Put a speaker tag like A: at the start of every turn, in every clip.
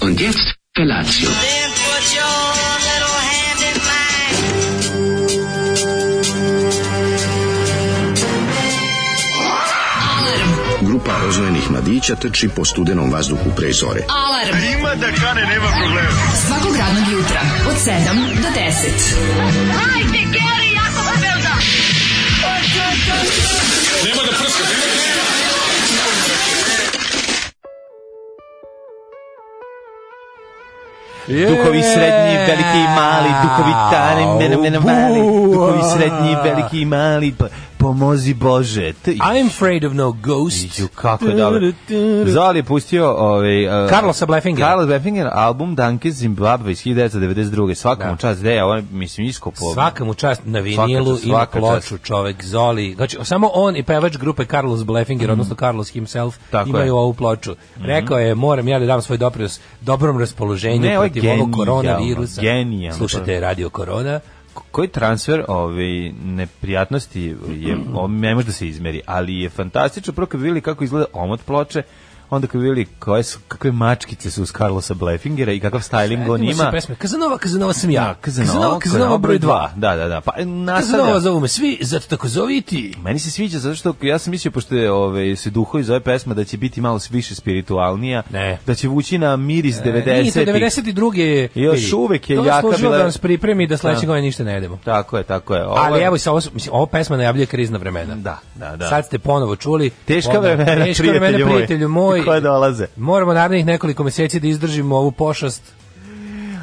A: Und jetzt Felatio.
B: Then put your little hand in mine.
C: Grupa rozvojenih mladića trči po studenom vazduhu pre zore.
D: Alarm. A ima da kane, nema problema. Svakog radnog jutra, od 7 do 10.
E: Duhovi srednji, veliki i mali, duhovi tani, mene, mene mali, duhovi srednji, veliki i mali, pa- pomozi Bože. Ti,
F: I'm afraid of no ghost.
E: Ju, kako je dobro. Zoli je pustio ovaj, uh,
F: Carlosa Bleffinger.
E: Carlos Beffinger, album Danke Zimbabwe iz 1992. Svaka mu čast, da je, ovo je, mislim, iskopo.
F: Svaka mu čast na vinilu
E: čast,
F: i na
E: svaka
F: ploču čovek Zoli. Znači, samo on i pevač grupe Carlos Bleffinger, odnosno Carlos himself,
E: Mhm. Tako
F: imaju
E: je. Mhm.
F: ovu ploču. Rekao je, moram ja da dam svoj doprinos dobrom raspoloženju
E: Ne, ovo je
F: protiv ovog
E: genijalno,
F: koronavirusa.
E: genijalno.
F: Slušajte Radio Korona.
E: Ko- koji transfer ovaj neprijatnosti je on ne može da se izmeri, ali je fantastično prvo kad bi vidjeli kako izgleda omot ploče, onda kad bi vidjeli koje su kakve mačkice su uz Carlosa Blefingera i kakav styling on
F: Ima se
E: ima.
F: pesme. Kazanova, Kazanova sam ja.
E: Da, Kazanova,
F: Kazanova broj 2.
E: Da, da, da. Pa e, nastavlja.
F: Kazanova zovu me svi, zato tako zovi i ti.
E: Meni se sviđa zato što ja sam mislio pošto je ovaj se duho iz ove pesme da će biti malo više spiritualnija,
F: Ne. E,
E: da će vući na miris 90-ih.
F: Nije to 92. je-
E: Još uvek je
F: To
E: jaka
F: služilo
E: bila-
F: da nas pripremi da sledeće
E: Da.
F: godine ništa ne jedemo.
E: Tako je, tako je. Ovo
F: Ali
E: je-
F: evo, sa ovo, su- mislim, ova pesma najavljuje krizna vremena.
E: Da, da, da.
F: Sad ste ponovo čuli.
E: Teška
F: Ono,
E: vremena,
F: teška
E: prijatelju
F: vremena,
E: moj.
F: prijatelju moj.
E: Koja dolaze.
F: Moramo narednih nekoliko meseci da izdržimo ovu pošast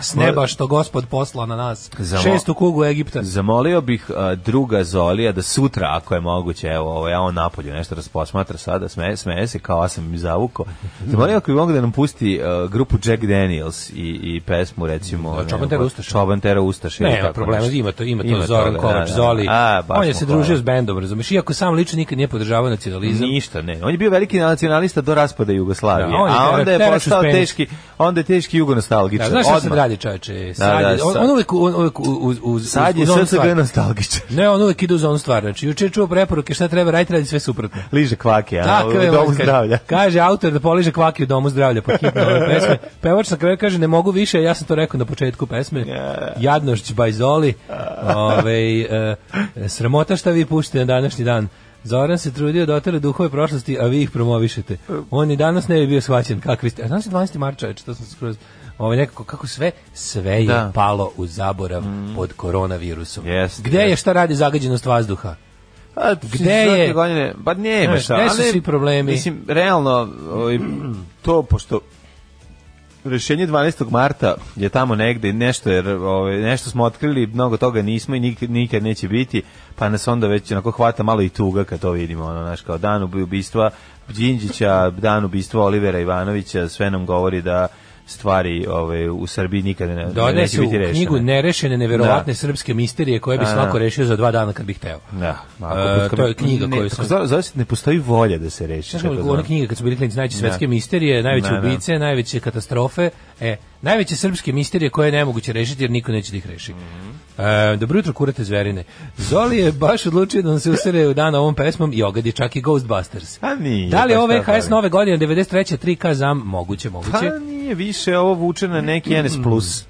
F: s neba što gospod posla na nas.
E: Za mo-
F: Šestu kugu Egipta.
E: Zamolio bih a, druga Zolija da sutra, ako je moguće, evo, ovaj, ja on napolju nešto rasposmatra sada, smeje, smeje se, kao ja sam im zavuko. Zamolio ako bi mogu da nam pusti a, grupu Jack Daniels i, i pesmu, recimo... ne znam,
F: Čoban tera
E: ko-
F: ustaše.
E: Čoban tera Ustaše. ili
F: Ne, nema
E: tako
F: problema,
E: nešto.
F: ima to, ima to
E: Ima
F: Zoran
E: toga,
F: Kovač,
E: da, da.
F: Zoli.
E: A, baš
F: on je
E: mu
F: se družio
E: hvala.
F: s bendom, razumeš? Iako sam lično nikad nije podržavao nacionalizam.
E: Ništa, ne. On je bio veliki nacionalista do raspada Jugoslavije,
F: Da, on je
E: a
F: tera-
E: onda je
F: terač
E: postao
F: uz penis.
E: teški, onda je teški jugonostalgičar.
F: Da, znaš šta se
E: odmah.
F: radi, čoveče?
E: Da,
F: Sad, je-
E: da,
F: on,
E: sad-
F: on uvek, on uvek uz, uz, uz,
E: Sad je
F: uz onu stvar.
E: SSG nostalgičar.
F: Ne, on uvek ide uz onu stvar. Znači, juče je čuo preporuke šta treba raditi, radi sve suprotno.
E: Liže kvake, a
F: Tako je,
E: u domu
F: može, kaže-
E: zdravlja.
F: Kaže autor da poliže kvaki u domu zdravlja, pa hitno ove pesme. Pevač na kraju kaže, ne mogu više, ja sam to rekao na početku pesme. Jadnošć bajzoli. Ove, e, sramota šta vi pušite na današnji dan. Zoran se trudio da otere duhove prošlosti, a vi ih promovišete. On i danas ne bi bio shvaćen kakvi ste. A danas je 12. marča, to sam skroz... Ovo nekako kako sve sve je
E: Da. Mm.
F: palo u zaborav pod koronavirusom.
E: Jeste,
F: Gde je
E: jeste.
F: šta radi zagađenost vazduha?
E: A,
F: Gde je?
E: Pa, Godine, pa nema
F: Znaš,
E: šta.
F: gde su
E: ali,
F: svi problemi?
E: Mislim, realno, ovaj, to pošto rešenje 12. marta je tamo negde nešto jer ovaj nešto smo otkrili mnogo toga nismo i nikad, nikad neće biti pa nas onda već onako hvata malo i tuga kad to vidimo ono naš kao dan ubi- ubistva Đinđića dan ubistva Olivera Ivanovića sve nam govori da stvari ovaj u Srbiji nikada ne,
F: Donese
E: neće
F: u
E: biti rešene
F: knjigu nerešene, neverovatne srpske misterije koje bi
E: Da, da.
F: svako rešio za dva dana kad bi hteo.
E: Da,
F: E, to je knjiga
E: ne,
F: koju
E: tako
F: sam-
E: zove- zove se ne postoji volja da se reši.
F: Znaš
E: kako
F: kako
E: zove.
F: ona knjiga kad su bili klinici najveće svetske misterije, najveće
E: Da, da.
F: ubice, najveće katastrofe, e, najveće srpske misterije koje je nemoguće rešiti jer niko neće da ih
E: Mhm.
F: reši. E, dobro jutro, kurate zverine. Zoli je baš odlučio da nam se usere u dan ovom pesmom i ogadi čak i Ghostbusters.
E: A nije,
F: Da li
E: pa
F: je ovo
E: šta
F: VHS
E: fali?
F: nove godine, 93. 3K zam, moguće, moguće.
E: Pa nije više, ovo vuče na neki NS+. Plus.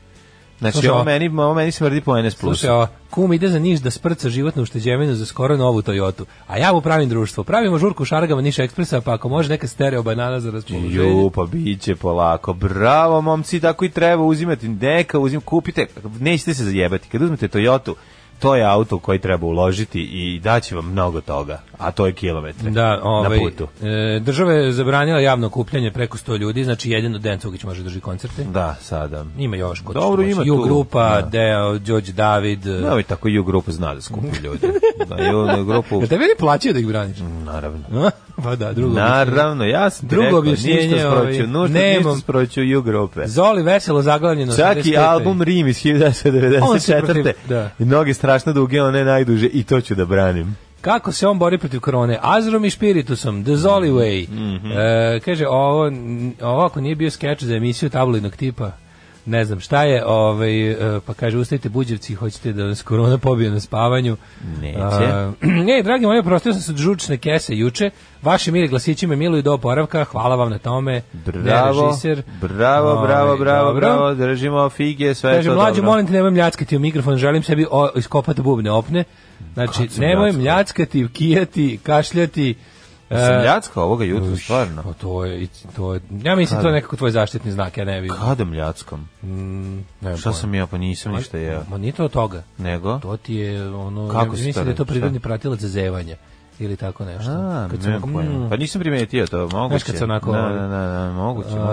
E: Znači,
F: Slušaj,
E: ovo
F: ovo-
E: meni, ovo meni smrdi po NS+. Plus.
F: Slušaj, a, kum ide za Niš da sprca životnu ušteđevinu za skoro novu Toyotu, a ja mu pravim društvo. Pravimo žurku u šargama Niš ekspresa, pa ako može neka stereo banana za raspoloženje.
E: Ju, pa biće polako. Bravo, momci, tako i treba uzimati. Neka uzim, kupite, nećete se zajebati. Kad uzmete Toyota, to je auto u koji treba uložiti i daće vam mnogo toga, a to je kilometre
F: Da, ovaj,
E: na putu.
F: e, država je zabranila javno kupljanje preko 100 ljudi, znači jedino Dejan Cugić može drži koncerte.
E: Da, sada.
F: Ima još kod
E: Dobro, ima
F: Ju
E: tu.
F: grupa,
E: Da.
F: Deo, Đorđe David. e,
E: Da, ovaj tako i u grupu zna da skupi ljude. Da, i u grupu,
F: Jel tebe ne plaćaju da ih braniš?
E: naravno.
F: pa da, drugo.
E: Mhm. Naravno, ja sam ti
F: Drugo
E: rekao,
F: objašnjenje,
E: ništa sproću,
F: ovaj,
E: nušta, ništa
F: nemam.
E: sproću ju grupe.
F: Zoli veselo zaglavljeno.
E: Čak
F: 85.
E: i album Rim iz
F: On se protiv-
E: 1994.
F: da.
E: I Noge strašno duge, one najduže i to ću da branim.
F: Kako se on bori protiv korone? Azrom i špiritusom, The Zoli
E: Mhm.
F: Way. E, kaže, ovo, n- ovako nije bio skeč za emisiju tabloidnog tipa. ne znam šta je, ovaj, e, pa kaže, ustajte buđevci, hoćete da nas korona pobije na spavanju.
E: Neće.
F: A, Ej, dragi moji, prostio sam se žučne kese juče, vaši mili glasići me miluju do oporavka, hvala vam na tome.
E: Bravo,
F: Ne, režiser.
E: bravo, bravo,
F: Ovaj,
E: bravo,
F: dobro.
E: bravo, držimo fige, sve je
F: Kaže,
E: to
F: mlađo,
E: dobro.
F: molim te, nemoj mljackati u mikrofon, želim sebi o, iskopati bubne opne. Znači,
E: Kad sam
F: nemoj
E: mljackao?
F: mljackati, kijati, kašljati.
E: Sam
F: e,
E: ljackao ovoga jutra, stvarno.
F: Pa to je, i to je, ja mislim to je nekako tvoj zaštitni znak, ja ne vidim.
E: Kada mljackam?
F: Nemam
E: Šta
F: pojma.
E: sam ja, pa nisam ništa jeo.
F: Ma nije to od toga.
E: Nego?
F: To ti je ono,
E: Kako
F: ja
E: si
F: mislim da je
E: to
F: to
E: rekao,
F: prirodni pratilac zevanja ili tako nešto.
E: A,
F: Kad sam
E: nemam
F: onako,
E: pojma.
F: mm,
E: Pa nisam primetio to, moguće.
F: Znaš kad se onako- ovaj-
E: Da, da, da, da, moguće. moguće.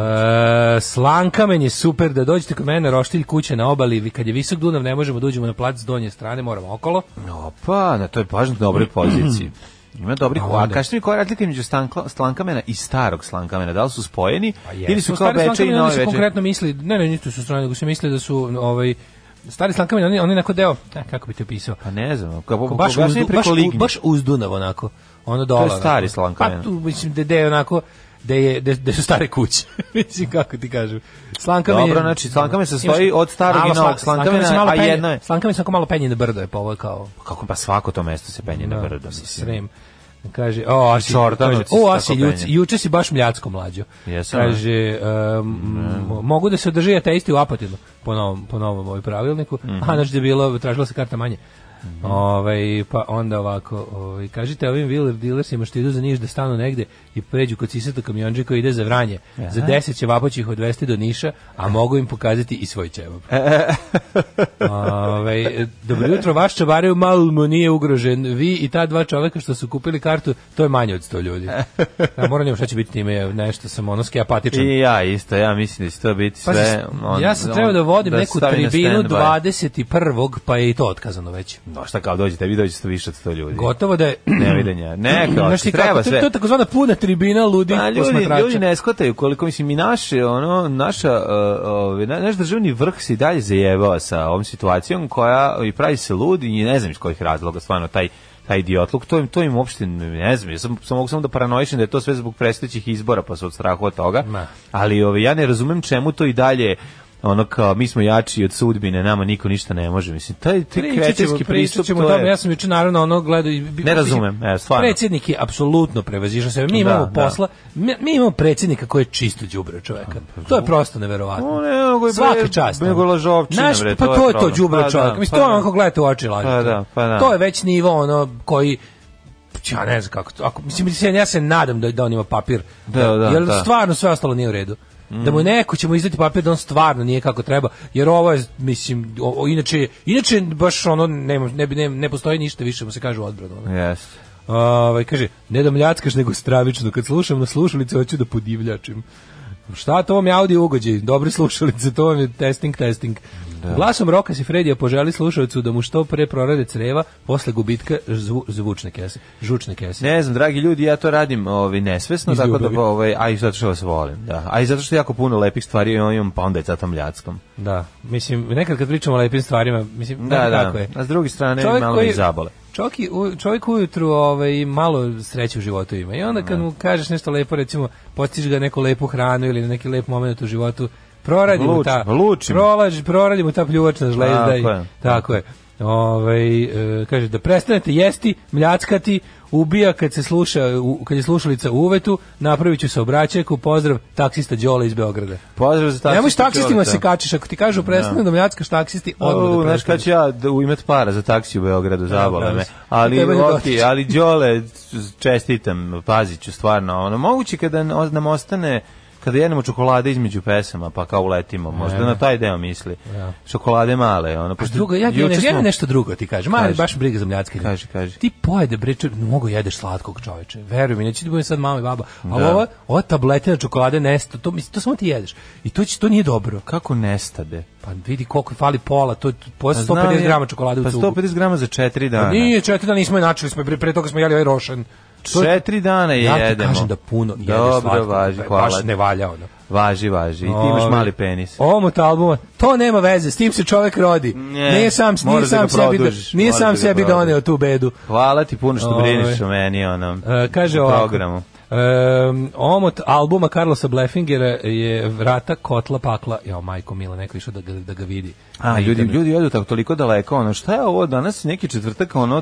F: E, slankamen je super da dođete kod mene roštilj kuće na obali vi- kad je visok Dunav ne možemo da uđemo na plac s donje strane moramo okolo
E: Opa, na to je baš na dobroj poziciji. Ima dobrih
F: A
E: A
F: onda?
E: kaži mi koja je razlika među stankla- slankamena i starog slankamena? Da li su spojeni ili su
F: Pa Jesu,
E: kao
F: stari
E: beče i
F: slankameni,
E: nove
F: oni se
E: veče?
F: konkretno misli ne ne nisu su strane nego se misli da su ovaj stari slankamen oni oni neko deo e, kako bi te opisao
E: Pa ne znam, kao
F: Ko baš,
E: baš
F: uzdu, baš,
E: preko
F: u-
E: lignje.
F: baš uz Dunav onako. Ono dole. onako.
E: stari Slankamen.
F: Pa tu, mislim, da da je onako, da je, da, da su stare kuće. mislim, kako ti kažem. Slankamen je-
E: Dobro, znači, Slankamen se
F: Imaš-
E: sastoji od starog
F: malo
E: i novog
F: sla- Slankamen se
E: Slankamena,
F: malo
E: a
F: penje-
E: jedno je-
F: Slankamen se onako malo penje na brdo je, pa ovo je kao...
E: Kako pa svako to mesto se penje na
F: da,
E: brdo, mislim.
F: Srem. Kaže, o, Asi,
E: Čordanovci
F: kaže,
E: se
F: o,
E: tako
F: Asi,
E: penje.
F: juč- juče si baš mljacko mlađo.
E: Jesam, Mm-hmm.
F: Kaže, um, mo- mogu da se održi ateisti u apatinu, po novom, po novom ovaj pravilniku.
E: Mm-hmm.
F: A, znači da je bilo, tražila se karta manje. Ovaj, pa onda ovako, ovaj, kažite ovim wheeler dealersima što idu za Niš da stanu negde i pređu kod sisata kamionđe koji ide za Vranje. Za 10 ćevapa će ih odvesti do Niša, a mogu im pokazati i svoj ćevap. Ove, dobro jutro, vaš čabar u Malmu nije ugrožen. Vi i ta dva čoveka što su kupili kartu, to je manje od 100 ljudi. Ja moram njemu šta će biti time, nešto sam ono apatičan.
E: I ja isto, ja mislim da će to biti
F: Pa,
E: sve... on-
F: ja sam
E: on-
F: trebao da vodim neku
E: stavi na
F: tribinu
E: standby.
F: 21. pa je i to otkazano već.
E: No šta kao dođe, tebi dođe sto više od sto ljudi.
F: Gotovo da je...
E: Nevidenja. Ne, kao,
F: Znaš ti
E: ti
F: kako,
E: treba
F: to, to
E: sve.
F: je takozvana puna tribina ludih
E: Pa, ljudi,
F: posmatrača.
E: ljudi ne shvataju koliko mislim i naše ono naša uh, ovaj, na- naš državni vrh se i dalje zajebao sa ovom situacijom koja i pravi se lud i ne znam iz kojih razloga stvarno taj taj idiotluk, to im, to im uopšte ne znam, ja sam, sam mogu samo da paranoišem da je to sve zbog predstojećih izbora, pa su od strahu od toga,
F: Ma.
E: ali ovaj, ja ne razumem čemu to i dalje ono kao, mi smo jači od sudbine, nama niko ništa ne može, mislim, taj, taj
F: Pričat ćemo-
E: kretenski
F: pričat
E: pristup,
F: ćemo
E: to
F: o tome.
E: je...
F: ja sam juče naravno ono gledao i bi-
E: Ne razumem,
F: mislim,
E: e, stvarno.
F: Predsjednik je apsolutno prevazišao sebe. Mi
E: Da,
F: imamo
E: da.
F: posla, mi, mi imamo predsjednika koji je čisto đubre čoveka. To je prosto neverovatno.
E: O, ne, nego Pa, je bre-
F: Svaka čast.
E: nego je lažovčina,
F: Naš-
E: bre,
F: pa
E: to je
F: to je to
E: problem.
F: đubre
E: Pa
F: čoveka.
E: da,
F: Mislim
E: pa
F: to je
E: da.
F: onako gledate u oči lažete.
E: Pa da, pa da.
F: To je već nivo ono koji ja ne znam kako to. Ako, mislim, mislim, ja se nadam da, da on ima papir.
E: Da, da,
F: jer
E: da.
F: stvarno sve ostalo nije u redu. Da mu neko ćemo izdati papir da on stvarno nije kako treba, jer ovo je, mislim, o, o, inače, inače baš ono, ne, ne, bi- ne, ne postoji ništa više, mu se kaže u odbranu. ono.
E: Jeste.
F: Ovaj, kaže, ne da mljackaš, nego stravično, kad slušam na slušalice, hoću da podivljačim. Šta to vam je audio ugođaj? Dobre slušalice, to vam je testing, testing. Glasom Roka si Fredija poželi slušalcu da mu što pre prorade creva posle gubitka zvu, zvučne kese, žučne kese.
E: Ne znam, dragi ljudi, ja to radim ovaj, nesvesno,
F: Iz
E: tako
F: ljubavi.
E: da, ovaj, a i zato što vas volim, da. A i zato što jako puno lepih stvari imam, pa onda je zato mljackom.
F: Da, mislim, nekad kad pričamo o lepim stvarima, mislim,
E: Da,
F: da,
E: da,
F: tako je.
E: a s druge strane
F: Čovjek
E: malo
F: koji-
E: me i zabole.
F: Čovjek, i u- čovjek ujutru ovaj, malo sreće u životu ima i onda kad mu kažeš nešto lepo, recimo postiš ga neku lepu hranu ili neki lep moment u životu, proradi mu
E: Luči-
F: ta,
E: luči mu.
F: prolaži- proradi mu ta pljuvačna žlezda.
E: Tako
F: i,
E: je.
F: Tako je. Ovaj, e, kaže da prestanete jesti, mljackati, ubija kad se sluša u- kad je slušalica u uvetu, napravit ću se obraćajku, pozdrav taksista Đole iz Beograda.
E: Pozdrav za taksistu.
F: Nemoj s taksistima
E: Đorđa.
F: se kačiš, ako ti kažu prestani da mljackaš taksisti, odmah da
E: O, znaš kad
F: prestaneš.
E: ću ja da umet para za taksi u Beogradu, zabole
F: pravi
E: me.
F: si.
E: Ali,
F: Tebe ne
E: ok,
F: dotiče.
E: ali Đole, čestitam, pazit ću stvarno. Ono, moguće kada n- nam ostane kada jedemo čokolade između pesama, pa kao uletimo, možda na taj deo misli. Čokolade male, ono, pošto...
F: Drugo, ja, ja,
E: juče
F: ja
E: smo-
F: nešto drugo ti kažem, ali
E: Kaži.
F: baš briga za mljackanje.
E: Kaži, kaži.
F: Ti pojede bre, čovjek, mnogo jedeš slatkog čoveče. Veruj mi, neće ti budem sad mama i baba. Ali ova, ova tabletina čokolade nesto, to, mislim, to samo ti jedeš. I to, će, to nije dobro.
E: Kako nestade?
F: Pa vidi koliko fali pola, to je pola
E: Pa znam
F: 150
E: ja,
F: grama čokolade u
E: Pa
F: cugu.
E: 150 grama za 4 dana.
F: Nije, četiri dana nismo je načeli, smo, pre, pre toga smo jeli ovaj rošan.
E: Četiri dana jedemo.
F: Ja ti kažem da puno jedeš
E: Dobro,
F: slatko.
E: važi,
F: Baš
E: hvala.
F: ne valja ono.
E: Važi, važi. I ti imaš
F: Ovi.
E: mali penis.
F: Omot albuma, to nema veze, s tim se čovek rodi.
E: Ne,
F: nije sam, nije
E: moraš da
F: sam
E: ga
F: sebi, da,
E: produžiš,
F: nije
E: moraš
F: sam
E: da ga
F: sebi
E: produžiš.
F: doneo tu bedu.
E: Hvala ti puno što
F: Ovi.
E: brineš o meni, ono,
F: E, kaže
E: u
F: ovako.
E: programu.
F: Um, omot albuma Carlosa Bleffingera je vrata kotla pakla. Jo, majko mila, neko je išao da ga, da ga vidi.
E: A,
F: Na
E: ljudi,
F: internetu.
E: ljudi odu tako toliko daleko, ono, šta je ovo danas neki četvrtak, ono,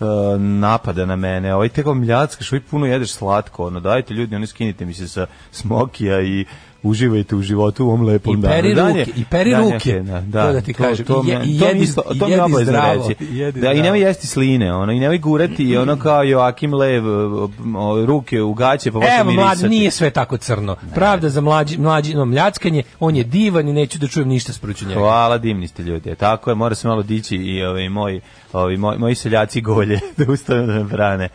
E: e, napada na mene, ovaj teko mljackaš, ovaj puno jedeš slatko, ono, dajte ljudi, ono, skinite mi se sa smokija i uživajte u životu u ovom lepom
F: I
E: danu.
F: peri
E: Dan je-
F: ruke, i peri
E: dan je
F: ruke,
E: okej, da,
F: to da ti kažem,
E: To, to,
F: i je-
E: me-
F: i
E: to mi
F: jedi-
E: isto-
F: i
E: to mi je
F: jedi
E: obavezno
F: zdravo,
E: reći.
F: i jedi
E: Da, i
F: zdravo.
E: nemoj jesti sline, ono, i nemoj gurati, ono, kao Joakim Lev, o, o, ruke u gaće, pa vas
F: Evo, mlad,
E: mirisati.
F: nije sve tako crno. Pravda za mlađi, mlađi, no, mljackanje, on je divan i neću da čujem ništa sproću njega.
E: Hvala, divni ste ljudi. E, Tako je, mora se malo dići i ovaj, ovi moji, ovi moji, moji seljaci golje da ustanu da me brane.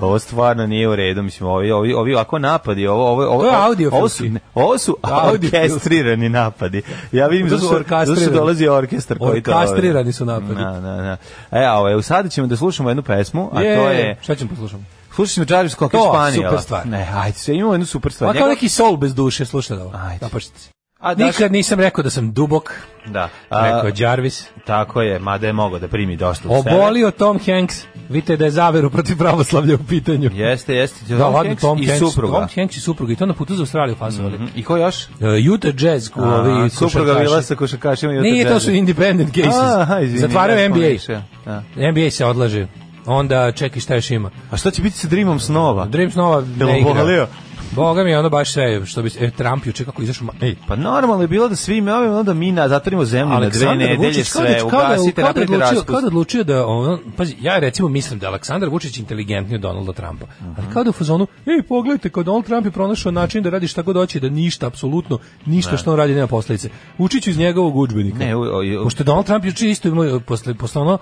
E: Ovo stvarno nije u redu, mislim, ovi, ovi, ovi ovako napadi, ovo, ovo, ovo,
F: To je
E: ovo-
F: audiofilski.
E: ovo su, ne, ovo su
F: Audiofilski.
E: orkestrirani napadi. Ja vidim
F: To
E: da
F: su
E: su, da su
F: orkastrirani.
E: dolazi orkestar koji to...
F: Orkastrirani su napadi.
E: Na, na, na. E, a ovaj, sada ćemo da slušamo jednu pesmu, a to je...
F: Šta ćemo poslušati?
E: Slušali smo Jarvis Cocker
F: To,
E: Spaniela.
F: super stvar.
E: Ne, ajde, sve, imamo jednu super stvar.
F: Pa kao
E: Njegov-
F: neki sol bez duše, slušaj da ovo.
E: Ajde.
F: Napašite.
E: A, Daš-
F: Nikad nisam rekao da sam dubok,
E: Da. A,
F: rekao je Jarvis.
E: tako je, mada je mogao da primi dosta u sebe.
F: Obolio Tom Hanks, vidite da je zaveru protiv pravoslavlja u pitanju.
E: Jeste, jeste.
F: Da, ladno, Tom
E: i
F: Hanks,
E: supruga.
F: Tom Hanks i supruga, i to na putu za Australiju fasovali. Mm
E: I ko još?
F: -hmm. Utah Jazz, kulovi,
E: supruga bila sa košarkašima i Utah
F: Nije, to
E: Jazz.
F: su independent cases.
E: Aha, izvini,
F: Zatvaraju
E: ja
F: NBA.
E: sam pomešao, da.
F: NBA se odlaže. Onda čekaj šta još ima.
E: A šta će biti sa Dreamom snova?
F: Dreams Nova
E: Jel
F: ne igra.
E: obolio?
F: Boga mi je ono baš sve što bi se- e, Trump juče kako izašao. ma- Ej,
E: Pa normalno je bilo da svi me ovim, onda mi na, zatvorimo zemlju na dve
F: Aleksandar
E: nedelje
F: Vučić kao
E: sve,
F: da, kao da,
E: ugasite,
F: kao da
E: napravite
F: odlučio, kao
E: raspust.
F: da odlučio da on, pazi, ja recimo mislim da je Aleksandar Vučić inteligentniji od Donalda Trumpa.
E: Mhm.
F: Ali kao da u fazonu, ej, pogledajte, kao Donald Trump je pronašao način da radi šta god hoće, da ništa, apsolutno, ništa što on radi nema posledice. Učiću iz njegovog udžbenika.
E: Ne, u- u- u-
F: Pošto je Donald Trump juče isto imao posle posle ono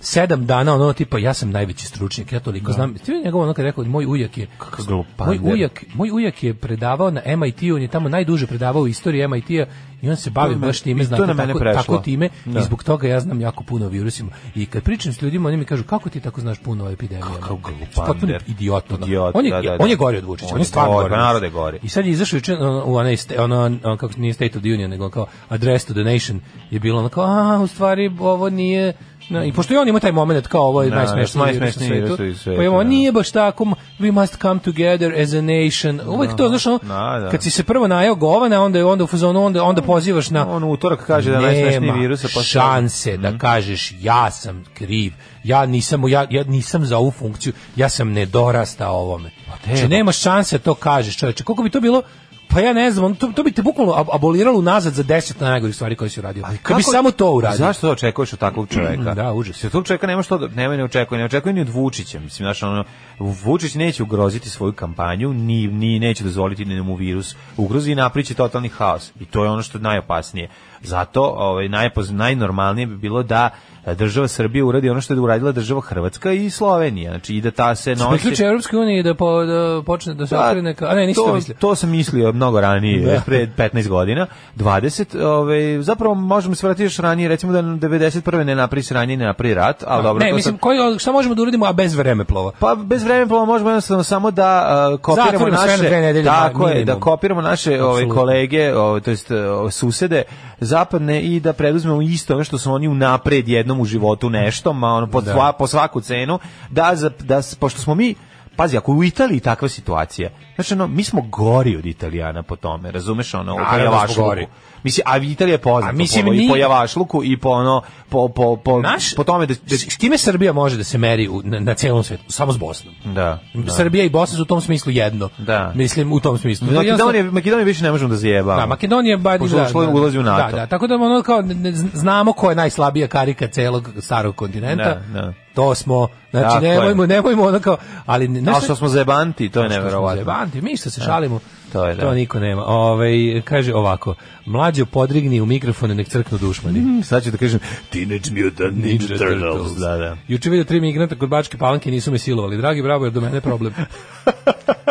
F: sedam dana ono tipa ja sam najveći stručnjak ja toliko znam ti je njegov ono kad je rekao moj ujak je
E: Kakav glupander.
F: moj ujak moj ujak je predavao na MIT-u on je tamo najduže predavao u istoriji MIT-a i on se bavi
E: To me-
F: baš time
E: i to
F: znate
E: na mene
F: tako,
E: prešlo.
F: tako time
E: Da.
F: i zbog toga ja znam jako puno o virusima i kad pričam s ljudima oni mi kažu kako ti tako znaš puno o epidemijama
E: Kakav glupander.
F: potpuno idiotno
E: Idiot,
F: on je
E: da, da, da.
F: on je gori od Vučića
E: On
F: on
E: je
F: je stvarno
E: gori,
F: gori
E: pa
F: od
E: narod
F: Vučića.
E: je gori.
F: I sad je izašao juče ono, u onaj sta- ono, ono, kako se nije State of the Union, nego kao Address to the Nation je bilo ono kao, a, u stvari ovo nije... Na, I pošto i on ima taj moment kao ovo je
E: Da,
F: najsmešniji virus na
E: najsmešniji
F: svetu,
E: virus u svetu,
F: pa ima,
E: da.
F: nije baš tako, we must come together as a nation. Uvek to, znaš, ono,
E: Da, da.
F: kad si se prvo najao govana, onda je onda u fazonu, onda, onda pozivaš na...
E: On u utorak kaže da je najsmešniji
F: Nema
E: virus, a posle- Mhm.
F: šanse da kažeš ja sam kriv, ja nisam, ja, ja nisam za ovu funkciju, ja sam nedorastao ovome.
E: Pa
F: Znači, nema šanse da to kažeš, čoveče. Koliko bi to bilo Pa ja ne znam, ono, to, to bi te bukvalno ab- aboliralo unazad za 10 najgorih stvari koje si uradio. Ali bi samo to uradio.
E: Zašto to očekuješ od takvog čoveka?
F: Da, užas.
E: Se tog čoveka nema što da nema ne očekuje, ne očekuje ni od Vučića. Mislim znači ono Vučić neće ugroziti svoju kampanju, ni ni neće dozvoliti da mu virus ugrozi i napriči totalni haos. I to je ono što je najopasnije. Zato ovaj najpoz, najnormalnije bi bilo da e, država Srbija uradi ono što je uradila država Hrvatska i Slovenija. Znači i da ta se
F: Da
E: nosi
F: priključe Evropske unije i da, po, da počne da se
E: Da,
F: okrene ka- A ne, nisam to
E: to,
F: mislio.
E: to sam mislio mnogo ranije,
F: Da.
E: pre 15 godina, 20, ovaj, zapravo možemo se vratiti još ranije, recimo da 91. ne napravi sranje, ne napravi rat, ali dobro,
F: ne,
E: to
F: mislim,
E: sam-
F: koji, šta možemo da uradimo, a bez vremeplova?
E: Pa bez vremeplova možemo jednostavno samo da a, kopiramo
F: Zatvorimo sve
E: naše
F: na dve nedelje,
E: tako
F: ma-
E: je, da
F: minimum.
E: kopiramo naše ove
F: Apsolutno.
E: kolege, ove, to jest e, susede zapadne i da preduzmemo isto ono što su oni unapred jednom u životu nešto, ma ono po, sva, po svaku cenu, da za, da s- pošto smo mi Pazi, ako je u Italiji takva situacija, znači, ono, mi smo gori od Italijana po tome, razumeš, ono, po
F: Naravno da smo gori.
E: javašluku. Mislim, a Italija je poznata
F: A mislim,
E: po, ono, i
F: mi-
E: po javašluku i po, ono, po, po, po,
F: Naš-
E: po tome da, da,
F: S s time Srbija može da se meri u, na, na celom svetu, samo s Bosnom.
E: da, da.
F: Srbija i Bosna su u tom smislu jedno.
E: Da.
F: Mislim u tom smislu. To je
E: Makedonije,
F: jednostavno-
E: Makedonije više ne možemo da zajebamo.
F: Da, Makedonija ba
E: Pošto
F: da,
E: ušla-
F: da,
E: ulazi u NATO.
F: Da, da, tako da ono kao ne- ne- znamo ko je najslabija karika celog starog kontinenta.
E: Da, da.
F: To smo, znači
E: Tako je.
F: nemojmo, nemojmo ono kao, ali ne,
E: Ali što smo zajebanti, to je
F: što smo
E: neverovatno.
F: zajebanti, mi što se šalimo.
E: To je, da.
F: niko nema. Ovaj kaže ovako, mlađo podrigni u mikrofon i nek crknu dušmani.
E: Sad ću da kažem Teenage Mutant Ninja Turtles. Da, da.
F: Juče vidio tri migranta kod Bačke Palanke nisu me silovali. Dragi, bravo, jer do mene je problem.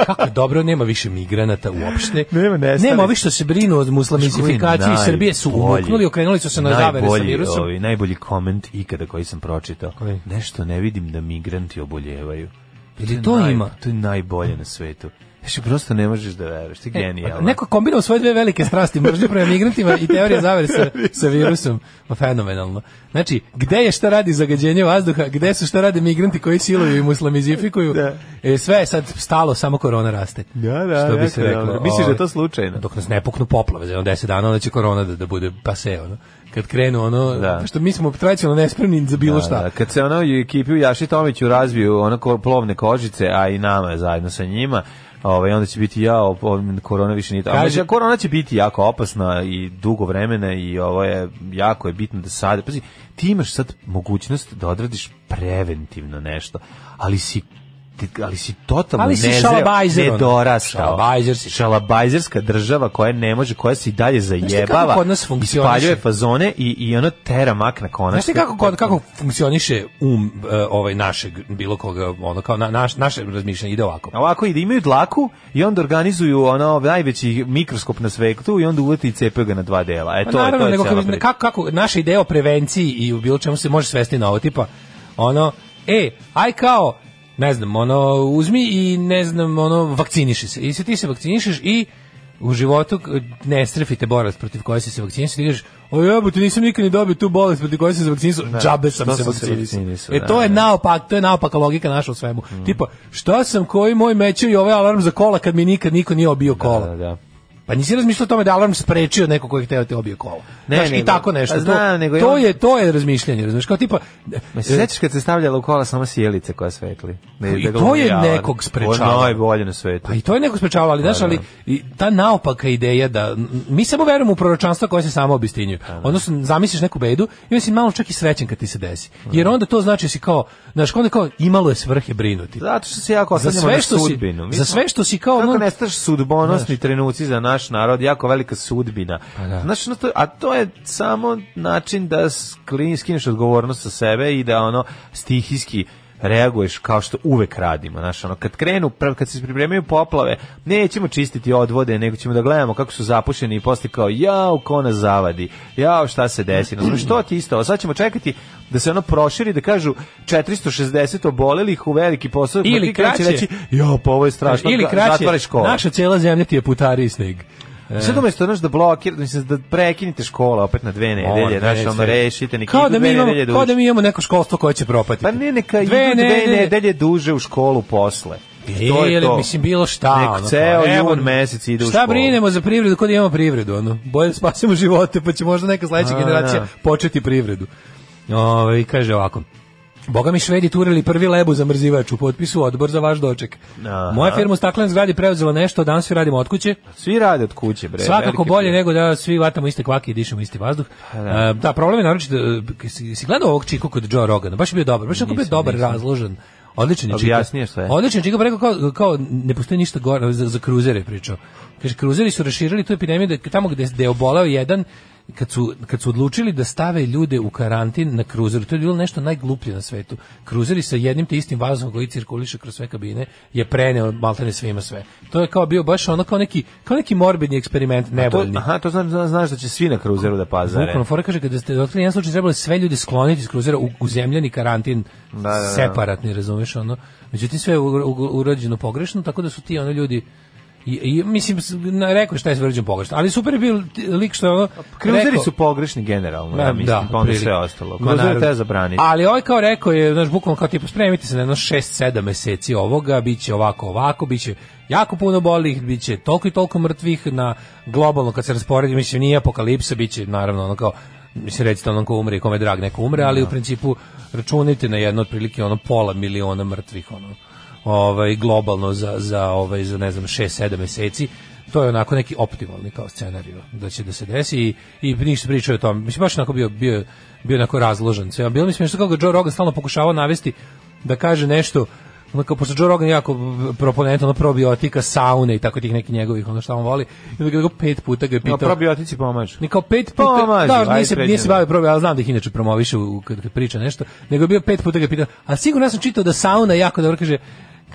F: Kako je dobro, nema više migranata uopšte.
E: Nema, nestali.
F: Nema ovi što se brinu o muslimizifikaciji
E: Najbolji,
F: Srbije su umuknuli, okrenuli su se na zavere sa
E: najbolji,
F: virusom.
E: Ovi, najbolji koment ikada koji sam pročitao.
F: Koji?
E: Nešto ne vidim da migranti oboljevaju.
F: Ili to
E: naj-
F: ima?
E: To je najbolje na svetu. Znači, prosto ne možeš da veruješ, ti je genijalno.
F: E, Pa Neko je kombinovao svoje dve velike strasti, mržnje prema migrantima i teorija zavere sa, sa virusom. Ma, fenomenalno. Znači, gde je šta radi zagađenje vazduha, gde su šta rade migranti koji siluju i muslamizifikuju,
E: Da.
F: e, sve je sad stalo, samo korona raste.
E: Da, da,
F: što bi
E: jako
F: se reklo.
E: dobro. Misliš da je to
F: Ovaj,
E: slučajno?
F: Dok nas ne puknu poplave, za jedno 10 dana, onda će korona da, da bude pase, ono. Kad krenu, ono,
E: Da.
F: što mi smo tradicionalno nespremni za bilo šta.
E: Da, da, kad se ono u ekipi u Jaši Tomiću razviju ono ko- plovne kožice, a i nama zajedno sa njima, ovaj, onda će biti ja, o- o- korona više nije... tako.
F: Kaže-
E: Kaže, korona će biti jako opasna i dugo vremena i ovo je jako je bitno da sad... Pazi, ti imaš sad mogućnost da odradiš preventivno nešto, ali si ti- ali si totalno
F: Ali si
E: nezreo,
F: šalabajzer, ono.
E: nedorastao.
F: Šalabajzer si.
E: Šalabajzerska država koja ne može, koja se i dalje
F: ti kako
E: zajebava,
F: kod nas funkcioniše?
E: ispaljuje fazone i, i ono tera mak na konac.
F: Znaš ti kako, kod- kako funkcioniše um e, ovaj našeg, bilo koga, ono kao na, naš, naše razmišljanje ide ovako.
E: Ovako ide, imaju dlaku i onda organizuju ono najveći mikroskop na svetu i onda uvati i cepe ga na dva dela. E
F: Pa
E: to, je-
F: naravno,
E: to je
F: nego
E: cela
F: kako,
E: priča.
F: kako, kako naša ideja o prevenciji i u bilo čemu se može svesti na ovo, tipa, ono, e, aj kao, ne znam, ono, uzmi i, ne znam, ono, vakciniši se. I se ti se vakcinišeš i u životu k- ne strefite borac protiv koje si se vakcinisao, ti kažeš, o jebote, nisam nikad ni dobio tu bolest protiv koje sam se vakcinisao, džabe sam
E: što
F: se
E: sam se
F: vakcinisao.
E: vakcinisao,
F: E, to
E: da,
F: je
E: da. Mm.
F: naopak, to je naopaka logika naša u svemu. Tipa, šta sam koji moj mećao i ovaj alarm za kola kad mi nikad niko nije obio kola?
E: Da, da.
F: Pa nisi razmišljao o tome da alarm sprečio neko koji je hteo da te obije kola.
E: Ne,
F: Znaš, i
E: nego-
F: tako nešto.
E: a znam,
F: to,
E: nego
F: to
E: imam-
F: je to je razmišljanje, razumeš, kao tipa
E: Ma se sećaš kad se stavljala u kola samo sjelice koja svetli?
F: E. I
E: ga
F: to je
E: umijava.
F: nekog sprečavalo.
E: Ovo je najbolje na svetu.
F: pa i to je neko sprečavalo, ali znaš, ali i ta naopaka ideja da m, mi samo verujemo u proročanstva koja se samo obistinjuju. Odnosno zamisliš neku bedu i onda si malo čak i srećan kad ti se desi. Jer onda to znači da si kao, znaš, onda kao imalo je svrhe brinuti.
E: Zato što se jako
F: Za
E: oslanjamo
F: sve
E: na
F: što si,
E: sudbinu. Mi
F: za
E: smo-
F: sve što si kao
E: Kako
F: ono,
E: nestaš sudbonosni trenuci za naš narod, jako velika sudbina.
F: Pa da.
E: Znaš, no to, a to je samo način da sklin, skineš odgovornost sa sebe i da ono stihijski reaguješ kao što uvek radimo. Znaš, ono, kad krenu, prav- kad se pripremaju poplave, nećemo čistiti odvode, nego ćemo da gledamo kako su zapušeni i posle kao, jao, ko nas zavadi, jao, šta se desi. No, što ti isto, a sad ćemo čekati da se ono proširi, da kažu 460 obolelih u veliki posao.
F: Ili
E: Ma ti kreće
F: kraće.
E: Reći, jo, pa ovo je strašno,
F: ili
E: ga-
F: kraće,
E: zatvaraš školu.
F: naša cijela zemlja ti je putari i sneg.
E: Sad umesto znaš, da blokir, mislim, da prekinite škola opet na dve nedelje,
F: Ono,
E: znaš, ono
F: sve.
E: rešite, neki
F: kao
E: idu
F: da mi
E: dve
F: imamo,
E: nedelje da
F: kao
E: uče.
F: da mi imamo neko školstvo koje će propatiti.
E: Pa ne, neka idu
F: Dve
E: dve
F: nedelje.
E: nedelje duže u školu posle. I to je
F: Ili,
E: to.
F: mislim, bilo šta.
E: Nek
F: ono,
E: ceo
F: kao, evo,
E: jun mesec ide u
F: Šta
E: školu.
F: brinemo za privredu, kod imamo privredu, ono. Bolje da spasimo živote, pa će možda neka sledeća
E: A,
F: generacija
E: da.
F: početi privredu. Ove, i kaže ovako. Boga mi švedi turili prvi lebu zamrzivač u potpisu odbor za vaš doček.
E: Aha.
F: Moja firma u staklenoj zgradi preuzela nešto, danas svi radimo od kuće.
E: Svi rade od kuće, bre.
F: Svakako
E: velike Pa
F: bolje
E: firme.
F: nego da svi vatamo iste kvake i dišemo isti vazduh. Da, da problem je naročito, e, si, si gledao ovog čiku kod Joe Rogana, baš je bio dobar, baš je onako bio
E: Nisam,
F: dobar,
E: nisam. Pa
F: razložen. Odličan je čika.
E: Objasnije šta je.
F: Odličan je čika, pa rekao kao, kao ne postoji ništa gore, za, za kruzere je pričao. Kaže, kruzeri su raširili tu epidemiju da, tamo gde, gde je obolao jedan, kad su, kad su odlučili da stave ljude u karantin na kruzeru, to je bilo nešto najgluplje na svetu. Kruzeri sa jednim te istim vazom koji cirkuliše kroz sve kabine je preneo maltene svima sve. To je kao bio baš ono kao neki, kao neki morbidni eksperiment,
E: To,
F: nevoljni.
E: aha, to zna- zna- znaš da će svi na kruzeru da pazare.
F: Bukvalno, Fora kaže kada ste dokli jedan slučaj trebalo je sve ljude skloniti iz kruzera u, u zemljani karantin
E: Da, da, da.
F: separatni, razumeš ono. Međutim, sve je u, u, urađeno pogrešno, tako da su ti ono ljudi I, i mislim s- na, rekao je šta je sve urađeno pogrešno, ali super je bio ti- lik što je ono
E: Kruzeri
F: rekao-
E: su pogrešni generalno,
F: Ma,
E: ja mislim, pa onda
F: otprilike.
E: sve ostalo.
F: Ma,
E: Kruzere
F: naravno.
E: treba zabraniti.
F: Ali ovaj kao rekao je, znaš, bukvalno kao tipa, spremite se na jedno 6-7 meseci ovoga, bit će ovako, ovako, bit će jako puno bolih, bit će toliko i toliko mrtvih na globalno, kad se rasporedi, mislim, nije apokalipsa, bit će naravno ono kao, mislim, recite onom ko umre i kome je drag neko umre, ali u principu računajte na jedno otprilike ono pola miliona mrtvih, ono, ovaj, globalno za, za, ovaj, za ne znam, 6-7 meseci, to je onako neki optimalni kao scenarijo da će da se desi i, i ništa pričao o tome. Mislim, baš onako bio, bio, bio onako razložen. Sve. Bilo mi smiješno kako ga Joe Rogan stalno pokušavao navesti da kaže nešto ono kao, pošto Joe Rogan je jako proponent ono probiotika, saune i tako tih nekih njegovih, ono šta on voli. I onda ga pet puta ga je
E: No,
F: pitao...
E: probiotici pomažu.
F: Ni kao pet
E: Pa,
F: puta,
E: maži,
F: da,
E: ajde,
F: nije se, nije se
E: pređemo.
F: bavio probio, ali znam da ih inače promoviše u, kad, kad priča nešto, nego je bio pet puta ga pitao, a sigurno ja sam čitao da sauna jako dobro kaže,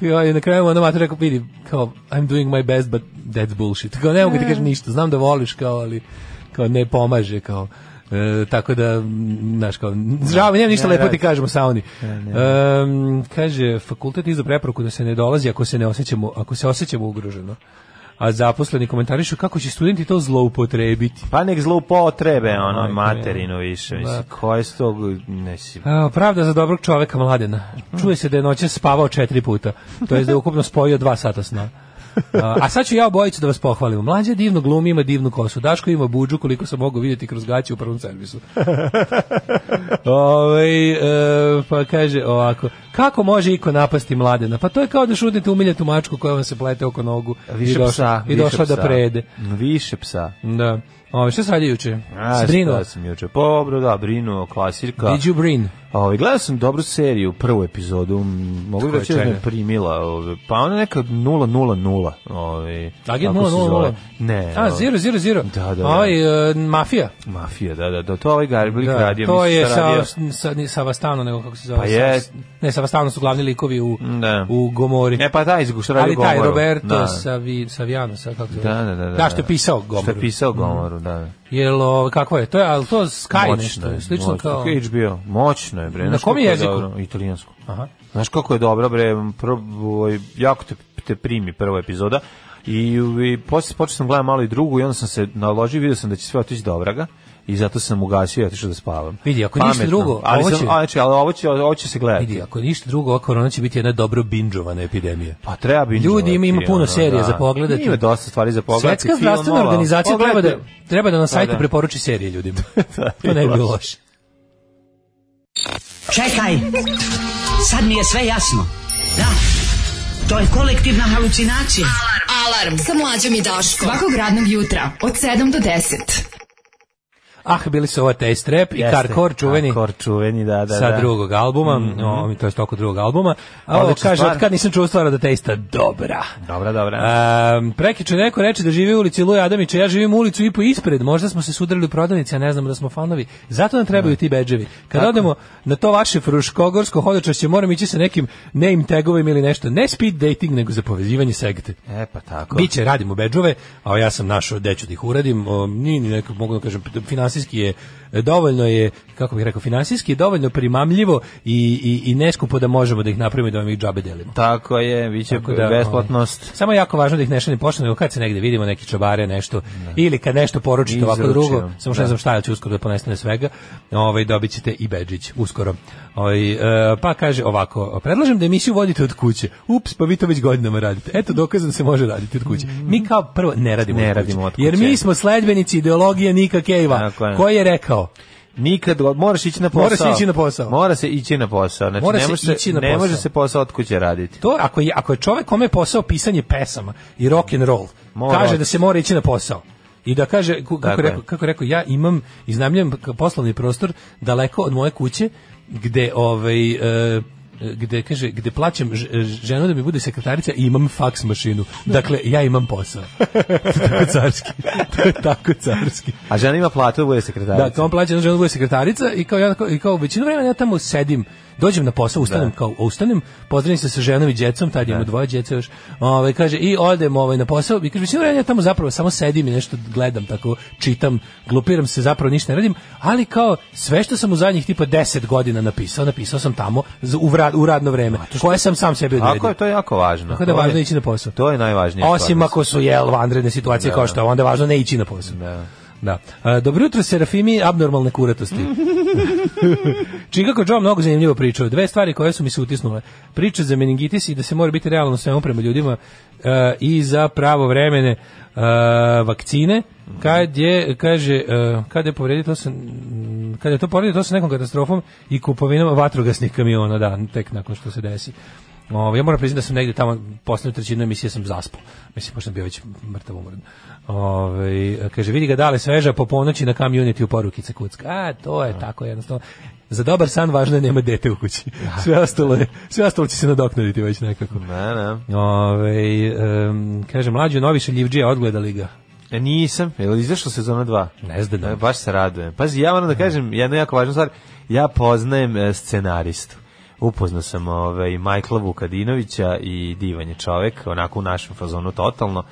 F: kao je na kraju ono mater rekao, vidi, kao, I'm doing my best,
E: E.
F: but that's bullshit. Kao, ne mogu ti kažem ništa, znam da voliš, kao, ali, kao, ne pomaže, kao, E, tako da, m, znaš kao, žao, mi nema ništa
E: Ne,
F: lepo
E: radi.
F: ti kažemo sa oni. Em, kaže, fakultet izda preporuku da se ne dolazi ako se ne osjećamo, ako se osjećamo ugroženo. A zaposleni komentarišu kako će studenti to zloupotrebiti.
E: Pa nek zloupotrebe, ono,
F: Majko,
E: materinu više, mislim, koje su to, nisi,
F: A, pravda za dobrog čoveka mladena. Čuje se da je noće spavao četiri puta. To je da je ukupno spojio dva sata sna. A, a sad ću ja obojicu da vas pohvalim. Mlađe divno glumi, ima divnu kosu. Daško ima buđu koliko sam mogu vidjeti kroz gaće u prvom servisu. Ovaj, e, pa kaže ovako, kako može iko napasti mladena? Pa to je kao da šutnete umiljatu mačku koja vam se plete oko nogu i
E: više
F: došla,
E: psa,
F: i
E: više
F: došla da
E: psa.
F: prede.
E: Više psa.
F: Da. Ove, šta se radi juče?
E: A,
F: Zbrinuo?
E: šta sam juče. Pobro, da, brinuo, klasirka.
F: Did you brin?
E: Ovaj gledao sam dobru seriju, prvu epizodu, m, mogu
F: Koje
E: reći da me
F: čega?
E: primila, ovaj, pa ona neka 000, ovaj.
F: Agent
E: kako se
F: 000?
E: zove? Ne.
F: A,
E: ovaj,
F: zero, zero, zero.
E: Da, da,
F: Ovaj, e, mafija.
E: Mafija, da, da, da, to ovaj Garblik
F: Da,
E: radio,
F: to
E: mislim,
F: je
E: šta
F: sa,
E: radio.
F: sa, ni sa Vastanom, nego kako se zove.
E: Pa je.
F: Sa, ne, sa Vastanom su glavni likovi u,
E: Da.
F: u Gomori.
E: Ne, pa taj izgu, što radi
F: Ali taj
E: Gomoru.
F: Roberto
E: Da.
F: Savi, Saviano, sa, kako se
E: Da,
F: zove.
E: da, da, da.
F: Da, što je pisao
E: Što
F: Gomoru.
E: je pisao Gomoru, da. da.
F: Jel, o, kako je? To je, ali to Sky
E: Moćno
F: nešto.
E: je,
F: Je, slično
E: moćno.
F: kao...
E: Kako je HBO? Moćno je, bre.
F: Na
E: Znaš
F: kom
E: kako je
F: jeziku?
E: dobro? Italijansko.
F: Aha.
E: Znaš kako je dobro, bre, prvo, ovaj, jako te, te primi prva epizoda i, i posle počeo sam gledati malo i drugu i onda sam se naložio, vidio sam da će sve otići do vraga i zato sam ugasio i otišao da spavam.
F: Vidi, ako ništa drugo,
E: ali
F: ovo
E: sam-
F: će-
E: a, znači, ali ovo će, ovo će se gledati.
F: Vidi, ako ništa drugo, ova korona će biti jedna dobro binđovana epidemija.
E: Pa treba bi
F: Ljudi, ima- ima puno serija za pogledati.
E: Ima dosta stvari za pogledati.
F: Svetska zdravstvena
E: filmova.
F: organizacija treba da,
E: ono. Pogledajte. Pa
F: treba da na sajtu
E: da.
F: preporuči serije ljudima. to
E: je
F: ne bi bilo
E: loše.
F: loše.
B: Čekaj, sad mi je sve jasno. Da, to je kolektivna halucinacija.
D: Alarm sa mlađom i Daškom. Svakog radnog jutra od 7 do 10.
F: Ah, bili su ova Taste Rap i
E: Jeste.
F: Karkor čuveni.
E: Hardcore čuveni, da, da,
F: sa
E: da.
F: drugog albuma, mm -hmm. to je toko drugog albuma. A ovo
E: Odlična
F: kaže,
E: stvar.
F: od kad nisam čuo stvar da teista dobra.
E: Dobra, dobra.
F: Um, prekiče neko reče da živi u ulici Luja Adamića, ja živim u ulicu i po ispred, možda smo se sudarili u prodavnici, a ne znamo da smo fanovi. Zato nam trebaju ti bedževi. Kad odemo na to vaše fruškogorsko hodočašće, moram ići sa nekim name tagovim ili nešto. Ne speed dating, nego za povezivanje sekte.
E: E, pa tako.
F: Biće, radimo bedžove, a ja sam našao gde ću da ih uradim, o, ni, ni neko, mogu da kažem, finansijski je, dovoljno je, kako bih rekao, finansijski je dovoljno primamljivo i, i, i neskupo da možemo da ih napravimo i da vam ih džabe delimo.
E: Tako je, bit će
F: Tako da, ovaj,
E: besplatnost.
F: samo je jako važno da ih ne šaljem poštom, nego kad se negde vidimo neki čabare, nešto, ili kad nešto poručite ovako
E: Izručio.
F: drugo, samo što ne znam šta ja ću uskoro da ponestane svega, ovaj, dobit ćete i bedžić uskoro. Ovaj, e, pa kaže ovako, predlažem da emisiju vodite od kuće. Ups, pa vi to već godinama radite. Eto, dokaz da se može raditi od kuće. Mi kao prvo ne radimo,
E: Ne
F: od, kuće,
E: radimo od
F: Jer
E: kuće.
F: mi smo sledbenici ideologije Nika Kejva,
E: Tako je.
F: koji je rekao,
E: Nikad, moraš ići na posao.
F: Mora se ići na posao.
E: Mora se ići na posao. Znači,
F: Mora
E: ne
F: se
E: može se,
F: ići na
E: ne
F: posao.
E: može se posao od kuće raditi.
F: to ako je, ako je čovek kome je posao pisanje pesama i rock and roll,
E: Mora
F: kaže
E: otići.
F: da se mora ići na posao. I da kaže, ku- kako
E: Tako je.
F: rekao, kako rekao, ja imam, iznajmljujem k- poslovni prostor daleko od moje kuće, gde, ovaj, e, gde, kaže, gde plaćam ž- ženu da mi bude sekretarica i imam faks mašinu. Dakle, ja imam posao. tako carski. To je tako carski.
E: A žena ima platu da bude sekretarica.
F: Da, kao on plaća, znači on bude sekretarica i kao ja kao, i kao većinu vremena ja tamo sedim, dođem na posao, ustanem kao ustanem, pozdravim se sa ženom i djecom, tad imamo dvoje djece još. Ovaj kaže i odem ovaj na posao i kaže većinu vremena ja tamo zapravo samo sedim i nešto gledam, tako čitam, glupiram se, zapravo ništa ne radim, ali kao sve što sam u zadnjih tipa 10 godina napisao, napisao sam tamo za- u, vra- u radno vreme, koje sam sam sebi odredio.
E: Tako je, to je jako važno.
F: Tako da je
E: To
F: važno ići na posao.
E: To je najvažnije.
F: Osim ako su jel vanredne situacije kao što je, onda je važno ne ići na posao. Da. E, dobro jutro Serafimi abnormalne kuratosti. Chicago Joe mnogo zanimljivo pričao. Dve stvari koje su mi se utisnule. Priča za meningitis i da se mora biti realno svemu prema ljudima e, i za pravo vremene e, vakcine. Kad je, kaže, e, kad je povredio to sa, mm, kad je to povredio to sa nekom katastrofom i kupovinom vatrogasnih kamiona, da, tek nakon što se desi. Ovaj ja moram priznati da sam negde tamo poslednju trećinu emisije sam zaspao. Mislim pošto sam bio već mrtav umoran. Ovaj kaže vidi ga dale sveža po ponoći na community u porukice kucka. A to je tako jednostavno. Za dobar san važno je nema dete u kući. Sve ostalo je, sve ostalo će se nadoknaditi već nekako.
E: Ne, ne.
F: Ovaj em, kaže mlađi novi šaljivdžija odgledali ga.
E: E, nisam. Je li izašla sezona 2?
F: Ne znam.
E: E, baš se radujem. Pazi, ja moram da kažem jednu jako važnu stvar. Ja poznajem e, scenaristu. Upoznao sam ovaj, Michaela Vukadinovića i divan je čovek, onako u našem fazonu totalno.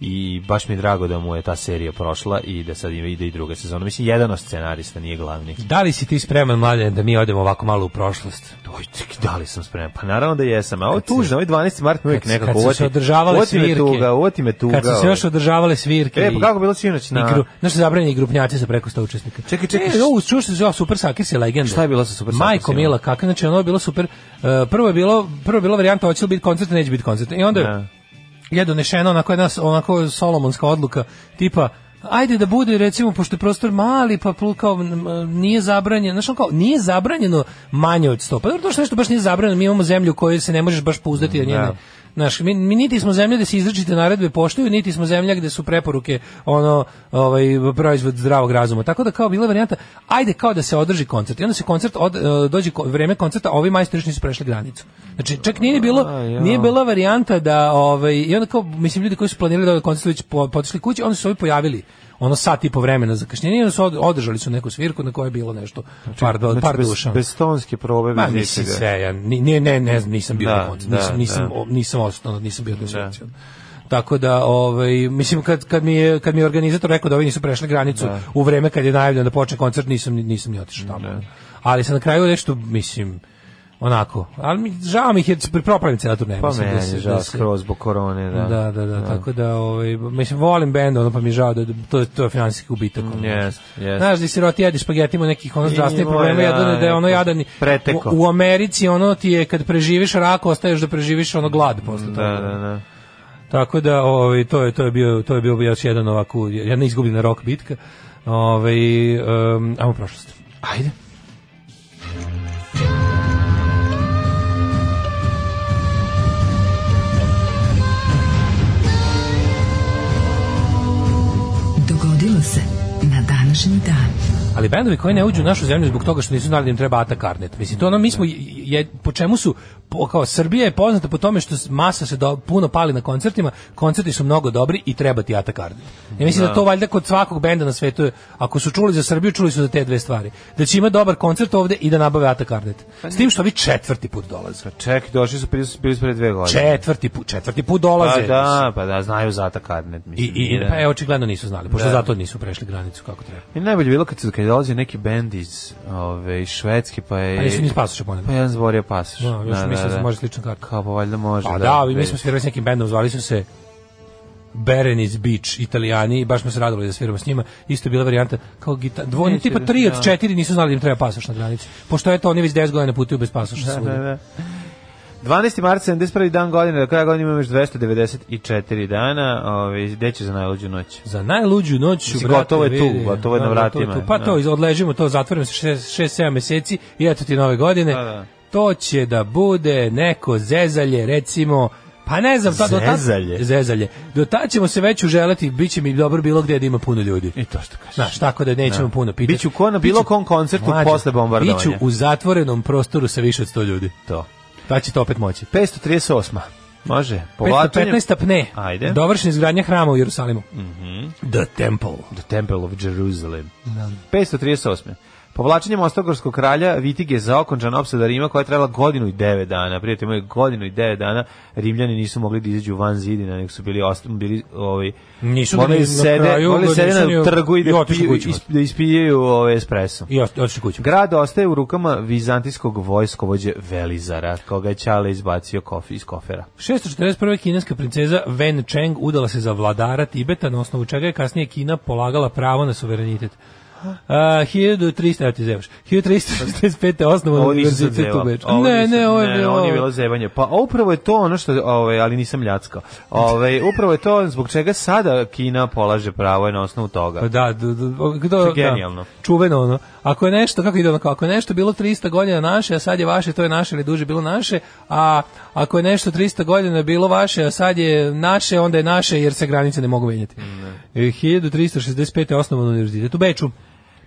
E: i baš mi je drago da mu je ta serija prošla i da sad ide i druga sezona. Mislim, jedan od scenarista nije glavni.
F: Da li si ti spreman, mladen, da mi odemo ovako malo u prošlost?
E: Oj, ček, da li sam spreman? Pa naravno da jesam. A ovo je tužno, ovaj 12. mart mi uvijek
F: Kad se-
E: nekako
F: kad su
E: uvoti.
F: se održavale
E: uvoti me
F: svirke.
E: tuga, uvoti me tuga. ovaj.
F: Kad su se još održavale svirke.
E: E,
F: i-
E: pa kako je bilo sinoć na...
F: i gru, znaš zabranjeni grupnjaci sa preko 100 učesnika.
E: Čekaj, čekaj,
F: E, ovo čuo što se zove Super Sakir se legenda.
E: Šta je bilo sa Super
F: Majko
E: Sakisima?
F: Mila, kako znači ono je bilo super. e, prvo je bilo, prvo je bilo varijanta hoće li biti koncert, neće biti koncert. I onda
E: Da.
F: je je donešena onako jedna s- onako solomonska odluka tipa ajde da bude recimo pošto je prostor mali pa plu- kao m, m, nije zabranjeno znači kao nije zabranjeno manje od 100 pa dobro to što nešto baš nije zabranjeno mi imamo zemlju u kojoj se ne možeš baš pouzdati jer njene
E: Da.
F: Znaš, mi, mi niti smo zemlja gde se izričite naredbe poštuju, niti smo zemlja gde su preporuke ono ovaj proizvod zdravog razuma. Tako da kao bila je varijanta, ajde kao da se održi koncert. I onda se koncert od, e, dođe ko, vreme koncerta, a ovi majstori još nisu prešli granicu. Znači, čak nije ni bilo
E: A, ja.
F: nije bila varijanta da ovaj i onda kao mislim ljudi koji su planirali da ovaj koncert već po, potišli kući, oni su se ovi pojavili ono sat i po vremena zakašnjenja i onda su od- održali su neku svirku na kojoj je bilo nešto par, do,
E: Znači,
F: par
E: bez,
F: duša.
E: Bez tonske probe,
F: Ma
E: bez
F: mislim
E: ničega.
F: sve, ja ni, ne, ne, ne znam, nisam bio
E: Da,
F: na koncertu,
E: da,
F: nisam, nisam,
E: da.
F: o- nisam osnovno, nisam bio na koncertu. Tako da, ovaj, mislim, kad, kad, mi je, kad mi je organizator rekao da ovi nisu prešli granicu u vreme kad je najavljeno da počne koncert, nisam, ni- nisam ni otišao tamo. Ali sam na kraju nešto, mislim, onako, ali mi, žao mi ih je, propravim cijela turneja.
E: Pa
F: mislim,
E: meni
F: da
E: je
F: se-
E: žao
F: da se-
E: skroz zbog korone, da.
F: Da, da, da, tako da, ovaj, mislim, volim bend, ono, pa mi je žao da, da to, to je finansijski gubitak. ono.
E: Jest, jest.
F: Znaš, da si roti jedi špageti, ima nekih ono
E: I
F: zdravstvenih
E: ima,
F: problema,
E: da,
F: jedan da je ono
E: neko
F: jadan.
E: preteko.
F: U, u Americi ono ti je kad preživiš rak, ostaješ da preživiš ono glad posle toga.
E: Da, da, da.
F: Tako da, ovaj, to je to je bio to je bio još jedan ovako jedna izgubljena rok bitka. Ovaj, um, ajmo u prošlost.
E: Ajde.
D: Dogodilo se na današnji dan.
F: Ali bendovi koji ne uđu u našu zemlju zbog toga što nisu znali da im treba Atak Arnet. Mislim, to ono, mi smo, je, je- po čemu su, po- kao Srbija je poznata po tome što s- masa se do- puno pali na koncertima, koncerti su mnogo dobri i treba ti Atak Arnet. Ja mislim da, to valjda kod svakog benda na svetu, je, ako su čuli za Srbiju, čuli su za te dve stvari. Da će imati dobar koncert ovde i da nabave Atak Arnet.
E: Pa
F: S tim što vi četvrti put dolaze.
E: Ček, došli su, bili su bili su pre dve godine.
F: Četvrti put, četvrti put dolaze.
E: Pa da, pa da, znaju za Arnet,
F: I,
E: mislim.
F: i,
E: da.
F: pa e, očigledno nisu znali, pošto
E: Da.
F: zato nisu prešli granicu kako treba.
E: I najbolje je bilo kad su kad je dolazio neki bend iz ove iz Švedske pa je
F: Pa nisu ni spasuše ponavljali.
E: pa jedan zborio pasoš.
F: Da, još mislim da se može slična karta.
E: Kao pa valjda može.
F: Pa da, ovi mi smo svirali s nekim bendom, zvali su se Berenice Beach, Italijani, i baš smo se radovali da sviramo s njima. Isto je bila varijanta kao gita, dvojni, tipa tri od četiri nisu znali da im treba pasoš na granici. Pošto eto, oni već 10 godina putuju bez pasoša
E: Da,
F: svuda.
E: da, da. 12. marca, 71. dan godine, do kraja godine imamo još 294 dana, ove, gde će za najluđu noć?
F: Za najluđu noć,
E: Mislim,
F: brate,
E: gotovo je tu,
F: vidi.
E: gotovo je na
F: gotovo
E: vratima.
F: tu. Pa to, odležimo to, zatvorimo se 6-7 meseci i eto ti nove godine.
E: Da, da.
F: To će da bude neko zezalje, recimo, pa ne znam, sad do tad-
E: Zezalje?
F: zezalje. Do tad ćemo se već uželeti, bit će mi dobro bilo gde da ima puno ljudi.
E: I to što kažeš.
F: Znaš, tako da nećemo
E: Da.
F: puno pitati.
E: Biću ko na bilo kom koncertu posle bombardovanja.
F: Biću u zatvorenom prostoru sa više od 100 ljudi.
E: To.
F: Pa će to opet moći.
E: 538. Može. Povlačenje.
F: 515. apne.
E: Ajde. Mhm.
F: Dovršena izgradnja hrama u Jerusalimu. The Temple.
E: The Temple of Jerusalem. 538. Povlačenjem Ostogorskog kralja Vitige za okončan opsada Rima koja je trajala godinu i devet dana. Prijatelji moji, godinu i devet dana Rimljani nisu mogli da izađu van zidina, nego su bili, ost- bili ovaj,
F: Nisu
E: morali
F: bili
E: da
F: na
E: sede,
F: kraju,
E: morali da
F: nisu
E: sede na
F: ni-
E: trgu i da,
F: i otišli
E: piju,
F: kućama.
E: isp- da ispijaju ovaj, espresso.
F: I otišli otišli kuću.
E: Grad ostaje u rukama vizantijskog vojskovođe Velizara, koga je Ćale izbacio kof, iz kofera.
F: 641. kineska princeza Wen Cheng udala se za vladara Tibeta, na osnovu čega je kasnije Kina polagala pravo na suverenitet. Uh, 1300, evo ti zevaš, 1345. osnovan
E: Ovo nisam sad
F: univerzitet u
E: zevao.
F: Beču.
E: Ovo
F: Ne,
E: nisam-
F: ne, ovo je
E: ne,
F: bilo...
E: Ovo nije bilo zevanje. Pa upravo je to ono što, ovaj, ali nisam ljackao. Ovaj, upravo je to zbog čega sada Kina polaže pravo je na osnovu
F: Pa
E: toga.
F: da, da, da, kdo,
E: To je genijalno.
F: Da, čuveno ono. Ako je nešto, kako ide ono, kao, ako je nešto bilo 300 godina naše, a sad je vaše, to je naše ili duže bilo naše, a ako je nešto 300 godina bilo vaše, a sad je naše, onda je
E: Mm,
F: naše jer se granice ne mogu menjati. E, 1365. je osnovan univerzitet u Beču.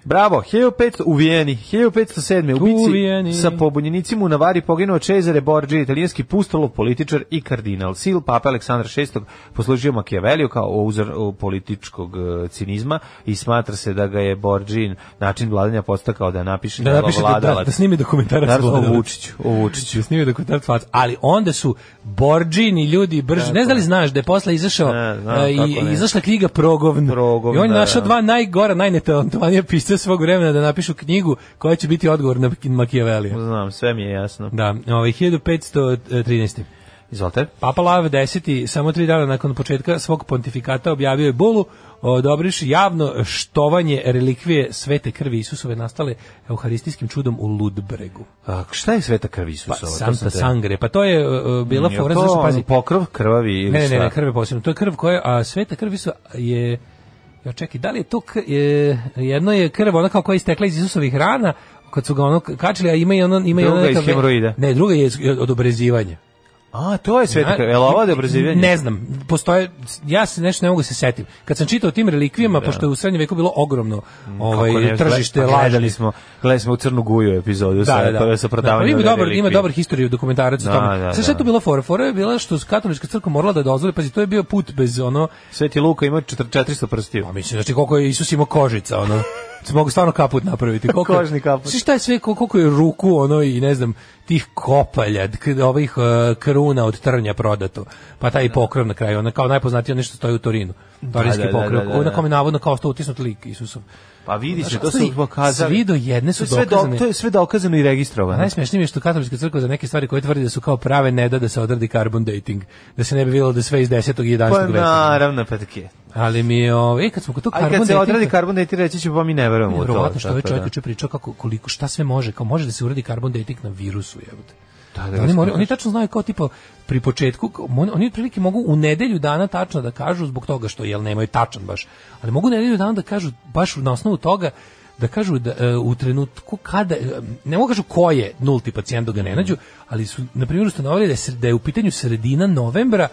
E: Bravo, 1500 u Vijeni, 1507. U bici
F: Vijeni.
E: sa pobunjenicima u Navari poginuo Cezare Borgia, italijanski pustolov, političar i kardinal. Sil Papa Aleksandar VI poslužio Machiavelliju kao uzor e, političkog e, cinizma i smatra se da ga je Borgin način vladanja postakao da napiše
F: Da
E: delo
F: napiše da, da,
E: vladalac.
F: da snimi dokumentarac
E: Naravno,
F: Vladalac.
E: o Vučiću, o Vučiću.
F: Da snimi dokumentarac Vladalac. Ali onda su Borđini ljudi brže, ne znam li znaš da je posle izašao
E: Ne, znam,
F: e,
E: kako
F: i
E: ne.
F: izašla knjiga Progovn.
E: Progovn,
F: I on je
E: da,
F: našao
E: da.
F: dva najgora, najnetalentovanija pisca svog vremena da napišu knjigu koja će biti odgovor na Machiavellija.
E: Znam, sve mi je jasno.
F: Da, ovaj 1513.
E: Izvolite.
F: Papa Lav X, samo tri dana nakon početka svog pontifikata objavio je bulu, odobriš javno štovanje relikvije svete krvi Isusove nastale euharistijskim čudom u Ludbregu.
E: A, šta je sveta krv
F: Pa,
E: Isusova? To sam
F: Santa
E: te-
F: Sangre, pa to je uh, bila
E: Je
F: fora,
E: to
F: znaš što, pazi,
E: ono pokrov krvavi ili
F: ne, ne,
E: šta?
F: ne, ne, krv je posebno, to je krv koja, a sveta krv Isusa je, ja čekaj, da li je to, kr- je, jedno je krv, ona kao koja je istekla iz Isusovih rana, kad su ga ono kačili, a ima i ono, ima i ono
E: Druga iz
F: neka ve-
E: hemoroida.
F: Ne, druga je iz- od obrezivanja.
E: A, to je sveta
F: A,
E: krv. Jel ovo da je obrazivanje?
F: Ne znam, postoje, ja se nešto ne mogu se setim. Kad sam čitao o tim relikvijama, pošto je u srednjem veku bilo ogromno
E: Kako
F: ovaj,
E: ne,
F: tržište
E: gledali
F: lažni.
E: smo, gledali smo u Crnu Guju epizodu sa, da, da, sa
F: Da, pa
E: prodavanjem
F: ima dobar,
E: relikvija.
F: ima dobar historiju dokumentarac o
E: Da,
F: tome.
E: da,
F: Sve šta je
E: da.
F: tu bila fora? Fora je bila što katolička crkva morala da dozvoli, pazi, to je bio put bez ono,
E: Sveti Luka ima četiri- 400 prstiju.
F: pa mislim, znači koliko je Isus imao kožica, ono, se mogu stvarno kaput napraviti. Koliko,
E: Kožni kaput.
F: Znači šta je sve, kol- koliko je ruku, ono, i ne znam, tih kopalja, k- ovih e, kruna od trnja prodato, pa taj pokrov na kraju, ono, kao najpoznatije nešto stoji u Torinu. Torinski
E: da, da,
F: pokrov,
E: da, da, da.
F: na kome navodno kao što utisnut lik Isusov.
E: Pa vidi se,
F: Znaš,
E: to su
F: svi-
E: ih pokazali.
F: svi do jedne su
E: To je sve
F: dokazane.
E: to je sve dokazano i
F: A
E: registrovano.
F: najsmešnije je što katolička crkva za neke stvari koje tvrdi da su kao prave ne da da se odradi carbon dating, da se ne bi vidjelo da je sve iz 10. i 11.
E: Pa
F: veka.
E: naravno, pa tako je.
F: Ali mi je, ovaj, e, kad smo kod tog
E: A
F: carbon
E: kad se
F: datinga-
E: odradi karbon deti reći ću, pa mi ne verujemo u to.
F: Verovatno što
E: tako
F: ovaj
E: da.
F: čovjek juče pričao kako koliko šta sve može, kao može da se uradi carbon dating na virusu, jebote.
E: Da, da,
F: Da, oni, moraju, oni tačno znaju kao tipa pri početku, kao, mon- oni otprilike mogu u nedelju dana tačno da kažu zbog toga što jel nemaju tačan baš, ali mogu u nedelju dana da kažu baš na osnovu toga da kažu da e, u trenutku kada e, ne mogu kažu ko je nulti pacijent dok ga ne nađu, ali su na primjer ustanovili da je, sre- da je u pitanju sredina novembra,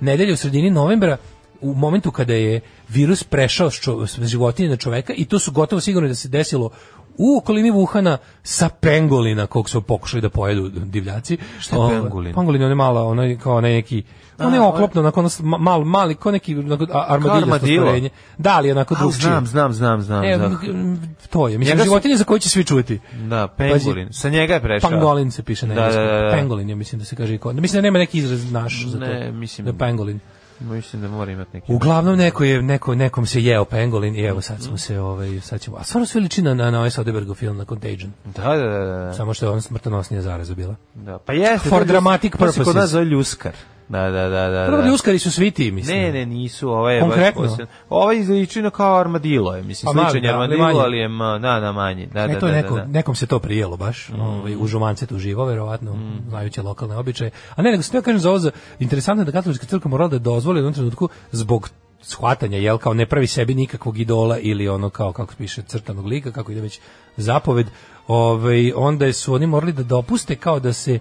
F: nedelja u sredini novembra u momentu kada je virus prešao s, čo, s životinje na čoveka i to su gotovo sigurno da se desilo u okolini Wuhana sa pengolina kog su pokušali da pojedu divljaci.
E: Šta je
F: O,
E: pengolin?
F: Pangolin je onaj mala, onaj kao onaj neki on je oklopno, onako ono s- ma- mal, mali, kao neki onako, a- armadiljasto
E: armadilo.
F: stvorenje. Da, ali onako
E: Al,
F: drugčije.
E: znam, znam, znam, znam.
F: E,
E: znam.
F: m, to je. Mislim,
E: Njega su-
F: životinje za koje će svi čuti.
E: Da, pengulin.
F: Pazi,
E: Sa njega je prešao.
F: Pangolin se piše na
E: Da,
F: engleskom.
E: da, da, da.
F: Pangolin je, mislim da se kaže. i kod- Mislim da nema neki izraz naš za to.
E: Ne, mislim-
F: Da je pangolin.
E: Mislim da mora imati neki.
F: Uglavnom neko je neko nekom se jeo pangolin i evo sad
E: Mhm.
F: smo se ovaj sad ćemo. A stvarno sve liči na na, na ovaj Soderberghov film na Contagion.
E: Da, da, da, da.
F: Samo što je ona smrtonosnija zaraza bila.
E: Da, pa jeste.
F: For
E: to je ljus-
F: dramatic
E: To se kod
F: purposes.
E: nas zove ljuskar. Da, da, da, da.
F: Prvo
E: da.
F: ljuskari su svi ti, mislim.
E: Ne, ne, nisu, ovaj je
F: Konkretno?
E: baš posebno. Ovaj izličino kao armadilo je, mislim,
F: Pa mali,
E: sličan je
F: da, ali
E: armadilo,
F: manji.
E: ali je, ma, da, da, manji. Da,
F: E,
E: da,
F: to je
E: da,
F: neko,
E: da, Mm. da.
F: nekom se to prijelo baš, ovaj, u žumance tu živo, verovatno,
E: Mm.
F: znajući lokalne običaje. A ne, nego se ja kažem za ovo, za- interesantno je da katolička crkva morala da dozvoli u jednom trenutku zbog shvatanja, jel, kao ne pravi sebi nikakvog idola ili ono kao, kako piše, crtanog lika, kako ide već zapoved, ovaj, onda je- su oni morali da dopuste kao da se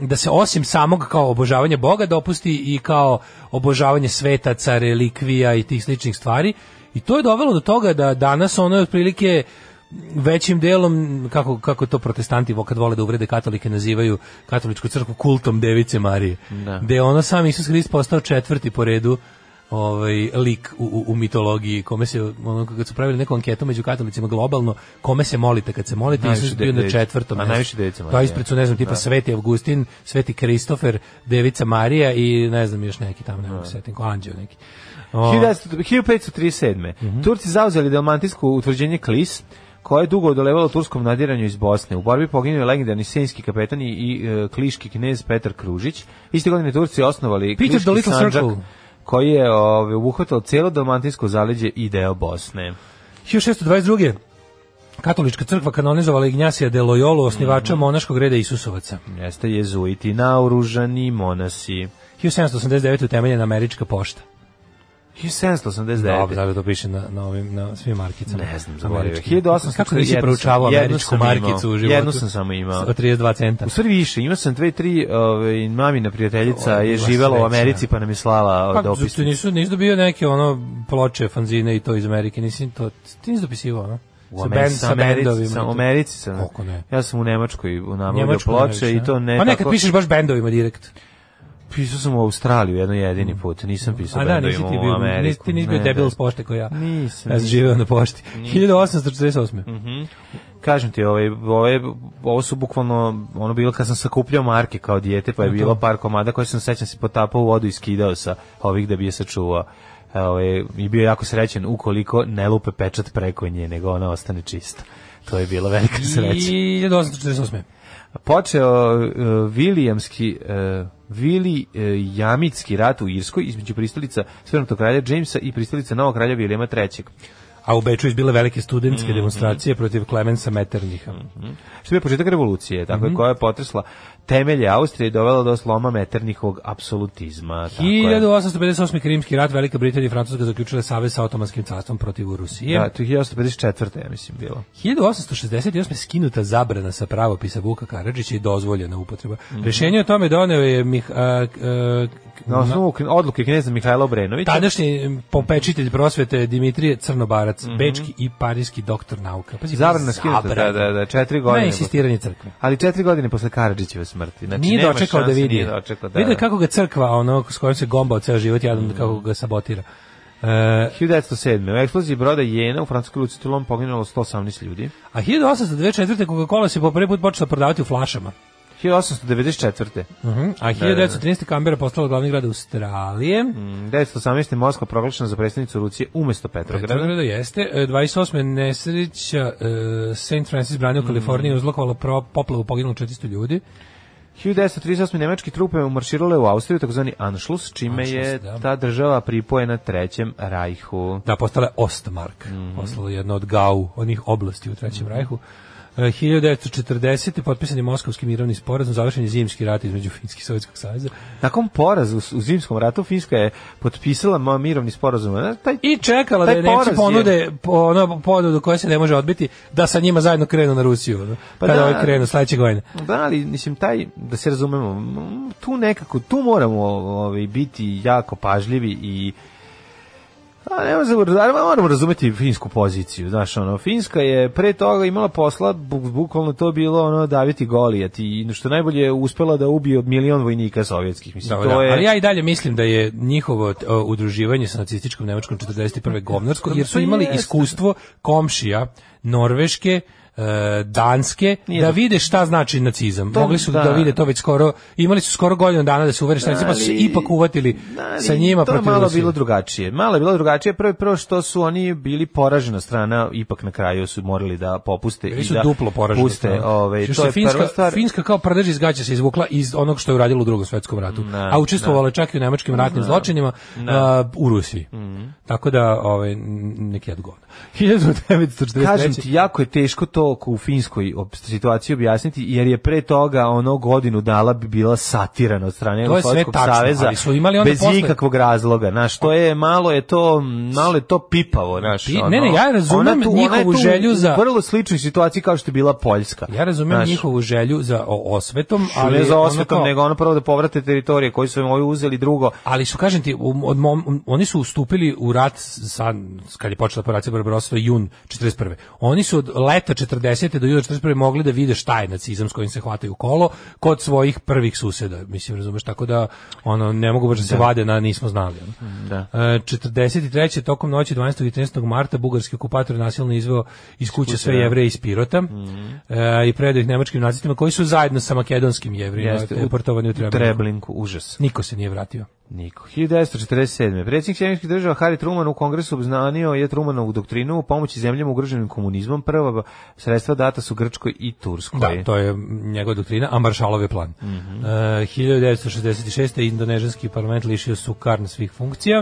F: da se osim samog kao obožavanja Boga dopusti i kao obožavanje svetaca, relikvija i tih sličnih stvari. I to je dovelo do toga da danas ono je otprilike većim delom, kako, kako to protestanti kad vole da uvrede katolike nazivaju katoličku crkvu kultom device Marije. Da. Gde je ono sam Isus Hrist postao četvrti po redu ovaj lik u, u, u mitologiji kome se ono kad su pravili neku anketu među katolicima globalno kome se molite kad se molite
E: Najviše
F: Isus je bio na
E: device.
F: četvrtom
E: A
F: mestu.
E: najviše device Marije.
F: Pa ispred su ne znam tipa Sveti Avgustin, Sveti Kristofer, Devica Marija i ne znam još neki tamo ne mogu se setim, ko anđeo neki. O,
E: 1537.
F: Mhm.
E: Turci zauzeli dalmantijsko utvrđenje Klis, koje je dugo odolevalo turskom nadiranju iz Bosne. U borbi poginuo je legendarni senjski kapetan i, i e, kliški knez Petar Kružić. Iste godine Turci osnovali
F: Peter
E: kliški
F: the Little
E: sanđak,
F: Circle.
E: koji je ovaj, obuhvatao cijelo dalmantijsko zaleđe i deo Bosne.
F: 1622. Katolička crkva kanonizovala Ignjasija de Loyolu, osnivača monaškog reda Isusovaca.
E: Jeste jezuiti, naoružani monasi.
F: 1789. utemeljena američka pošta.
E: 1789.
F: Dobro, da to piše na, na, ovim, na svim markicama.
E: Ne znam, zaboravio.
F: Američkim.
E: 1841
F: Kako nisi proučavao
E: sam- jednu
F: američku
E: sam
F: markicu
E: imao.
F: u životu?
E: Jednu sam samo imao.
F: Od 32 centa.
E: U stvari više, imao sam dve, tri, ovaj, mamina prijateljica
F: O,
E: je
F: bila
E: živela u
F: sreća.
E: Americi pa nam je slala
F: Pa,
E: pa, dopis.
F: zato nisu, nisu dobio neke ono ploče, fanzine i to iz Amerike, nisi to, ti nisi dopisivao, ono? U Ameri- sa bendovima.
E: Sa u Americi sam.
F: Koliko ne?
E: Ja sam u Nemačkoj u nabavljao
F: Njemačko
E: ploče
F: najviše,
E: i to ne
F: Pa nekad
E: tako-
F: pišeš baš bendovima direkt.
E: Pisao sam u Australiju jedno jedini put, nisam pisao
F: Mm. A da, nisi ti
E: bendovima u
F: bio,
E: Ameriku.
F: nisi, ti nisi bio
E: Ne,
F: debil
E: ne.
F: s pošte koja ja.
E: Nisam,
F: Ja sam
E: nisam. Mhm.
F: živeo na pošti. 1848.
E: Kažem ti, ovaj, ovaj, ovo su bukvalno, ono bilo kad sam sakupljao marke kao dijete, pa je bilo par komada koje sam sećam se potapao u vodu i skidao sa ovih da bi je sačuvao. Ovaj, I bio jako srećen ukoliko ne lupe pečat preko nje, nego ona ostane čista. To je bila velika sreća.
F: 1848.
E: Počeo uh, Vilijamski, uh, Vili uh, Jamitski rat u Irskoj između pristalica Svrnutog kralja Jamesa i pristalica Novog kralja Vilijama III.
F: A u Beču izbile velike studentske
E: Mhm.
F: demonstracije protiv Klemensa Metternicha.
E: što je bio početak revolucije, tako
F: Mhm.
E: je, koja je potresla temelje Austrije i dovela do sloma meternihovog apsolutizma. Tako je.
F: 1858. Krimski rat, Velika Britanija i Francuska zaključile savez sa Otomanskim carstvom protiv Rusije.
E: Da, to je 1854. ja mislim bilo.
F: 1868. skinuta zabrana sa pravopisa Vuka Karadžića i dozvoljena upotreba. Rješenje o tome doneo je Mih, a, a,
E: Na
F: Mhm.
E: osnovu kn- odluke knjeza Mihajla Obrenovića.
F: tadašnji popečitelj prosvete Dimitrije Crnobarac, bečki i parijski doktor nauka. Pazi,
E: Mhm. Zabrana skinuta,
F: zabrana.
E: da, da, da, četiri
F: Na
E: godine.
F: insistiranje crkve.
E: Ali četiri godine posle Karadžićeve smrti. Znači,
F: Nije
E: nema
F: dočekao da
E: šanse,
F: vidi.
E: Nije dočekao, da. Mhm.
F: Vidio je kako ga crkva, ono, s kojom se gombao ceo život, jadan kako ga sabotira. E,
E: 1907. U eksploziji broda Jena u francuskoj luci Toulon poginulo 118 ljudi.
F: a 1824. Coca-Cola se po prvi put počela prodavati u flašama.
E: 1894.
F: Mhm. A 1913. Kambera postala glavni grad Australije.
E: mm, 1918. Moskva proglašena za predstavnicu Rusije umesto Petrograda.
F: Petrograda Pa jeste. E, 28. nesreća e, St. Francis brane u
E: Mhm.
F: Kaliforniji uzlokovala pro, poplavu poginulo 400 ljudi.
E: 1938. nemačke trupe umarširale u Austriju, takozvani Anschluss, čime
F: Anschluss,
E: je
F: da.
E: ta država pripojena Trećem rajhu.
F: Da, postala je Ostmark.
E: Mhm.
F: Postala je jedna od Gau, onih oblasti u Trećem rajhu. E, 1940. potpisan je Moskovski mirovni sporazum, završen je zimski rat između Finjskih i Sovjetskog saveza.
E: Nakon poraza u, u zimskom ratu Finska je potpisala ma- mirovni sporazum. Znaš, Taj,
F: I čekala da
E: Taj
F: je Nemci
E: poraz
F: ponude, po, ono ponudu koja se ne može odbiti, da sa njima zajedno krenu na Rusiju. ono,
E: Pa
F: kada
E: da.
F: ovaj krenu, sledeće godine.
E: da, ali mislim taj da se razumemo, m, tu nekako tu moramo ovaj biti jako pažljivi i A ne možemo, ali moramo razumeti finsku poziciju, znaš, ono, Finska je pre toga imala posla, bu- bukvalno to bilo, ono, daviti Golijat i što najbolje je uspela da ubije milion vojnika sovjetskih, mislim,
F: Da,
E: to
F: da.
E: je...
F: Ali ja i dalje mislim da je njihovo t- o, udruživanje sa nacističkom Nemačkom 41. govnarsko, jer su
E: Pa
F: imali
E: jeste.
F: iskustvo komšija Norveške, e, Danske,
E: Nije
F: da
E: to-
F: vide šta znači nacizam. Mogli su da.
E: da.
F: vide to već skoro, imali su skoro godinu dana da se uvere šta je nacizam, pa su se
E: Ali-
F: ipak uvatili
E: Ali
F: sa njima
E: to je
F: protiv
E: malo
F: Rusije.
E: bilo drugačije. Malo je bilo drugačije. Prvo, prvo što su oni bili poražena strana, ipak na kraju su morali da popuste
F: Bili
E: i
F: su
E: da
F: duplo poraženi.
E: puste. Ovaj,
F: Što
E: to
F: se
E: je
F: Finska,
E: prva stvar.
F: Finska kao prdež iz gaća se izvukla iz onog što je uradila u drugom svetskom ratu. a učestvovala je čak i u nemačkim ratnim zločinima a, u Rusiji.
E: Mhm.
F: Tako da, ovaj, n- neki odgovor. 1943.
E: Kažem ti, jako je teško to u finskoj ob- situaciji objasniti, jer je pre toga ono godinu dala bi bila satirana od strane
F: To je sve
E: Jugoslovenskog
F: tačno,
E: saveza
F: ali su imali onda
E: bez
F: posle-
E: ikakvog razloga. Znaš, to je malo je to malo je to pipavo, znaš.
F: Pi-
E: ono.
F: ne, ne, ja razumem
E: Ona tu- ona je
F: njihovu
E: tu u
F: želju za-
E: vrlo sličnoj situaciji kao što je bila Poljska.
F: Ja razumem
E: Znaš,
F: njihovu želju za o- osvetom,
E: ali
F: ali
E: ne za
F: ono
E: osvetom,
F: kao-
E: nego ono prvo da povrate teritorije koje su im ovi uzeli, drugo,
F: Ali su, kažem ti, um, od mom- um, oni su ustupili u rat s- sa, s- kad je počela operacija Barbarossa, jun 41. Oni su od leta 40. do juna 41. mogli da vide šta je nacizam s kojim se hvataju u kolo kod svojih prvih suseda. Mislim, razumeš, tako da ono, ne mogu baš da se vade na nismo znali. ono.
E: Da.
F: E, 43. tokom noći 12. i 13. marta bugarski okupator je nasilno izveo iz kuće sve jevreje iz Pirota e, i predao ih nemačkim nacistima koji su zajedno sa makedonskim jevrejima
E: Jeste, u-
F: deportovani u Treblinju.
E: Treblinku, užas.
F: Niko se nije vratio.
E: Niko. 1947. Predsjednik Sjemičkih država Harry Truman u kongresu obznanio je Trumanovu doktrinu u pomoći zemljama ugroženim komunizmom. Prva sredstva data su Grčkoj i Turskoj.
F: Da, to je njegova doktrina, a Maršalov je plan. E, 1966. indonežanski parlament lišio su Karn svih funkcija.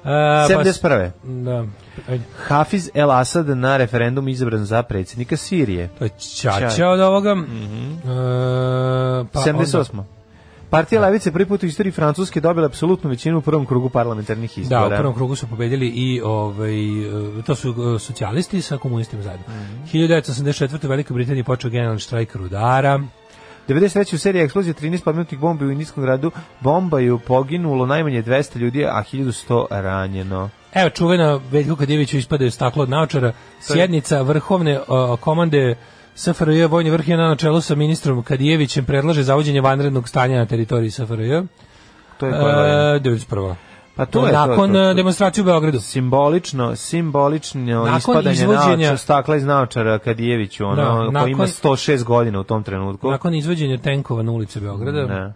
F: E, pa s-
E: 71.
F: da, E, ajde.
E: Hafiz El Asad na referendum izabran za predsjednika Sirije.
F: to je Čača
E: Čača.
F: od ovoga. E, pa onda-
E: 78. Partija Levice prvi put u istoriji Francuske dobila apsolutnu većinu u prvom krugu parlamentarnih
F: Da,
E: izbora.
F: u prvom krugu su pobedili i ovaj, e, to su e, socijalisti sa komunistima zajedno. 1984. u Velikoj Britaniji počeo generalni štrajk rudara.
E: 93. u seriji eksplozije 13 pomenutih bombi u indijskom gradu Bombaju poginulo najmanje 200 ljudi, a 1100 ranjeno.
F: Evo, čuvena Veljko Kadijeviću ispada iz staklo od naočara. Sjednica vrhovne o, komande SFRJ Vojni vrh je na načelu sa ministrom Kadijevićem predlaže zavođenje vanrednog stanja na teritoriji SFRJ. E,
E: To je koja godina?
F: 91.
E: Pa to je to,
F: E, Nakon
E: to, to.
F: e, demonstracije u Beogradu.
E: simbolično simbolično
F: Nakon
E: ispadanje
F: izvođenja-
E: naoča, stakla iz naočara Kadijeviću ono
F: Da,
E: koji
F: nakon-
E: ima 106 godina u tom trenutku
F: Nakon izvođenja tenkova na ulice Beograda,
E: Ne.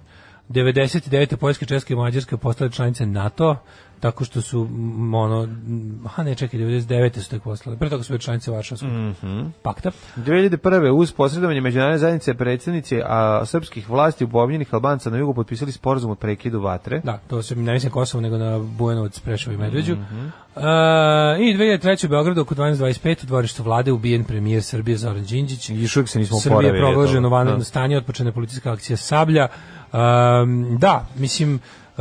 F: 99. Poljska, Česka i Mađarska postale članice NATO, tako što su m, ono, m, a ne čekaj, 99. su tek postale, pre toga su bile članice Varšavskog
E: Mhm.
F: pakta.
E: 2001. uz posredovanje međunarodne zajednice predsjednici a, srpskih vlasti upobljenih Albanca na jugu potpisali sporazum o prekidu vatre.
F: Da, to se ne mislim Kosovo, nego na Bujanovac, Preševo i Medveđu.
E: Mhm.
F: E, I 2003. u Beogradu oko 12.25 u dvorištu vlade ubijen premijer Srbije Zoran Đinđić.
E: Još uvijek se nismo
F: Srbije
E: oporavili
F: je
E: od toga.
F: proglaženo vanredno
E: Da.
F: stanje, otpočena je policijska akcija Sablja. Um, da, mislim, e,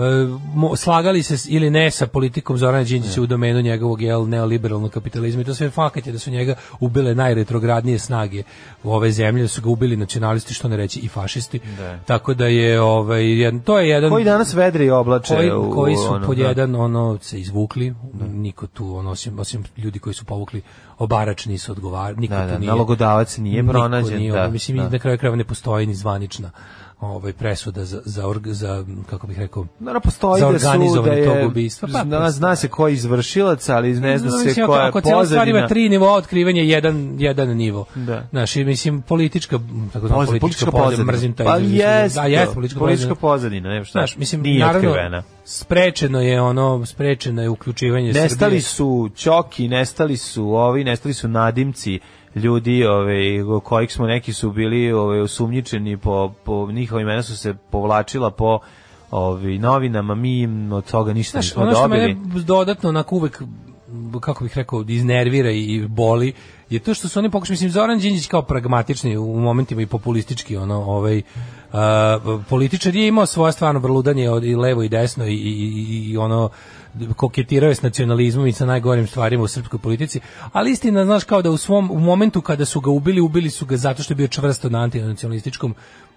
F: mo- slagali se s- ili ne sa politikom Zorana Đinđića u domenu njegovog jel, neoliberalnog kapitalizma i to sve fakat je da su njega ubile najretrogradnije snage u ove zemlje, da su ga ubili nacionalisti, što ne reći, i fašisti. Tako da je, ovaj, jedan, to je jedan
E: Koji danas vedri i oblače
F: koji,
E: u-
F: koji su
E: ono,
F: pod
E: da.
F: jedan ono se izvukli niko tu ono osim, osim ljudi koji su povukli obarač nisu odgovarali niko
E: Da,
F: tu
E: da,
F: nije
E: nalogodavac nije
F: niko
E: pronađen,
F: nije,
E: da,
F: ono, mislim
E: da.
F: i na kraju krajeva ne postoji ni zvanična ovaj presuda za za, org, za kako bih rekao
E: Naravno, postoji
F: za
E: da su da
F: organizovanje
E: je,
F: tog ubistva Pa,
E: zna, zna se ko je izvršilac, ali ne zna
F: Mislim,
E: se
F: ako-
E: koja je
F: ako cijela stvar
E: pozadina.
F: ima tri nivoa otkrivanja, jedan, jedan nivo.
E: Da.
F: Znaš, i mislim, politička, m, tako znam,
E: Pozad-
F: politička, pozadina, mrzim taj
E: Pa
F: izraz, mislim,
E: jest,
F: da, jest, politička, pozadina.
E: pozadina, nema šta.
F: Znaš, mislim,
E: Nije
F: naravno,
E: otkrivena.
F: sprečeno je ono, sprečeno je uključivanje
E: Nestali
F: Srbije.
E: su Ćoki, nestali su ovi, nestali su nadimci ljudi ove, kojih smo neki su bili ove, osumnjičeni, po, po, njihova imena su se povlačila po ovi, novinama, mi im od toga ništa
F: Znaš,
E: nismo
F: ono što
E: dobili.
F: mene dodatno onako uvek m, kako bih rekao, iznervira i- i boli, je to što su oni pokušali, mislim, Zoran Đinđić kao pragmatični u momentima i populistički, ono, ovaj, a, političar je imao svoje stvarno vrludanje od- i levo i desno i, i, i- i ono, koketirao je s nacionalizmom i sa najgorim stvarima u srpskoj politici, ali istina, znaš, kao da u svom u momentu kada su ga ubili, ubili su ga zato što je bio čvrsto na antinacionalističkom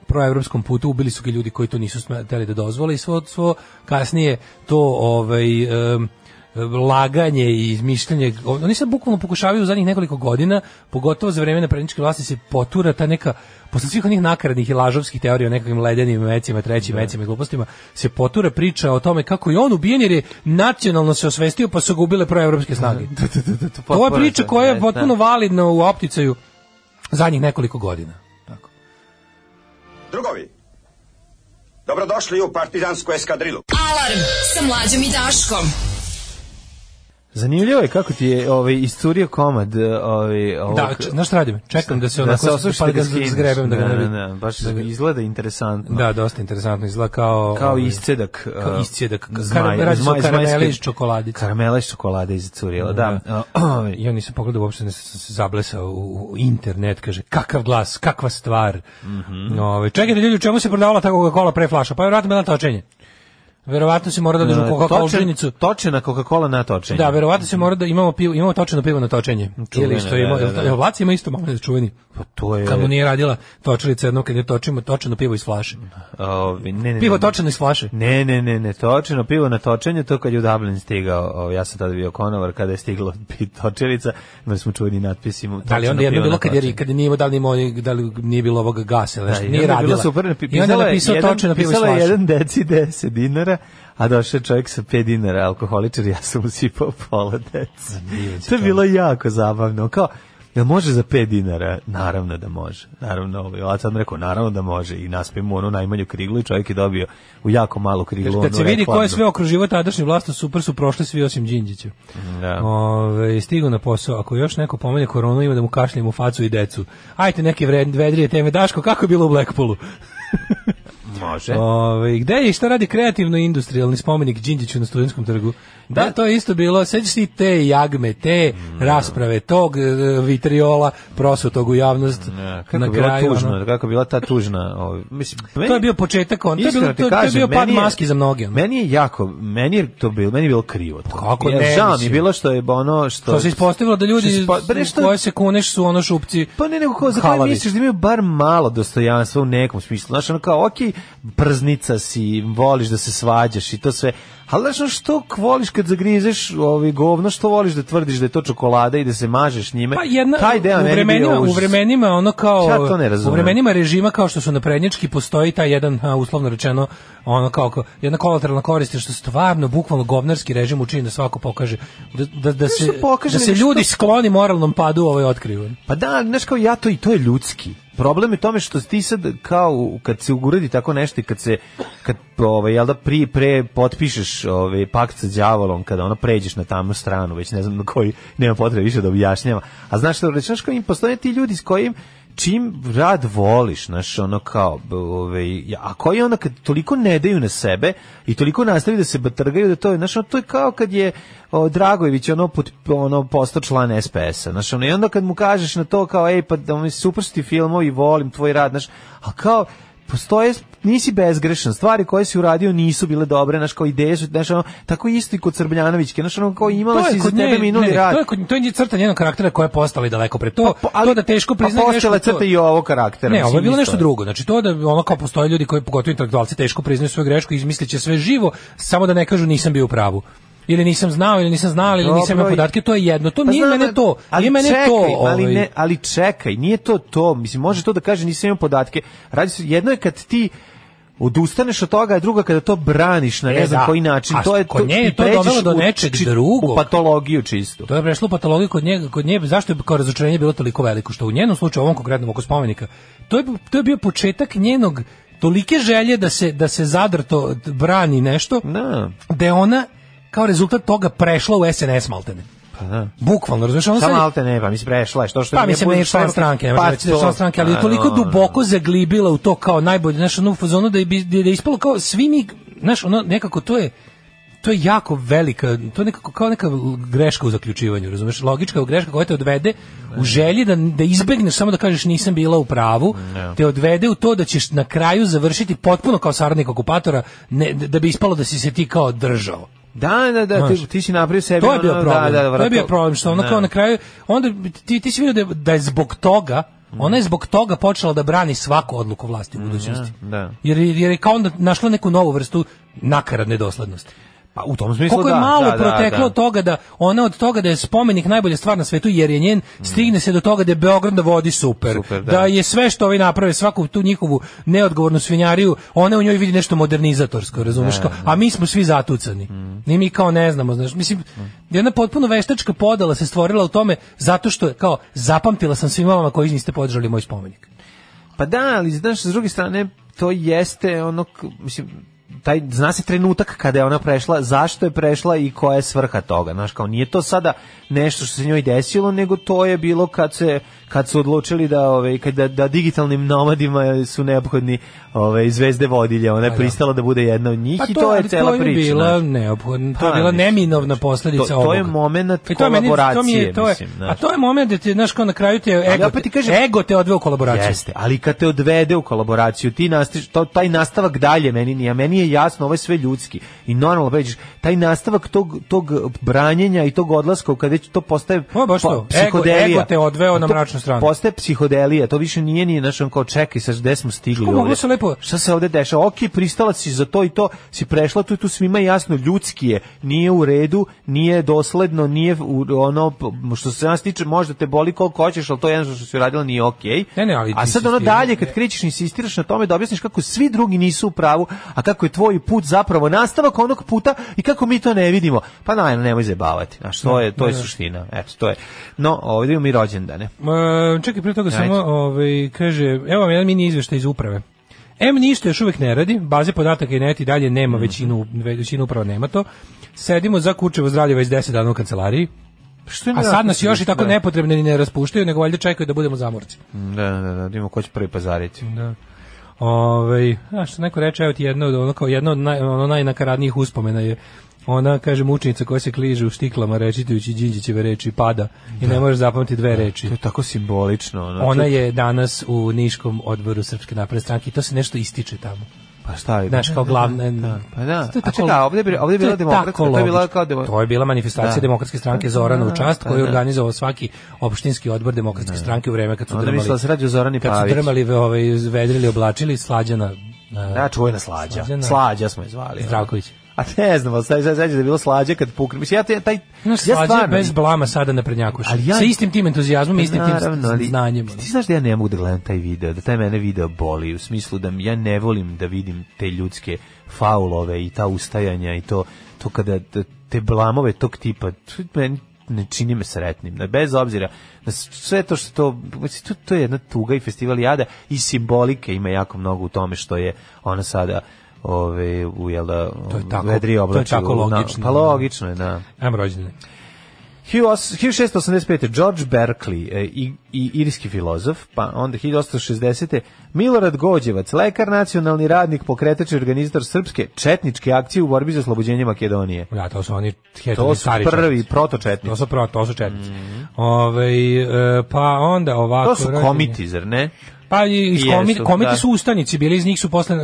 F: proevropskom putu ubili su ga ljudi koji to nisu smetali da dozvole i svo, svo kasnije to ovaj em, laganje i izmišljanje oni sad bukvalno pokušavaju u zadnjih nekoliko godina pogotovo za vreme napredničke vlasti se potura ta neka posle svih onih nakaradnih i lažovskih teorija o nekakvim ledenim mecima trećim mecima i glupostima se potura priča o tome kako je on ubijen jer je nacionalno se osvestio pa su ga ubile proevropske snage to je
E: potpuno
F: priča
E: to,
F: koja
E: da,
F: je potpuno
E: da.
F: validna u opticaju zadnjih nekoliko godina tako
A: Drugovi, dobrodošli u partizansku eskadrilu.
D: Alarm sa mlađom i Daškom.
E: Zanimljivo je kako ti je ovaj, iscurio komad eh, ovaj, ovog...
F: Da, č- znaš šta radim? Čekam da se
E: da
F: onako
E: se osluši
F: pa
E: da
F: da
E: ga
F: z-
E: skineš.
F: zgrebem da ga ne
E: da,
F: bi.
E: da, baš
F: da ga-
E: izgleda interesantno.
F: Da, dosta interesantno izgleda kao
E: Kao
F: ovaj,
E: iscedak. eh,
F: kao iscedak, ka-
E: zmaj-
F: kar- radi se o
E: zmaj-
F: karameli
E: zmajske-
F: iz čokoladice.
E: Karamela iz čokolade iz curila, da. Eh,
F: ja nisam pogledao uopšte, ne sam se zablesao u, u internet, kaže, kakav glas, kakva stvar.
E: Mhm.
F: Ove, čekajte ljudi, u čemu se prodavala ta Coca-Cola pre flaša? Pa vjerovatno bila na točenje. Verovatno se mora da dođu Coca-Cola
E: točen-
F: žinicu.
E: Točena Coca-Cola na točenju.
F: Da, verovatno se mora da imamo pivo, imamo točeno pivo na točenje.
E: Čuveno,
F: Ili što ima,
E: da, da, da.
F: jel Vlaci ima isto malo čuveni.
E: Pa to je...
F: Kad mu nije radila točilica jednom kad je točimo točeno pivo iz flaše.
E: Ovi, ne, ne, ne,
F: Pivo
E: ne.
F: točeno iz flaše.
E: Ne, ne, ne, ne, točeno pivo na točenju, to kad je u Dublin stigao, ovaj, ja sam tada bio konovar, kada je stiglo pi- točilica, imali smo čuveni natpis, ima
F: Da li
E: točeno
F: onda jedno
E: pivo na
F: bilo kad je
E: točenju.
F: kad nije imao, da li nije imao- da li nije bilo ovog gasa ili
E: Da,
F: nešto,
E: i
F: nije
E: onda je bilo
F: radila.
E: Super,
F: I onda je napisao
E: jedan,
F: točeno pivo iz
E: pisala je
F: flaše.
E: jedan deci 10 dinara, a došao je čovjek sa 5 dinara, alkoholičar, ja sam usipao pola deci. To je bilo jako zabavno. Kao, Jel može za 5 dinara? Naravno da može. Naravno, ovaj, ovac sam rekao, naravno da može. I naspimo onu najmanju kriglu i čovjek je dobio u jako malu kriglu.
F: Kad
E: onu
F: se vidi ko je
E: reklamnu.
F: sve okruživo tadašnju vlast, super su prošli svi osim Đinđića.
E: Da.
F: Ove, stigu na posao, ako još neko pomene koronu, ima da mu kašljem u facu i decu. Ajte neke vred- vedrije teme. Daško, kako je bilo u Blackpoolu?
E: Može.
F: Ove, gde je i šta radi kreativno industrijalni spomenik Đinđiću na studentskom trgu? Da, to je isto bilo, sećaš ti te jagme, te
E: Mm.
F: rasprave, tog e, vitriola prosutog u javnost.
E: Ja, kako
F: na
E: je bila
F: kraju,
E: tužna,
F: ono.
E: kako je bila ta tužna, ovaj, mislim, meni-
F: to je bio početak, on, to je,
E: Iskreno
F: bilo,
E: ti
F: to, to je
E: kažem,
F: bio pad
E: meni je-
F: maski za mnoge. ono.
E: Meni je jako, meni je to bilo, meni je bilo krivo. To.
F: Kako
E: Ja,
F: ne,
E: žao mi je
F: mislim.
E: bilo što je ono što
F: To se ispostavilo da ljudi
E: što se ispo- pa ne,
F: u
E: što-
F: koje se kuneš su ono šupci.
E: Pa ne, nego kao, za koje
F: halavi.
E: misliš da imaju bar malo dostojanstva u nekom smislu. Znaš, ono kao, okej, prznica si, voliš da se svađaš i to sve. Ali znaš ono, što voliš kad zagrizeš ovaj govno, što voliš da tvrdiš da je to čokolada i da se mažeš njime?
F: Pa jedna,
E: Taj deo
F: u
E: meni
F: vremenima,
E: bio
F: u
E: užas.
F: vremenima ono kao
E: Ja to ne razumem.
F: u vremenima režima kao što su naprednjački postoji taj jedan a, uslovno rečeno ono kao ko- jedna kolateralna korist je što stvarno bukvalno govnarski režim učini da svako pokaže da, da, da se
E: što pokaže,
F: da se
E: nego
F: ljudi
E: što-
F: skloni moralnom padu ovaj otkrivan.
E: Pa da, ali, znaš kao ja to i to je ljudski. Problem je u tome što ti sad kao kad se uredi tako nešto i kad se kad ovaj jel da pri pre potpišeš ovaj pakt sa đavolom kada ono pređeš na tamnu stranu, već ne znam na koji nema potrebe više da objašnjava. A znaš što rečeš kao im postoje ti ljudi s kojim čim rad voliš, znaš, ono kao, b- ovaj, ja- a koji onda kad toliko ne daju na sebe i toliko nastavi da se batrgaju, da to je, znaš, ono, to je kao kad je o, Dragojević, ono, put, ono, postao član SPS-a, znaš, ono, i onda kad mu kažeš na to kao, ej, pa da mi super su ti filmovi, volim tvoj rad, znaš, a kao, postoje nisi bezgrešan, stvari koje si uradio nisu bile dobre, znaš, kao ideje su, znaš, ono, tako isto i kod Srbljanovićke, znaš, ono, kao imala si za tebe minuli
F: ne,
E: rad.
F: To je, kod, to je crta njenog karaktera koja je postala i daleko pre to.
E: Po- ali-
F: to da teško priznaje
E: pa
F: grešku.
E: postala
F: to-
E: crta i ovo karaktera.
F: Ne,
E: mislim,
F: ovo je bilo
E: isto
F: nešto drugo. Znači to da ono kao postoje ljudi koji pogotovo intelektualci teško priznaju svoju grešku i izmislit će sve živo samo da ne kažu nisam bio u pravu. Ili nisam znao, ili nisam znao, ili nisam imao
E: Dobro, i-
F: podatke, to je jedno. To nije
E: Pa znam,
F: mene to. nije mene
E: čekaj,
F: to.
E: ali
F: ovaj.
E: ne, ali čekaj, nije to to. Mislim može to da kaže nisam imao podatke. Radi se jedno je kad ti odustaneš od toga, a drugo je kada to braniš na ne
F: E,
E: znam
F: da.
E: koji način.
F: A
E: to je
F: kod nje je
E: i
F: to
E: pređeš
F: dovelo do
E: u
F: nečeg
E: či-
F: drugog.
E: U patologiju čistu.
F: To je prešlo patologiju kod nje, kod nje zašto je kao razočarenje bilo toliko veliko što u njenom slučaju u ovom konkretnom oko spomenika. To je to je bio početak njenog tolike želje da se da se zadrto brani nešto.
E: Da.
F: da je ona kao rezultat toga prešla u SNS maltene. Pa
E: da.
F: Bukvalno, razumiješ? Ona
E: Samo
F: sad je-
E: malte ne, pa mi se prešla je što što
F: pa
E: nije
F: mislim
E: pun
F: ne član stranke, ne možemo reći da je
E: pa to-
F: član stranke, ali je toliko
E: Naravno.
F: duboko zaglibila u to kao najbolje, znaš, ono u fazonu da je, bi- da je ispalo kao svi mi, znaš, ono nekako to je to je jako velika, to je nekako kao neka greška u zaključivanju, razumeš? Logička greška koja te odvede u želji da, da izbegneš samo da kažeš nisam bila u pravu, te odvede u to da ćeš na kraju završiti potpuno kao saradnik okupatora, ne, da bi ispalo da si se ti kao držao.
E: Da, da, da, ti,
F: Znaš.
E: ti si napravio sebi.
F: To je bio
E: ono,
F: problem.
E: Da, da,
F: to je bio
E: vrat-
F: problem što ono
E: Da.
F: kao na kraju onda bi- ti ti si vidio da je, da je zbog toga Ona je zbog toga počela da brani svaku odluku vlasti u budućnosti.
E: Mm, da.
F: Jer, jer je kao onda našla neku novu vrstu nakaradne doslednosti.
E: Pa u tom smislu
F: Koliko je
E: da,
F: malo
E: da, da,
F: proteklo
E: da.
F: od toga da ona od toga da je spomenik najbolja stvar na svetu jer je njen stigne se do toga da je Beograd na vodi super,
E: Super, da.
F: da. je sve što ovi naprave svaku tu njihovu neodgovornu svinjariju, ona u njoj vidi nešto modernizatorsko, razumeš kao, a mi smo svi zatucani.
E: Mm.
F: Ni mi kao ne znamo, znaš, mislim jedna potpuno veštačka podala se stvorila u tome zato što je kao zapamtila sam svima vama koji niste podržali moj spomenik.
E: Pa da, ali znaš, s druge strane, to jeste ono, k- mislim, taj, zna se trenutak kada je ona prešla, zašto je prešla i koja je svrha toga, znaš, kao nije to sada nešto što se njoj desilo, nego to je bilo kad se, kad su odlučili da, ove, kad, da, da digitalnim nomadima su neophodni ove, zvezde vodilje, ona je
F: Pa da.
E: pristala da bude jedna od njih i to je
F: ali
E: cela
F: Pa to je
E: priča.
F: Bila
E: znaš.
F: neophodna, to
E: Pa,
F: je bila
E: mislim,
F: neminovna posledica
E: to- to
F: ovoga.
E: je momenat
F: I to je meni- to mi
E: kolaboracije,
F: je, to je,
E: mislim, znaš.
F: A to je moment da ti, znaš, kao na kraju te
E: Ali
F: ego,
E: opet ti
F: te,
E: kažem-
F: ego te odveo u kolaboraciju.
E: Jeste, ali kad te odvede u kolaboraciju, ti nastaviš, to, taj nastavak dalje meni nije, meni je jasno, ovo je sve ljudski i normalno pređeš, taj nastavak tog, tog branjenja i tog odlaska kada već to postaje Pa
F: Pa, baš to. Ego- ego te odveo na
E: To
F: mračnu stranu.
E: Postaje psihodelija, to više nije ni našom kao čekaj, sad gde smo stigli
F: Što, moglo
E: ovde?
F: se lepo-
E: Šta se ovde dešava? Ok, pristala si za to i to, si prešla tu i tu svima je jasno, ljudski je, nije u redu, nije dosledno, nije u- ono, p- što se nas tiče, možda te boli koliko hoćeš, ali to je jedno što si uradila nije okej.
F: Ne, ne, ali
E: A sad ono
F: insistiraš,
E: dalje kad
F: ne.
E: krećeš insistiraš na tome da objasniš kako svi drugi nisu u pravu, a kako je tvoj put zapravo nastavak onog puta i kako mi to ne vidimo. Pa naravno nemoj zajebavati. A što je, to je suština. Eto, to je. No, ovdje imamo i rođendane.
F: E, čekaj, prije toga samo,
E: Ajde.
F: ovaj, kaže, evo vam jedan mini izveštaj iz uprave. M ništa još uvek ne radi, baze podataka i net i dalje
E: Mm.
F: nema većinu, većinu uprava nema to. Sedimo za kućevo zdravlje već 10 dana u kancelariji,
E: Što
F: a sad nas još i tako nepotrebno ni ne raspuštaju, nego valjda čekaju da budemo zamorci.
E: Da, da, da, da vidimo ko će prvi pazariti.
F: Da. Ovaj, a što neko reče, evo ti jedno od ono kao jedno od naj, ono najnakaradnijih uspomena je ona kaže mučenica koja se kliže u štiklama rečitujući Đinđićeve reči pada i ne može zapamtiti dve reči.
E: To je tako simbolično. Ono,
F: Ona
E: To-
F: je danas u Niškom odboru Srpske napredne stranke i to se nešto ističe tamo.
E: Pa šta je?
F: Znaš, kao glavna...
E: Da, pa da.
F: To je
E: A
F: tako-
E: čekaj, ovdje, bi- ovdje je
F: to
E: bila
F: tako
E: demokratska, to je bila
F: logično.
E: kao demo-
F: To je bila manifestacija
E: Da.
F: demokratske stranke Zorana u čast,
E: da,
F: koju je
E: da.
F: organizovao svaki opštinski odbor demokratske stranke u vreme kad su
E: Onda
F: drmali.
E: mislila da se radi o Zorani
F: kad su
E: Pavić.
F: drmali, ve- ovaj, vedrili, oblačili, slađana
E: Da, čuvena slađa.
F: Slađana.
E: Slađa smo je zvali. ono.
F: Zdravković.
E: A ne znam, ali sad sad sećam da je bilo slađa kad pukne. Mislim, ja, te- taj,
F: Znaš, slađa
E: ja
F: je
E: stvarno...
F: bez blama sada na prednjakuša.
E: Ali ja-
F: Sa istim tim entuzijazmom, istim
E: Naravno,
F: tim
E: ali-
F: znanjem. ono.
E: Ti znaš da ja ne mogu da gledam taj video, da taj mene video boli, u smislu da ja ne volim da vidim te ljudske faulove i ta ustajanja i to, to kada te- te blamove tog tipa, to meni ne čini me sretnim, na- bez obzira na s- sve to što to, mislim, to, to je jedna tuga i festival jada i simbolike ima jako mnogo u tome što je ona sada ove, u, jel da,
F: To je tako-
E: vedri
F: to je
E: oblačilo,
F: tako
E: u- na-
F: logično,
E: pa
F: da.
E: logično je, da.
F: Ajmo rođene.
E: 1685. George Berkeley, e, i, i irski filozof, pa onda 1860. Milorad Gođevac, lekar, nacionalni radnik, pokretač i organizator srpske četničke akcije u borbi za oslobođenje Makedonije.
F: Ja, to su oni
E: To
F: hetani
E: su
F: stari
E: prvi
F: četnici.
E: protočetnici.
F: To su prvo, to su četnici. Ovaj, e, pa onda ovako...
E: To su
F: rođen je-
E: komiti, zar ne?
F: Pa i iz
E: Jesu,
F: komiti, komiti
E: da.
F: su ustanici, bili iz njih su posle, e,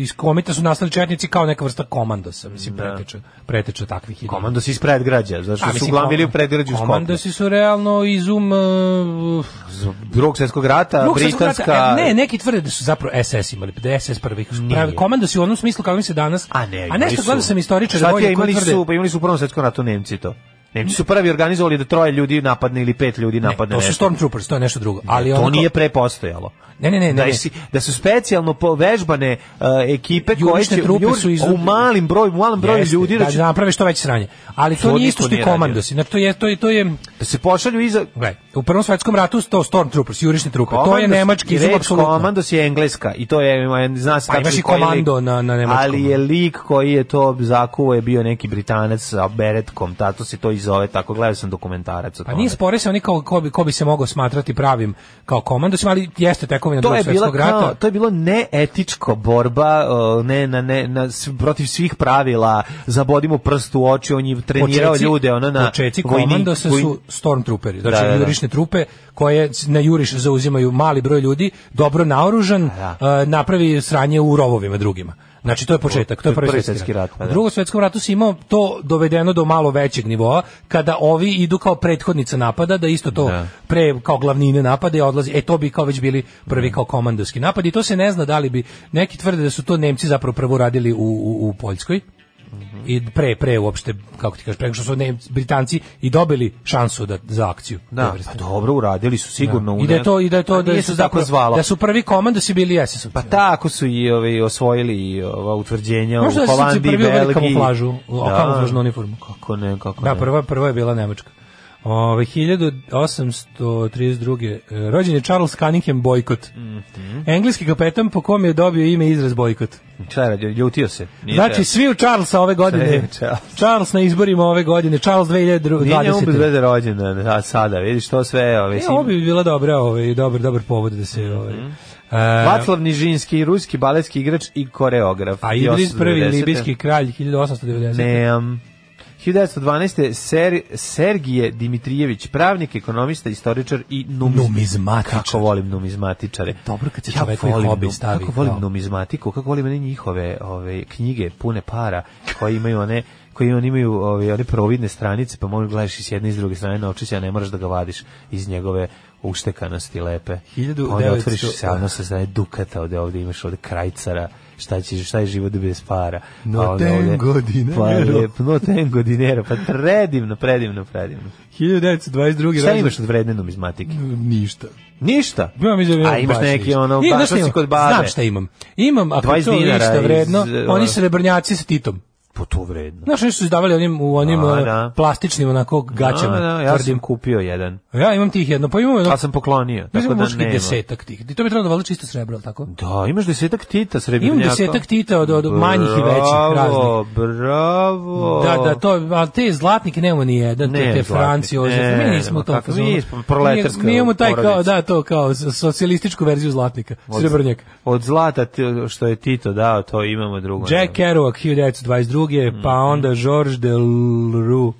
F: iz komita su nastali četnici kao neka vrsta komandosa, mislim, preteča, preteča takvih ideja.
E: Komandos iz predgrađa, zašto
F: A,
E: su
F: mislim,
E: uglavnom bili u
F: kom-
E: predgrađu Skoplja.
F: Komandosi su realno izum... Uh,
E: Drugog svjetskog rata, Pa, britanska...
F: e, ne, neki tvrde da su zapravo SS imali, da je SS prvih. Su pravi komandosi u onom smislu kako im se danas...
E: A ne,
F: a
E: imali
F: nešto
E: su-
F: gledao sam
E: Šta
F: istoričara
E: ti
F: vojni
E: je,
F: koji
E: imali
F: tvrde...
E: su, pa imali su u Prvom svjetskom ratu Nemci to. Nemci su prvi organizovali da troje ljudi napadne ili pet ljudi
F: Ne,
E: napadne
F: to su
E: nešto.
F: Stormtroopers, to je nešto drugo. Ali
E: to
F: onako-
E: nije prepostojalo.
F: Ne, ne, ne,
E: da,
F: ne. ne.
E: si- da su specijalno povežbane uh, ekipe koje
F: Jurišne
E: će
F: trupe
E: jur-
F: su iz-
E: u malim broju, u malom broju
F: Jeste,
E: ljudi znači, da,
F: da,
E: će,
F: da naprave što veće sranje. Ali to,
E: To
F: nije
E: niko
F: isto što i
E: nije radio.
F: komandosi. Znači, to je, to je, to je,
E: da se pošalju iza
F: gle, u Prvom svetskom ratu to Stormtroopers, jurišne trupe. to je
E: Komandos-
F: nemački izum,
E: reč
F: apsolutno.
E: Komandos je engleska i to je ima- zna se
F: Pa
E: tačno
F: imaš i
E: koji
F: komando na- na nemačkom.
E: Ali je lik koji je to zakuvao je bio neki Britanac sa beretkom, tato se to i zove, tako gledao sam dokumentarac o
F: Pa
E: tome.
F: nije spore se oni kao ko bi, ko bi se mogao smatrati pravim kao komandosima, ali jeste tekovina
E: to
F: drugog
E: je bila
F: svetskog
E: kao,
F: rata.
E: to je bilo neetičko borba uh, ne na ne na s- protiv svih pravila zabodimo prst u oči on je trenirao
F: Počeci-
E: ljude ono na
F: počeci
E: vojnik-
F: komandosa
E: vojnik-
F: su stormtrooperi, znači
E: Da, da, da.
F: jurišne trupe koje na juriš zauzimaju mali broj ljudi, dobro naoružan, eh, napravi sranje u rovovima drugima. Znači to je početak, to je prvi svjetski rat.
E: pa
F: U
E: da.
F: Drugom svjetskom ratu se imao to dovedeno do malo većeg nivoa kada ovi idu kao prethodnica napada da isto to pre kao glavnine napada i odlazi. E to bi kao već bili
E: Mm.
F: prvi kao komandovski napad i to se ne zna da li bi neki tvrde da su to Nemci zapravo prvo radili u, u, u Poljskoj i pre pre uopšte kako ti kažeš preko što su Nemci, Britanci i dobili šansu da za akciju. te
E: Da,
F: vrste.
E: pa dobro uradili su sigurno. u
F: I da je
E: ne-
F: to i da je to
E: Pa
F: da
E: nije
F: su
E: se tako
F: zapravo-
E: zvalo.
F: Da su prvi komandosi bili SS.
E: Pa tako su i ovi osvojili i ova utvrđenja
F: Možda
E: u
F: su se
E: Holandiji,
F: prvi uveli
E: Belgiji.
F: kamuflažu, o- kamuflažnu uniformu.
E: Kako ne, kako
F: Da, pa-
E: ne.
F: prva, prva je bila Nemačka. Ovaj, Ove, 1832. e, Rođen je Charles Cunningham Boykot.
E: Mhm.
F: Engleski kapetan po kom je dobio ime i izraz Boykot.
E: Šta je radio, ljutio se. Nije
F: Znači,
E: trebao.
F: svi u Charlesa ove godine.
E: Sve Charles.
F: Charles na izborima ove godine. Charles
E: Nije njemu bez
F: 2020.
E: veze rođendan, a sada, vidiš to sve. Ove,
F: E,
E: si-
F: ovo bi bila dobra, ovaj, dobar, dobar povod da se... Ovaj,
E: Mhm.
F: e,
E: Vaclav Nižinski, ruski baletski igrač i koreograf.
F: a Idris prvi
E: 1890.
F: libijski kralj 1890.
E: Nemam. 1912. Ser, Sergije Dimitrijević, pravnik, ekonomista, istoričar i numizm-
F: Numizmatičar.
E: Kako volim numizmatičare.
F: Dobro kad se čovekovi
E: volim
F: hobi
E: num-
F: stavi,
E: Kako volim
F: kao.
E: numizmatiku, kako volim one njihove ove, knjige pune para koje imaju one koji oni imaju ove, one providne stranice, pa možeš gledaš i s jedne i s druge strane naučiš, a ne moraš da ga vadiš iz njegove uštekanosti lepe.
F: Hiljadu
E: Pa Onda otvoriš
F: 900
E: se, a ono sa strane dukata, ovde ovde imaš ovde krajcara, šta će, šta je život bez para.
F: No
E: Pa onda
F: tengo dinero.
E: Pa lep, no tengo dinero, pa predivno, predivno, predivno.
F: 1922.
E: Šta
F: rođen-
E: imaš od vredne numizmatike?
F: Ništa.
E: Ništa.
F: Imam izjavljeno
E: A imaš
F: baš
E: neki
F: ništa.
E: ono,
F: Nije,
E: baš
F: znaš šta
E: si
F: imam?
E: kod babe.
F: Znam šta imam. Imam, ako
E: 20
F: je to
E: dinara
F: ništa
E: iz,
F: vredno,
E: eh,
F: oni
E: ono.
F: srebrnjaci sa Titom.
E: Po Pa to vredno.
F: Znaš, oni su izdavali onim, u onim
E: A,
F: eh,
E: da.
F: plastičnim onako gaćama,
E: Da, da, ono, ja sam
F: tvrdim.
E: kupio jedan,
F: ono, Ja imam tih jedno, pa imam jedno,
E: ali sam poklonio, tako
F: mislim
E: da
F: muški
E: nema.
F: desetak tih. I to bi trebalo da valjda čisto srebro, ali tako?
E: Da, imaš desetak tita srebrnjaka.
F: Imam desetak Tita od, od manjih i većih, raznih.
E: Bravo, bravo.
F: Da, da, to, a te zlatnike nemamo ni jedan, te,
E: Ne,
F: te
E: zlatnik,
F: Franci, Ozef,
E: ne,
F: mi nismo
E: ma
F: to.
E: kako,
F: fazonu.
E: mi smo proletarska
F: Mi- Mi imamo taj kao,
E: porodica.
F: da, to kao s- socijalističku verziju zlatnika, srebrnjaka.
E: Od zlata ti- što je Tito dao, to imamo drugo.
F: Jack Kerouac 1922.
E: Mhm.
F: Pa onda Georges Delerue,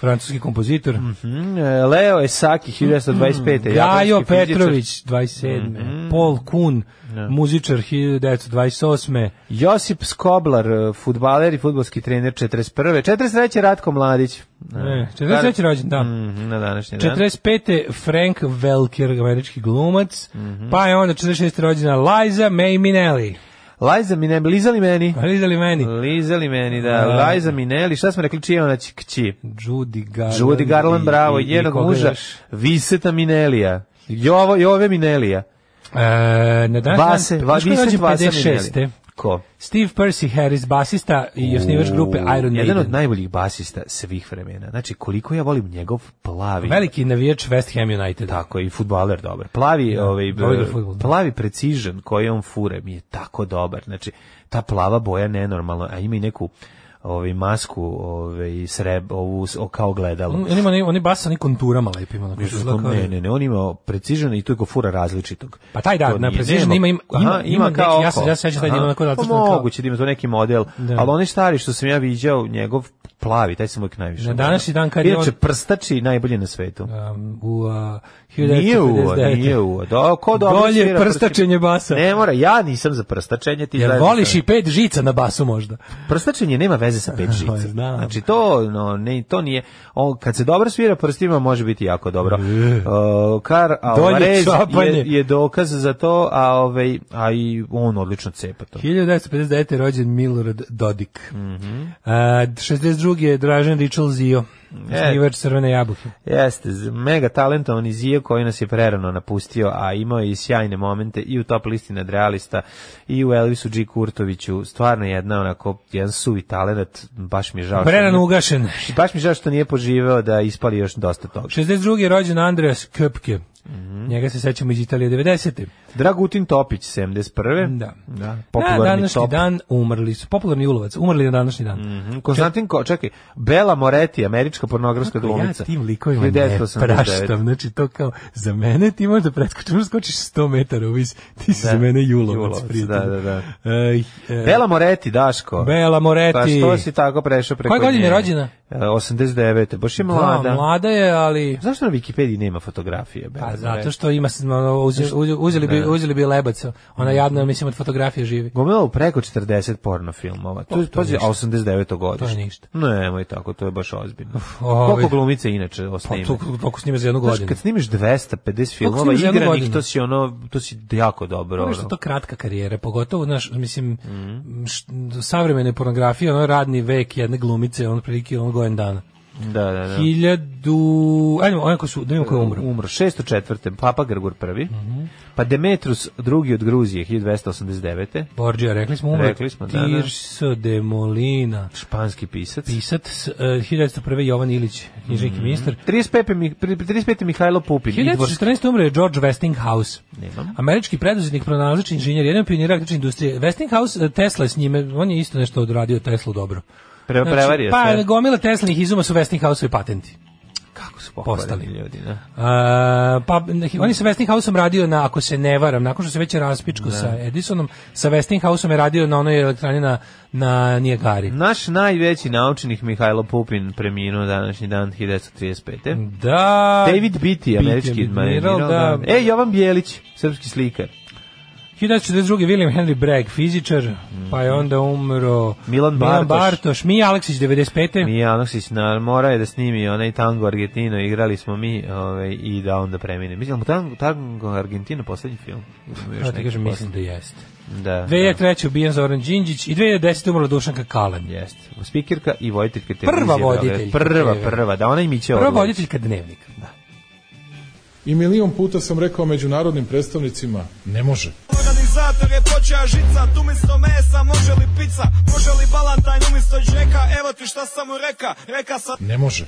F: francuski kompozitor.
E: Mm, e, Leo Esaki 1925.
F: Mm, Gajo
E: japanski fizičar. Mhm.
F: Petrović 27. Paul Kuhn, muzičar 1928.
E: Josip Skoblar, e, futbaler i futbolski trener 41. 43. Ratko Mladić.
F: E, 43. rođen, da.
E: Mhm, na današnji dan.
F: 45. Frank
E: Mhm.
F: Welker, američki glumac. Pa je onda 46. rođena Liza May Minnelli.
E: Liza Minelli, lizali Pa meni.
F: Lizali meni.
E: Lizali meni, da.
F: Da.
E: Liza Minelli, šta smo rekli, čija je ona ć- kći?
F: Judy Garland.
E: Judy Garland,
F: i-
E: bravo,
F: i- i
E: jednog
F: koga
E: muža,
F: još?
E: Viseta Minelija. Jovo, Jove Minelija.
F: E, na današnji
E: Vase,
F: dan,
E: va,
F: znaš ko je
E: Viset
F: rođen
E: Vasa
F: 56..
E: Minelija. Ko?
F: Steve Percy Harris, basista i osnivač grupe Iron Maiden.
E: Jedan od najboljih basista svih vremena. Znači, koliko ja volim njegov plavi.
F: Veliki navijač West Ham United.
E: Tako, i futbaler dobar. Plavi, ovaj,
F: dobro
E: b-
F: fudbal, da.
E: plavi precision koji on fure mi je tako dobar. Znači, ta plava boja nenormalna, a ima i neku ovaj masku, ovaj sreb, ovu s- o, kao gledalo.
F: On, on ima oni, oni basa ni konturama lepim. Onako, što izgleda Mm, kao-
E: Ne, ne, ne, on ima precision i tu je ko fura različitog.
F: Pa taj da,
E: To
F: na
E: nije,
F: Precision
E: nema-
F: ima- ima-
E: Aha,
F: ima- ima neki, ja se-
E: oko.
F: ja se sjećam da ima
E: Aha.
F: onako
E: Pa
F: zacrtano kao-
E: moguće da ima to neki model, ali oni stari što sam ja viđao, njegov plavi, taj sam uvijek najviše.
F: Na
E: voleo.
F: današnji dan kad je
E: Inače,
F: on-
E: prstači najbolji na svetu.
F: Um, u, uh,
E: Nije uvo,
F: 1959..
E: nije uvo. Da, ko dobro
F: Bolje
E: svira
F: prstačenje basa.
E: Ne mora, ja nisam za prstačenje. Ti
F: Jel
E: zajedno
F: voliš
E: sa-
F: i pet žica na basu možda?
E: Prstačenje nema veze sa pet žica.
F: znam.
E: Znači to, no, ne, to nije... On, kad se dobro svira prstima, može biti jako dobro. Uh, Kar Alvarez
F: E. čapanje.
E: je, je dokaz za to, a, ovaj, a i on odlično cepa to.
F: 1959. je rođen Milorad Dodik. Mm
E: Mhm.
F: 62. je Dražen Richel Zio,
E: E.
F: snivač Crvene jabuke.
E: Jeste, z- mega talentovan i Zio koji nas je prerano napustio, a imao je i sjajne momente i u top listi nadrealista i u Elvisu G. Kurtoviću. Stvarno jedna onako, jedan suvi talent, baš mi je žao. što
F: Prerano
E: nije-
F: ugašen.
E: Baš mi je žao što nije poživeo da ispali još dosta toga.
F: 62. je rođen Andreas Köpke.
E: Mhm.
F: Njega se sećamo iz Italije 90.
E: Dragutin Topić, 71.
F: Da.
E: da
F: Na
E: popularni
F: današnji
E: top.
F: dan umrli su. Popularni ulovac, umrli na današnji dan.
E: Mhm, Konstantin, ko, čekaj, Bela Moretti, američka pornografska
F: Kako
E: glumica.
F: Ja tim likovima ne
E: 1989.
F: praštam, znači to kao, za mene ti možda preskočiš, možda skočiš 100 metara u vis, ti si
E: Da.
F: za mene julovac.
E: Julovac,
F: prijatelju.
E: da, da, da.
F: E, e,
E: Bela Moretti, Daško.
F: Bela Moretti.
E: Pa što si tako prešao preko
F: Koje godine je
E: nje?
F: rođena?
E: E, 89. Baš je
F: Da,
E: mlada.
F: mlada je, ali...
E: Zašto na Wikipediji nema fotografije? Bela
F: Pa
E: Moretti?
F: zato što ima se, ono, uze- uze- uzeli bi uzeli bi lebac. Ona jadna, mislim od fotografije živi.
E: Gomelo preko 40 porno filmova. To, je,
F: Pa to je
E: pazi, a
F: ništa.
E: 89. godište.
F: To je ništa.
E: Nemoj tako, to je baš ozbiljno.
F: ovaj.
E: Koliko glumice inače
F: Pa
E: osnime?
F: to toliko snima za jednu
E: Znaš,
F: godinu.
E: kad snimiš 250 filmova
F: snimiš za jednu
E: igranih,
F: godinu?
E: to si ono, to si jako dobro.
F: Ono
E: Ono.
F: što je to kratka karijera, pogotovo naš mislim š- savremene pornografije, ono radni vek jedne glumice, on prilike on gojen dana.
E: Da, da, da.
F: Hiljadu... Ajmo, onako su, da Mhm. vidimo ko je umro.
E: Umro 604. Papa Grgur prvi. Pa Demetrus drugi od Gruzije 1289.
F: Borđija, rekli smo umro.
E: Rekli smo, da, da.
F: Tirso de Molina.
E: Španski pisac.
F: Pisat, s- e, 1901. Jovan Ilić, knjižnik i ministar.
E: 35. Mi, 35. Mihajlo Pupin. Idvorski.
F: 1914. umre je George Westinghouse.
E: Nemam.
F: Američki preduzetnik, pronalazač, inženjer, jedan od pionira električne industrije. Westinghouse, e, Tesla je s njime, on je isto nešto odradio Teslu dobro.
E: Pre, prevario
F: pa,
E: sve.
F: gomila Teslinih izuma su Westinghouseovi patenti.
E: Kako su pokvareni
F: postali.
E: ljudi, ne?
F: A, pa ne, on je sa Westinghouseom radio na ako se ne varam, nakon što se već je raspičko sa Edisonom, sa Westinghouseom je radio na onoj elektrani na na Nijagari.
E: Naš najveći naučnik Mihajlo Pupin preminuo današnji dan 1935.
F: Da.
E: David Beatty, američki admiral. Da. E, Jovan Bjelić, srpski slikar.
F: 1942. William Henry Bragg, fizičar, pa je onda umro
E: Mhm. Milan Bartoš.
F: Bartoš, Mija Aleksić 95.
E: Mi Anoksić na, morao je da snimi onaj tango Argentino, igrali smo mi ovaj, i da onda premine. Mislim, tango, tango Argentino, poslednji film. Imamo još
F: Ja ti
E: neki
F: kažem,
E: poslednji.
F: mislim da jeste.
E: Da, da.
F: 2003. ubijen Zoran Đinđić i 2010. umrla Dušanka Kalan.
E: Jeste. Spikirka i voditeljka televizije.
F: Prva
E: Beograd.
F: voditeljka.
E: Prva, prva. Da, ona i Miće
F: Prva
E: Orlović.
F: voditeljka dnevnika.
G: I milion puta sam rekao međunarodnim predstavnicima, ne može.
H: Organizator je počeo žica, tu umjesto mesa može li pizza, može li balantajn umjesto džeka, evo ti šta sam mu reka, reka sam...
G: Ne može.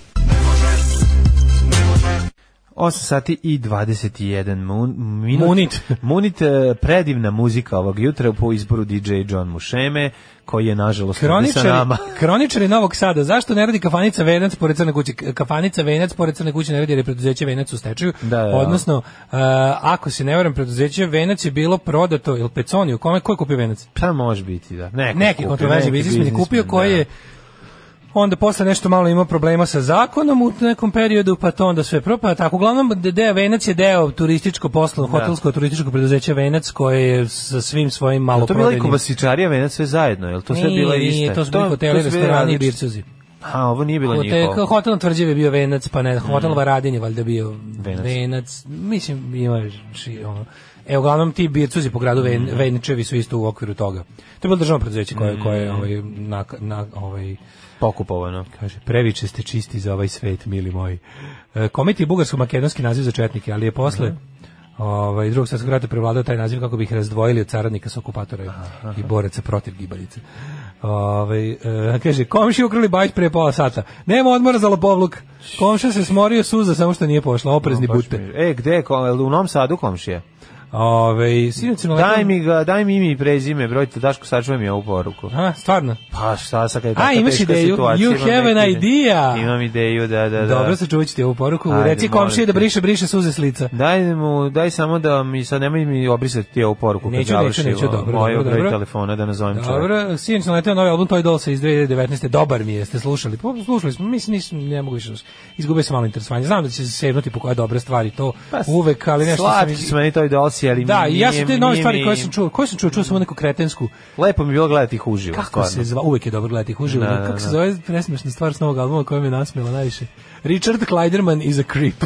E: 8 sati i 21 mun, minut.
F: Munit.
E: Munit, e, predivna muzika ovog jutra po izboru DJ John Mušeme, koji je nažalost ovdje sa
F: Kroničari,
E: nama.
F: kroničari Novog Sada, zašto ne radi kafanica Venac pored Crne kuće? Kafanica Venac pored Crne kuće ne radi jer je preduzeće Venac u stečaju.
E: Da, da, da.
F: Odnosno, e, ako se ne varam, preduzeće Venac je bilo prodato, ili Peconi, u kome, ko je kupio Venac?
E: Pa može biti, da. Neko
F: Neki
E: kupio,
F: kontroverzni
E: neki
F: biznismen je kupio
E: biznismen,
F: koji je onda posle nešto malo imao problema sa zakonom u nekom periodu, pa to onda sve propada. Tako, uglavnom, de- deo Venac je deo turističko poslo, hotelsko turističko preduzeće Venac koje je sa svim svojim
E: Da. To je bila i
F: maloprodajnim...
E: kobasičarija, venac sve zajedno, je li to sve bila
F: Nije,
E: ista?
F: nije, to su bili hoteli,
E: su bili
F: restorani i
E: različiti.
F: bircuzi.
E: A, ovo nije bilo
F: Hoteka,
E: njihovo.
F: hotel na tvrđavi je bio venac, pa ne, hotel Varadin je valjda bio
E: Venac.
F: venac. Mislim, imaš, ši- ono. E, uglavnom ti bircuzi po gradu Ven, Venčevi su isto u okviru toga. To je bilo državno preduzeće koje, koje je ovaj, na, na, ovaj,
E: Pokupovano.
F: Kaže, previše ste čisti za ovaj svet, mili moji. E, Komiti je bugarsko-makedonski naziv za četnike, ali je
E: Mhm.
F: posle ovaj, drugog svjetskog rata prevladao taj naziv kako bi ih razdvojili od caradnika s okupatora i- i boraca protiv gibalice. Ovaj, e, kaže, komši ukrali bajt pre pola sata. Nema odmora za lopovluk. Komša se smorio suza, samo što nije pošla. Oprezni budite.
E: E, gde je, ko- jel u Novom Sadu komšije?
F: Ovaj, sinoć sam
E: Daj
F: letao-
E: mi ga, daj mi ime i prezime, brojte, Daško, sačuvaj mi ovu poruku.
F: A, stvarno?
E: Pa šta sad kad je
F: A,
E: takva
F: imaš
E: teška
F: ideju?
E: situacija,
F: You
E: imam
F: have
E: neke
F: an
E: ide-
F: idea.
E: Imam ideju, da, da, da.
F: Dobro, sačuvat ću ti ovu poruku.
E: Ajde,
F: Reci
E: molim
F: komšije da
E: te.
F: briše, briše suze s lica.
E: Daj mu, daj samo da mi sad nemoj mi obrisati ti ovu poruku
F: Neću,
E: kad
F: neću,
E: završi
F: neću, dobro,
E: moj
F: dobro,
E: broj
F: dobro.
E: telefona da nazovem čovjeka.
F: Dobro, sinoć sam letao novi album Toy Dollsa iz 2019. Dobar mi je, ste slušali? Pa, slušali smo, mislim, nisam, ne mogu više slušati. Izgubio sam malo interesovanje. Znam da će se sevnuti po koja dobra stvar i to uvek, ali nešto sam...
E: Pa, Slatki su meni toj dosi, ali
F: Da, i
E: nije,
F: ja sam te nove
E: nije
F: stvari
E: mi-
F: koje sam čuo, koje sam čuo, čuo sam onu neku kretensku,
E: Lepo mi je bilo gledati ih uživo.
F: kako se
E: stvarno.
F: zva, uvek je dobro gledati ih uživo,
E: Da, da,
F: kako se
E: da.
F: zove presmešna stvar s novog albuma koja me je nasmijela najviše. Richard Kleiderman is a creep.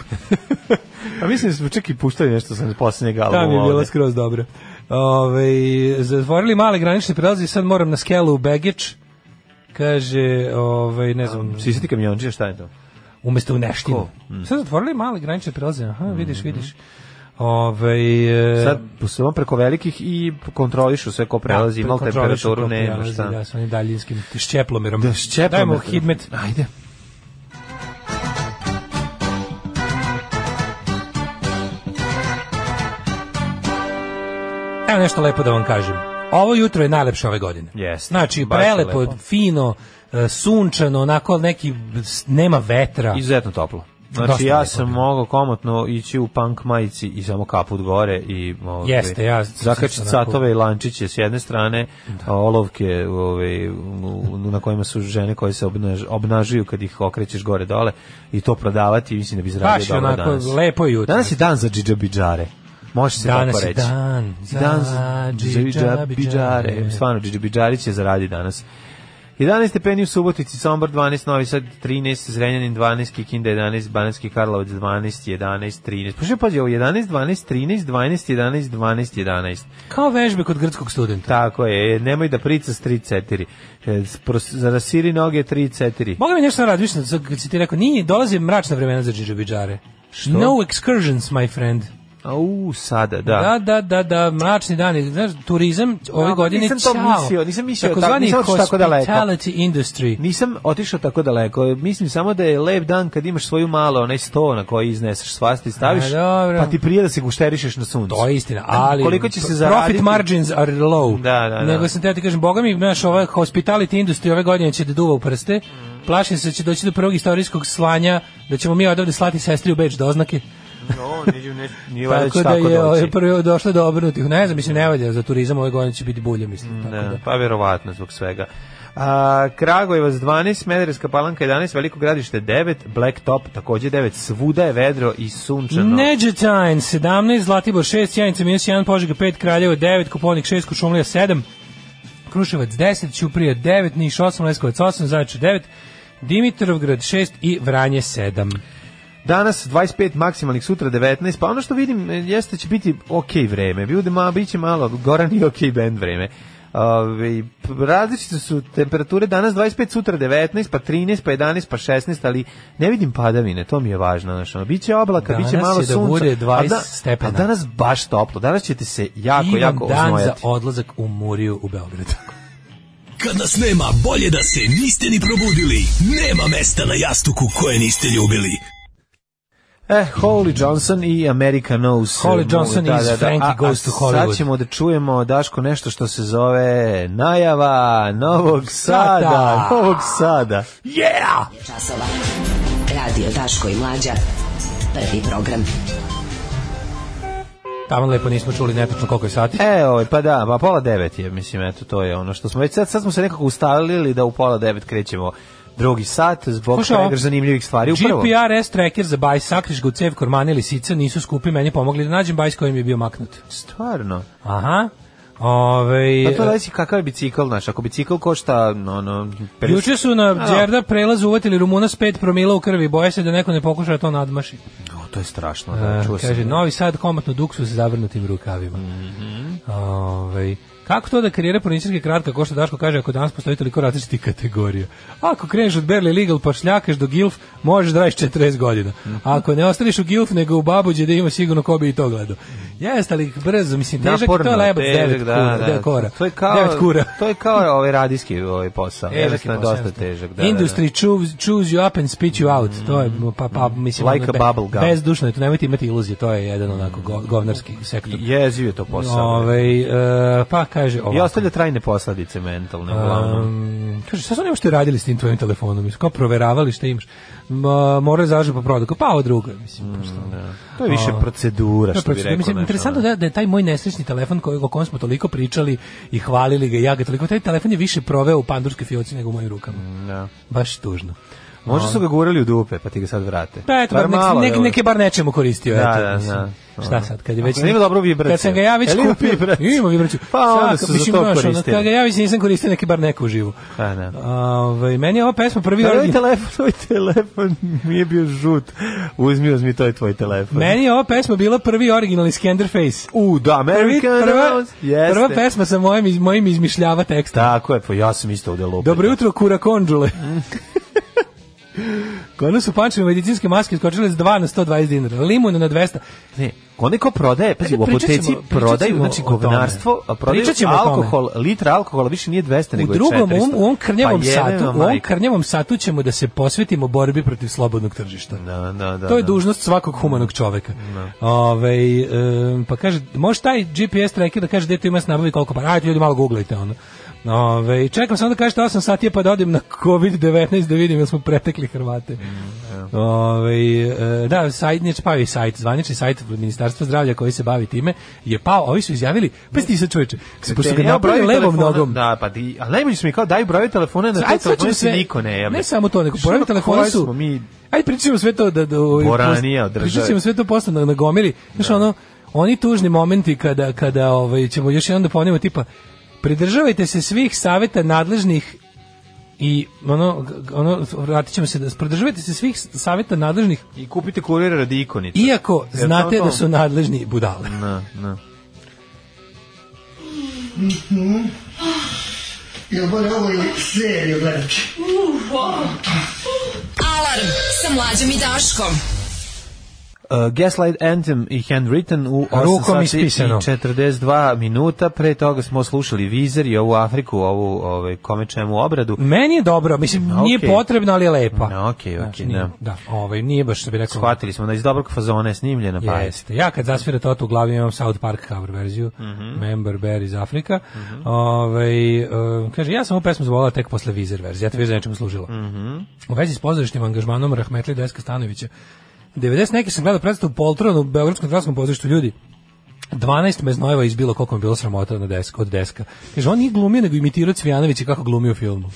E: A mislim da smo čak i puštali nešto sa posljednjeg albuma.
F: Ta mi je bila
E: ovde.
F: skroz dobra. Ove, zatvorili male granične prelaze i sad moram na skelu u Begić. Kaže, ovaj, ne znam...
E: Sisati kamionđija, šta je to?
F: umesto u neštinu. Sad zatvorili male granične prelaze, aha, vidiš, vidiš. Ovaj e,
E: Sad su vam preko velikih i kontrolišu sve ko prelazi,
F: da,
E: imali
F: prekontrolišu
E: temperaturu,
F: kako
E: ne,
F: prelazi,
E: šta.
F: Da, sa onim daljinskim šćeplomerom.
E: Da, šćeplomer.
F: Dajmo hidmet.
E: Ajde.
F: Evo nešto lepo da vam kažem. Ovo jutro je najlepše ove godine.
E: Jeste,
F: Znači,
E: baš je
F: prelepo,
E: lepo.
F: fino, e, sunčano, onako neki, s- nema vetra.
E: Izuzetno toplo. Znači
F: Dosta
E: ja
F: lepo,
E: sam
F: da.
E: mogao komotno ići u punk majici i samo kaput gore i ovaj,
F: Jeste, ja sam
E: zakačiti
F: isto
E: satove i lančiće s jedne strane, a olovke ovaj, u- na kojima su žene koje se obnaž, obnažuju kad ih okrećeš gore dole i to prodavati, mislim da bi
F: Baš
E: zaradio
F: je
E: dobro
F: onako,
E: danas.
F: lepo jutro.
E: Danas je dan za džidžabidžare. Može se
F: Danas
E: tako
F: je
E: reći.
F: dan za džidžabidžare.
E: džidžabidžare. Stvarno, džidžabidžari će zaradi danas. 11 stepeni u Subotici, Sombor 12, Novi Sad 13, Zrenjanin 12, Kikinda 11, Banatski Karlovac 12, 11, 13. Pošto pazi, ovo 11, 12, 13, 12, 11, 12, 11.
F: Kao vežbe kod grčkog studenta.
E: Tako je, e, nemoj da pricaš E, 3, 4. Za rasiri noge 3, 4.
F: Mogu mi nešto da radim, sad kad si ti rekao, nije, dolazi mračna vremena za džidžabidžare. No excursions, my friend.
E: Au, sada,
F: Da, da, da, da, mračni dani, znaš, turizam ove
E: Dobro,
F: godine
E: nisam to
F: ćao.
E: mislio, nisam mislio tako,
F: Takozvani
E: nisam otišao tako daleko.
F: hospitality industry.
E: Nisam otišao tako daleko. Mislim samo da je lep dan kad imaš svoju malo, onaj sto na koji izneseš svasti staviš,
F: A, dobro.
E: pa ti prije da se gušterišeš na suncu.
F: To je istina, ali
E: koliko će se
F: pro-
E: zaraditi?
F: Profit margins are low.
E: Da, da, da.
F: Nego sam teo ti kažem, boga mi, znaš, ova hospitality industry ove godine će da duva u prste. Plašim se da će doći do prvog istorijskog slanja, da ćemo mi odavde slati sestri u Beč do oznake.
E: No, nije, nije, nije valjda
F: Tako
E: će
F: da
E: tako
F: je ovaj,
E: doći.
F: prvo došlo do obrnutih. Ne znam, mislim, ne valja za turizam ove godine će biti bulja, mislim. Tako da.
E: Da, pa verovatno zbog svega. A, Kragujevac 12, Smederevska palanka 11, Veliko gradište 9, Blacktop takođe 9, svuda je vedro i sunčano.
F: Neđetajn 17, Zlatibor 6, Sjenica minus 1, Požega 5, Kraljevo 9, Kuponik 6, Kušumlija 7, Kruševac 10, Ćuprija 9, Niš 8, Leskovac 8, Zaječar 9, Dimitrovgrad 6 i Vranje 7.
E: Danas 25 maksimalnih, sutra 19, pa ono što vidim e, jeste će biti ok vreme, bude ma, bit će malo goran i ok band vreme. Ove, p- različite su temperature danas 25, sutra 19, pa 13, pa 11, pa 16, ali ne vidim padavine, to mi je važno. Znaš, ono, biće oblaka,
F: Danas
E: biće malo
F: će da
E: sunca.
F: bude
E: a
F: 20 stepena.
E: A danas baš toplo, danas ćete se jako,
F: Divan
E: jako
F: dan
E: oznojati.
F: za odlazak u Muriju u Beogradu.
I: Kad nas nema, bolje da se niste ni probudili. Nema mesta na jastuku koje niste ljubili.
E: E, Holly Johnson i America Knows. e,
F: Holly Johnson
E: Da,
F: iz
E: da, da.
F: Frankie
E: A- a
F: Goes to Hollywood.
E: Sad ćemo da čujemo, Daško, nešto što se zove najava Novog Sada.
F: Sada.
E: Novog Sada.
D: Časova. Radio Daško i Mlađa. Prvi program.
F: Tamo lepo nismo čuli netočno koliko je sati.
E: E, ovaj, pa da, pa pola devet je, mislim, eto, to je ono što smo već sad, sad smo se nekako ustavili da u pola devet krećemo drugi sat zbog
F: Slušaj, ovo.
E: pregrž zanimljivih stvari. U prvom,
F: GPRS tracker za bajs, sakriš ga u cev, kormane ili sica, nisu skupi, meni pomogli da nađem bajs kojim je bio maknut.
E: stvarno,
F: Aha. Ove,
E: Pa to zavisi kakav je bicikl, znaš, ako bicikl košta, ono, no, no, 50
F: Juče su na Đerda prelazu uvatili Rumuna s 5 promila u krvi, boje se da neko ne pokuša da to nadmaši.
E: O, to je strašno,
F: E,
E: da, čuo sam.
F: kaže, Novi Sad komatno duksu sa zavrnutim rukavima.
E: Mhm.
F: Ovaj, kako to da karijera porničarske je kratka, ko što Daško kaže, ako danas postoji toliko različitih kategorija? Ako kreneš od Berli Legal pa šljakaš do Gilf, možeš da radiš 40 godina.
E: Mhm.
F: A ako ne ostaneš u Gilf, nego u Babuđe, da ima sigurno ko bi i to gledao. Jeste, ali brzo, mislim, težak je
E: Naporno,
F: to lebac,
E: težak,
F: 9
E: da,
F: kura.
E: da.
F: devet kora.
E: To je kao,
F: Devet kura.
E: to je kao ovaj radijski ovaj posao.
F: Težak je
E: Jednostavno je
F: posao,
E: dosta
F: jasno.
E: težak. Da, Mm.
F: Industry choose, choose you up and spit you out. To je pa pa mislim
E: Like
F: ono,
E: a bubble gum.
F: Bezdušno je, to nemojte imati iluzije, to je jedan onako go, govnarski
E: Da,
F: sektor.
E: da. Jeziv je to posao.
F: Ovaj, e, pa kaže
E: I
F: ovako.
E: ostavlja trajne posledice mentalne, uglavnom.
F: Um, kaže, šta su oni uopšte radili s tim tvojim telefonom? Mislim, kao proveravali šta imaš? Ma, moraju zažu po prodaju. Pa ovo drugo, mislim. pošto-
E: To je više
F: a-
E: procedura,
F: To je
E: Mm, što bi
F: prosto-
E: rekao.
F: Mislim,
E: znaš,
F: interesantno
E: ono.
F: da, da je taj moj nesrećni telefon koji, o kojem smo toliko pričali i hvalili ga i ja ga toliko, taj telefon je više proveo u pandurskoj fioci nego u mojim rukama.
E: Da.
F: Baš tužno.
E: Možda su ga gurali u dupe, pa ti ga sad vrate.
F: Pa eto,
E: Bar
F: bar nek,
E: malo
F: nek,
E: ga-
F: neke bar nečemu koristio.
E: Da,
F: eto,
E: da,
F: mislim.
E: da.
F: Šta sad, kad je već...
E: Ako nema dobru vibraciju.
F: Kad sam ga ja već
E: Jel ima
F: kupio...
E: vibraciju?
F: Ima vibraciju.
E: Pa onda
F: Sad,
E: su za
F: mislim,
E: to
F: znaš, ono,
E: koristili.
F: Kad ga ja već nisam koristio, neki bar neko uživo.
E: Pa, da.
F: Ove, meni je ova pesma prvi...
E: Da, ovaj
F: origi-
E: telefon, ovaj telefon mi je bio žut. Uzmi, uzmi, to je tvoj telefon.
F: Meni je ova pesma bila prvi originalni Skenderface.
E: U, da,
F: Prvi,
E: American
F: prva,
E: House, jeste.
F: prva pesma sa mojim, iz- mojim izmišljava teksta.
E: Tako je, pa ja sam isto ovde lupio.
F: Dobro jutro, kura konđule. Kod nas su pančeve medicinske maske skočile s 2 na 120 dinara, limun na 200.
E: Ne, onaj ko prodaje, pazi,
F: Ajde,
E: u
F: pričat
E: apoteci
F: ćemo- pričat
E: prodaju,
F: ćemo
E: znači
F: o tome.
E: govnarstvo, a prodaju
F: Pričat ćemo o tome.
E: alkohol, litra alkohola više nije 200,
F: U
E: nego je 400.
F: drugom, u ovom, u ovom krnjavom
E: Pa jebem
F: satu,
E: vam
F: u ovom
E: majku.
F: krnjavom satu ćemo da se posvetimo borbi protiv slobodnog tržišta.
E: Da, da, da.
F: to je
E: da.
F: dužnost svakog humanog čoveka. Ovaj, em, pa kaže, može taj GPS tracker da kaže gde to ima se nabavi koliko para, ajde ljudi malo googlajte ono. Ove, čekam samo da kažete 8 sati je pa da odem na COVID-19 da vidim jel smo pretekli
E: Mm,
F: Hrvate. Ovaj, e, da, sajt, neće pao i sajt, zvanični sajt Ministarstva zdravlja koji se bavi time je pao, ovi su izjavili, pa ti sad čoveče, pošto su ga
E: Ja
F: napravili
E: broju
F: levom
E: telefona-
F: nogom.
E: Da, pa ti, ali najbolji su mi kao daju broje telefona na te
F: Ajde, sad ćemo
E: telefone se
F: sve-
E: niko ne javi.
F: Ne samo to, nego
E: Što
F: pored
E: ono,
F: telefona
E: koji
F: su...
E: smo Mi,
F: Ajde, pričamo sve to da... da
E: Boranija od države.
F: Pričat ćemo sve to posle na, na gomili. Znaš, ono, oni tužni momenti kada, kada ovaj, ćemo još jednom da ponovimo, tipa, pridržavajte se svih saveta nadležnih i ono, ono vratit ćemo se, da, pridržavajte se svih saveta nadležnih,
E: I kupite kurir radi ikonice.
F: iako
E: Jer
F: znate
E: samo
F: da
E: to-
F: su nadležni budale.
E: Na, na.
J: Ja volim ovo i seriju gledati.
D: Alarm sa mlađom i Daškom.
E: Uh, Gaslight Anthem i Handwritten u 8
F: Rukom
E: sati
F: ispisano.
E: i 42 minuta. Pre toga smo slušali Vizer i ovu Afriku, ovu ovaj, kome čemu obradu.
F: Meni je dobro, mislim,
E: Ma,
F: nije
E: okej.
F: potrebno, ali je lepa.
E: Ma, okej,
F: Znaš,
E: okej,
F: nije-
E: da.
F: Da, ovaj, nije baš što bi rekao.
E: Shvatili smo da iz dobrog fazona je snimljena. Pa je.
F: Jeste. Ja kad zasvira to u glavi imam South Park cover verziju, Member Bear iz Afrika. Ovaj, e, kaže, ja sam ovu pesmu zvolala tek posle Vizer verzije, ja te vizir nečemu služila. U vezi s pozorišnim angažmanom Rahmetli Deska Stanovića, 90 neki sam gledao predstavu Poltron u Beogradskom gradskom pozorištu ljudi. 12 meznojeva iz bilo koliko mi je bilo sramota na desk, od deska. Kaže, on nije glumio, nego imitirao Cvijanovića kako glumio u filmu.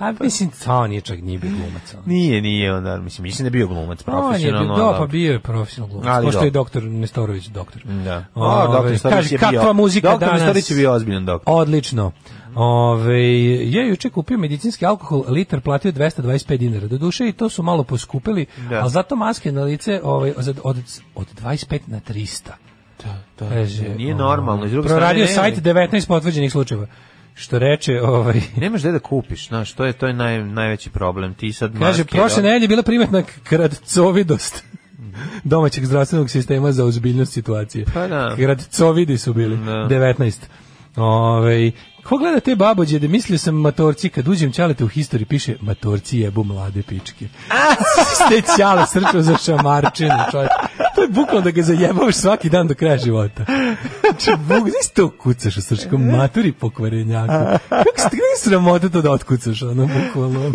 F: A mislim, to nije čak nije bio glumac. ono. on.
E: Nije, nije on, ali mislim, mislim da je bio glumac
F: On je bio,
E: profesionalno.
F: da,
E: ali-
F: pa bio je profesionalno glumac,
E: Ali
F: pošto
E: dobro.
F: je doktor Nestorović doktor.
E: Da.
F: Ove,
E: doktor Starić
F: kaže,
E: je bio.
F: kakva muzika
E: doktor
F: danas.
E: Starić je bio ozbiljan doktor.
F: Odlično. Ove, ja juče kupio medicinski alkohol, litar platio 225 dinara. Doduše i to su malo poskupili,
E: Da.
F: ali zato maske na lice ovaj, od, od, od 25 na 300. Da, Kaže,
E: Nije
F: o,
E: normalno, iz druge strane
F: Proradio
E: ne-
F: sajt 19 potvrđenih slučajeva. Što reče, ovaj,
E: Nemaš gde da kupiš, znaš, to je, to je naj, najveći problem. Ti sad
F: kaže,
E: maske,
F: prošle
E: da-
F: nedelje je bila primetna kradcovidost domaćeg zdravstvenog sistema za ozbiljnost situacije.
E: Pa da.
F: Gradcovidi su bili,
E: Da.
F: 19. Ove, ko gleda te babođe, da mislio sam matorci, kad uđem čalete u historiji, piše matorci jebu mlade pičke. Ste ćale srčao za šamarčinu, čovječ. To je bukvalno da ga zajebavaš svaki dan do kraja života. Znači, buk, znaš to kucaš u srčku, maturi pokvarenjaku. Kako ste, kako je sramota to da otkucaš, ono, bukvalno.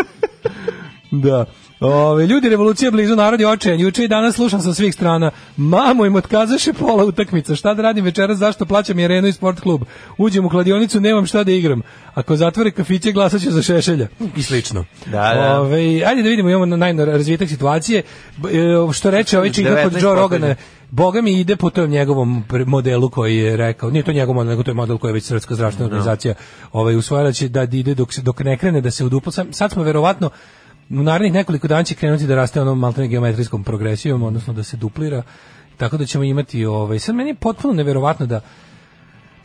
F: Da. Ove, ljudi, revolucija blizu, narod je očajan. Juče i danas slušam sa svih strana. Mamo im otkazaše pola utakmica. Šta da radim večeras, zašto plaćam i arenu i sport klub? Uđem u kladionicu, nemam šta da igram. Ako zatvore kafiće, glasat ću za šešelja. I slično.
E: Da, da.
F: Ove, ajde da vidimo, imamo najrazvitak situacije. B- e, Što reče ovaj čika kod
E: 19
F: Joe Rogana,
E: pokoljenja.
F: Boga mi ide po tom njegovom pre- modelu koji je rekao, nije to njegov model, nego to je model koji je već Srpska zdravstvena organizacija ovaj, usvojila će da ide dok, se- dok ne krene da se udupla. Sam- Sad smo verovatno u narednih nekoliko dana će krenuti da raste onom maltene geometrijskom progresijom, odnosno da se duplira, tako da ćemo imati ovaj, sad meni je potpuno neverovatno da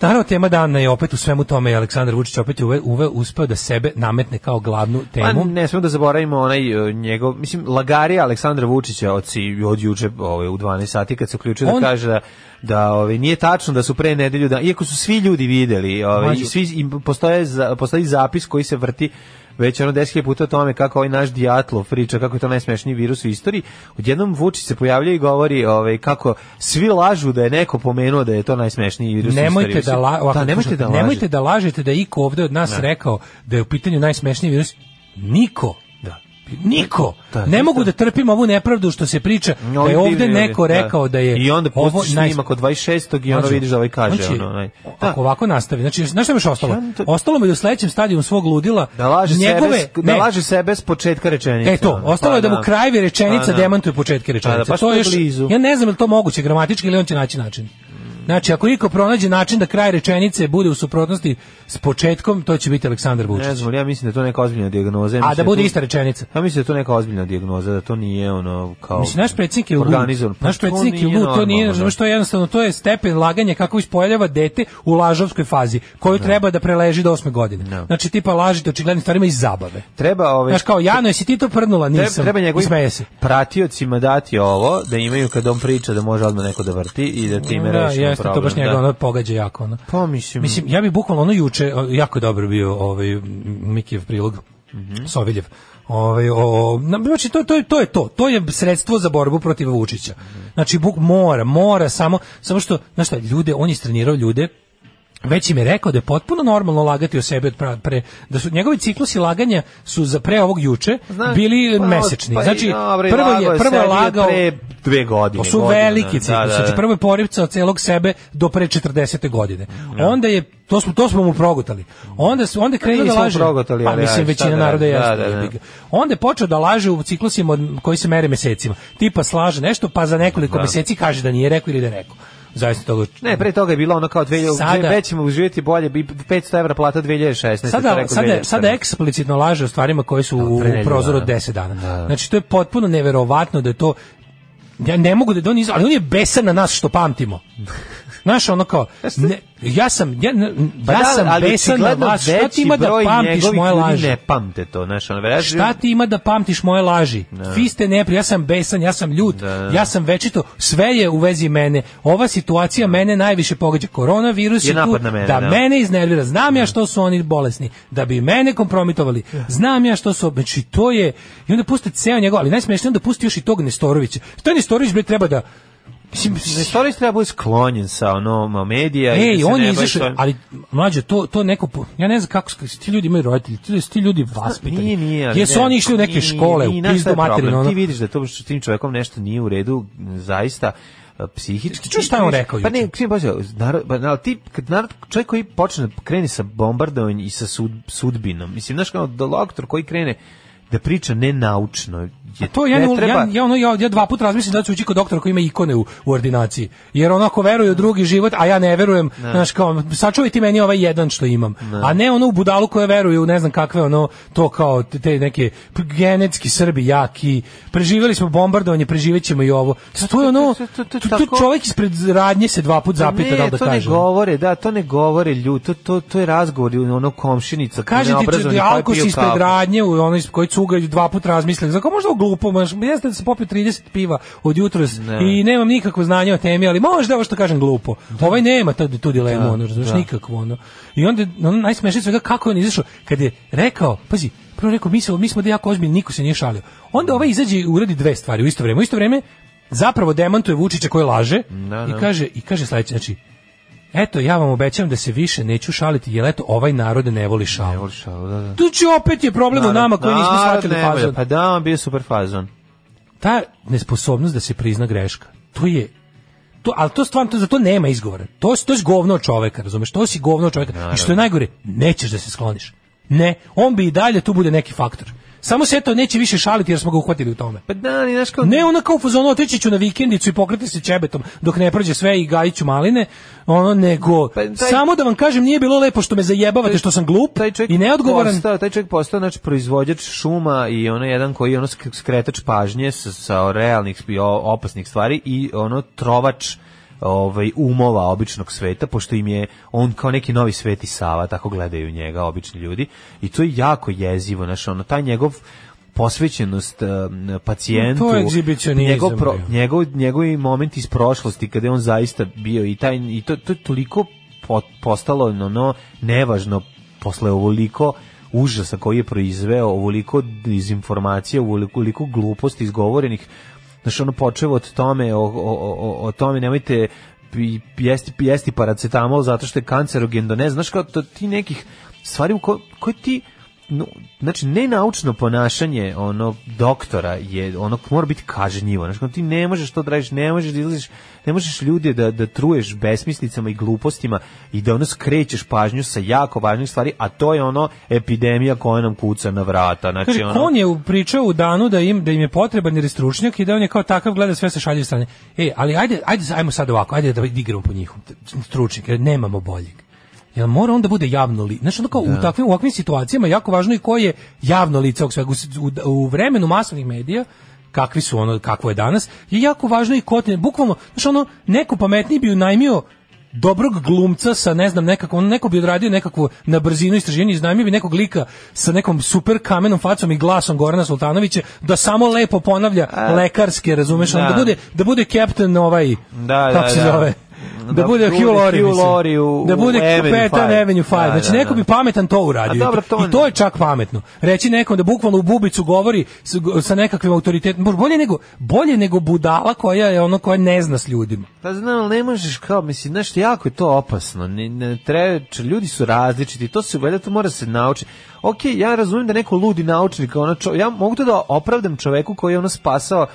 F: Naravno, tema dana je opet u svemu tome i Aleksandar Vučić opet je uve, uve, uspeo da sebe nametne kao glavnu
E: Pa
F: temu.
E: ne smemo da zaboravimo onaj e, njegov, mislim, lagarija Aleksandra Vučića od, si- od juče ovaj, u 12 sati kad se uključio
F: On-
E: da kaže da, da ovaj, nije tačno da su pre nedelju, da, iako su svi ljudi videli, ovaj,
F: Mađo.
E: i svi, i postoje, za- postoji zapis koji se vrti već ono 10.000 puta o tome kako ovaj naš Dijatlov priča, kako je to najsmešniji virus u istoriji, odjednom Vučić se pojavlja i govori ovaj, kako svi lažu da je neko pomenuo da je to najsmešniji virus u
F: nemojte
E: istoriji.
F: da, la, ovako,
E: da, nemojte da,
F: nemojte
E: lažete.
F: da lažete da je iko ovde od nas rekao da je u pitanju najsmešniji virus. Niko.
E: Da.
F: Niko.
E: Da,
F: ne
E: isto.
F: mogu da trpim ovu nepravdu što se priča da
E: Ovi
F: je ovde
E: divni,
F: neko
E: ovi,
F: rekao da je
E: I onda
F: ovo
E: pustiš
F: naj-
E: snimak od 26. i onda
F: Znači,
E: vidiš da ovaj kaže.
F: znači,
E: ono, onaj.
F: Ako
E: Da.
F: ovako nastavi, znači, znaš šta mi je još ostalo?
E: Ja mi to-
F: Ostalo mi je u sledećem stadiju svog ludila
E: Da laže,
F: njegove,
E: sebe, s-
F: ne,
E: da laže sebe s početka rečenice.
F: E to,
E: ono.
F: ostalo je
E: Pa
F: da mu krajevi rečenica
E: Pa da.
F: demantuje početke rečenice.
E: Pa da, baš
F: to
E: to
F: je
E: je
F: još,
E: blizu.
F: ja ne znam je li to moguće gramatički ili on će naći način. Znači, ako iko pronađe način da kraj rečenice bude u suprotnosti s početkom, to će biti Aleksandar Vučić.
E: Ne znam, ali ja mislim da je to neka ozbiljna dijagnoza. Ja
F: A
E: mislim
F: da bude
E: tu-
F: ista rečenica.
E: Ja mislim da je to neka ozbiljna dijagnoza, da to nije ono kao...
F: Mislim, naš predsjednik je lud.
E: organizovan. Pa
F: naš
E: to
F: predsjednik je
E: nije
F: lud, to nije,
E: normalno,
F: razumeš, to je jednostavno, to je stepen laganja kako ispojeljava dete u lažovskoj fazi, koju treba da preleži do osme godine.
E: Da.
F: Znači, tipa lažite očiglednim stvarima iz zabave.
E: Treba ove...
F: Znaš, kao, Jano, jesi ti to prdnula?
E: Treba,
F: Nisam.
E: treba njegovim
F: I smeje se.
E: pratiocima dati ovo, da imaju kad on priča da može odmah neko da vrti i da time
F: Da,
E: rešimo
F: jeste,
E: problem.
F: to baš njega
E: da.
F: ono pogađa jako. Ono.
E: Pa mislim...
F: Mislim, ja bi bukvalno ono juče, o, jako je dobro bio ovaj m, Mikijev prilog,
E: Mhm.
F: Soviljev. Ovaj, o, o, na- znači, to, to, je- to je to. To je sredstvo za borbu protiv Vučića.
E: Mhm.
F: Znači, buk mora, mora, samo, samo što, znaš šta, ljude, on je trenirao ljude već im je rekao da je potpuno normalno lagati o sebi od pra- pre, da su njegovi ciklusi laganja su za pre ovog juče
E: Znaš,
F: bili
E: pa,
F: mesečni.
E: pa i
F: Znači,
E: dobro, i
F: prvo
E: lagao
F: je, prvo je
E: sebi
F: lagao...
E: Pre dve godine.
F: To su
E: godine,
F: veliki
E: da,
F: ciklusi.
E: da, da.
F: Znači, prvo je poripcao celog sebe do pre 40. godine. Onda je to smo to smo mu progutali. Onda su onda
E: Pa
F: krenuo da
E: Nismo mu
F: laže.
E: progutali,
F: pa
E: ali
F: mislim
E: ajde, šta
F: većina
E: da
F: naroda
E: radi,
F: jeste.
E: da, da, da.
F: jebi ga. Onda je počeo da laže u ciklusima od, koji se mere mesecima. Tipa slaže nešto pa za nekoliko meseci kaže da nije rekao ili da je rekao. Zaista toga.
E: Ne, pre toga je bilo ono kao 2000,
F: Sada-
E: sada, već ćemo uživjeti bolje, bi 500 evra plata 2016. to
F: Sada,
E: rekao
F: sada,
E: 2014.
F: sada eksplicitno laže o stvarima koje su u,
E: pre nedelju
F: prozoru od
E: dana.
F: 10 dana. Znači, to je potpuno neverovatno da je to... Ja ne mogu da da on iz... Ali on je besan na nas što pamtimo. Znaš, ono kao... Ne, ja sam, ja, ne-
E: Pa
F: ja
E: da,
F: sam
E: ali
F: besan na
E: očigledno
F: vas. Šta
E: veći
F: ti ima da
E: broj
F: pamtiš
E: njegovih
F: moje
E: ljudi
F: laži?
E: Ne pamte to, znaš, ono, veraš,
F: Šta ti ima da pamtiš moje laži? Vi ste neprijatelji, ja sam besan, ja sam ljut, ja sam večito, sve je u vezi mene. Ova situacija mene najviše pogađa. Koronavirus
E: Je
F: je, tu
E: napad na mene,
F: da,
E: da.
F: mene iznervira. Znam ja što su oni bolesni, da bi mene kompromitovali. Znam ja što su, znači to je, i onda puste ceo njegov, ali najsmešnije je onda pusti još i tog Nestorovića. Taj Nestorović bre treba da, mislim,
E: Nestorić treba bude sklonjen sa ono medija i
F: Ej,
E: da se
F: on
E: ne
F: je
E: bavi
F: izašao,
E: svojim-
F: ali mlađe to to neko po- ja ne znam kako s- ti ljudi imaju roditelji, ti, ti ljudi vaspitani.
E: Nije, nije, ali
F: Jesu
E: ne,
F: oni išli u neke
E: nije,
F: škole,
E: nije,
F: u
E: znaš šta
F: pizdu
E: je
F: materinu,
E: problem?
F: ono.
E: Ti vidiš da to što s tim čovekom nešto nije u redu, m, zaista e, psihički.
F: čuješ šta je on
E: Vidiš-
F: rekao
E: Pa ne,
F: juče?
E: ti pa, narod, pa, ali ti, kad narod, čovjek koji počne, kreni sa bombardovanjem i sa sud, sudbinom, mislim, znaš kao da doktor koji krene da priča nenaučno, je,
F: To ja,
E: ne
F: ne,
E: treba,
F: ja, ja, ono, ja, ja dva puta razmislim da ću ići kod doktora koji ima ikone u, u ordinaciji. Jer ono ako veruje u drugi život, a ja ne verujem, znaš kao, sačuvaj ti meni ovaj jedan što imam. A ne ono u budalu koja veruje u ne znam kakve ono, to kao te- te neke p- genetski Srbi jaki, preživjeli smo bombardovanje, preživjet ćemo i ovo. To je ono,
E: to- to- to- to-
F: tu- tu
E: tako-
F: čovjek ispred radnje se dva puta zapita
E: ne,
F: da li da
E: to
F: kaže.
E: ne govore, da, to ne govore ljudi, to, to, to je razgovor, ono komšinica,
F: Kaže ti
E: neobrazovani,
F: čudi,
E: pa je
F: alko
E: pio
F: si ispred
E: kafu.
F: radnje u onoj koji cugaju dva puta razmislim. Zako možda u glupo, maš, jeste da sam popio 30 piva od jutros i nemam nikakvo znanje o temi, ali možda ovo što kažem glupo. Ovaj nema tu, tu dilemu, ono, razumiješ, nikakvo, ono. I onda, ono, najsmešnije svega kako je on izašao, kad je rekao, pazi, prvo je rekao, mi, smo- mi smo da jako ozbiljni, niko se nije šalio. Onda ovaj izađe i uradi dve stvari u isto vreme. U isto vreme zapravo demantuje Vučića koji laže i kaže i kaže sledeće, znači Eto, ja vam obećam da se više neću šaliti, jer eto, ovaj narod ne voli šalu. Ne voli
E: šalu, da, da.
F: Tu će opet je problem u nama koji nismo shvatili
E: Narod ne
F: fazon.
E: valja. Pa da, on bio super fazon.
F: Ta nesposobnost da se prizna greška, to je to, ali to stvarno, to, za to nema izgovora. To, si- to je govno od čoveka, razumeš? To si govno od čoveka. I što je najgore, nećeš da se skloniš. Ne, on bi i dalje tu bude neki faktor. Samo se eto neće više šaliti jer smo ga uhvatili u tome.
E: Pa da, ni znaš kao...
F: Ne ona kao u fazonu otići ću na vikendicu i pokriti se čebetom dok ne prođe sve i gajiću maline, ono nego
E: Pa taj-
F: samo da vam kažem nije bilo lepo što me zajebavate što sam glup
E: taj čovjek
F: i neodgovoran.
E: Postao, taj čovjek postao znači proizvođač šuma i ono jedan koji je ono sk- skretač pažnje sa, sa realnih i o- opasnih stvari i ono trovač ovaj umova običnog sveta pošto im je on kao neki novi sveti Sava tako gledaju njega obični ljudi i to je jako jezivo znači ono taj njegov posvećenost em, pacijentu
F: To je egzibicionizam
E: njegov, pro,
F: bio.
E: njegov njegovi moment iz prošlosti kada je on zaista bio i taj i to to je toliko po- postalo ono nevažno posle ovoliko užasa koji je proizveo ovoliko dezinformacija ovoliko, ovoliko gluposti izgovorenih Znaš, ono počeo od tome, o, o, o, o tome nemojte pi- jesti, jesti paracetamol zato što je kancerogen, do ne znaš kao to, ti nekih stvari u ko, koje ti no, znači nenaučno ponašanje ono doktora je ono mora biti kažnjivo znači ti ne možeš to da radiš ne možeš da izlaziš ne možeš ljude da da truješ besmislicama i glupostima i da ono skrećeš pažnju sa jako važnih stvari a to je ono epidemija koja nam kuca na vrata znači
F: Kaže,
E: ono
F: on je u- pričao u danu da im da im je potreban jer je stručnjak i da on je kao takav gleda sve sa šaljive strane. E, ali ajde, ajde, ajmo sad ovako, ajde da igramo po njihom stručnjak, jer nemamo boljeg. Jel mora on da bude javno lice? Znaš, ono kao u takvim, u ovakvim situacijama jako važno i ko je javno lice ovog svega. U, s- u- u vremenu masovnih medija, kakvi su ono, kakvo je danas, je jako važno i ko te, bukvalno, znaš, ono, neko pametniji bi unajmio dobrog glumca sa ne znam nekako on neko bi odradio nekakvu na brzinu istraživanje iznajmio bi nekog lika sa nekom super kamenom facom i glasom Gorana Sultanovića da samo lepo ponavlja lekarske razumeš ono,
E: da.
F: da. bude da bude kapten ovaj
E: Da, da,
F: kako se
E: da.
F: zove da, bude Hugh Laurie,
E: Hugh
F: mislim.
E: Laurie u-
F: da
E: u
F: bude
E: Avenue
F: kapetan
E: Five.
F: Avenue Five.
E: Da,
F: znači
E: da,
F: neko
E: da.
F: bi pametan to uradio
E: A dobro, to
F: i to
E: ne.
F: je čak pametno reći nekom da bukvalno u bubicu govori s- sa nekakvim autoritetom bolje nego bolje nego budala koja je ono koja ne zna s ljudima
E: Pa znam, ali ne možeš kao, mislim, znaš, jako je to opasno. Ne, ne treba, č- ljudi su različiti, to se valjda, to mora se naučiti. Ok, ja razumijem da neko ludi naučnik, ono, čo- ja mogu to da opravdam čoveku koji je ono spasao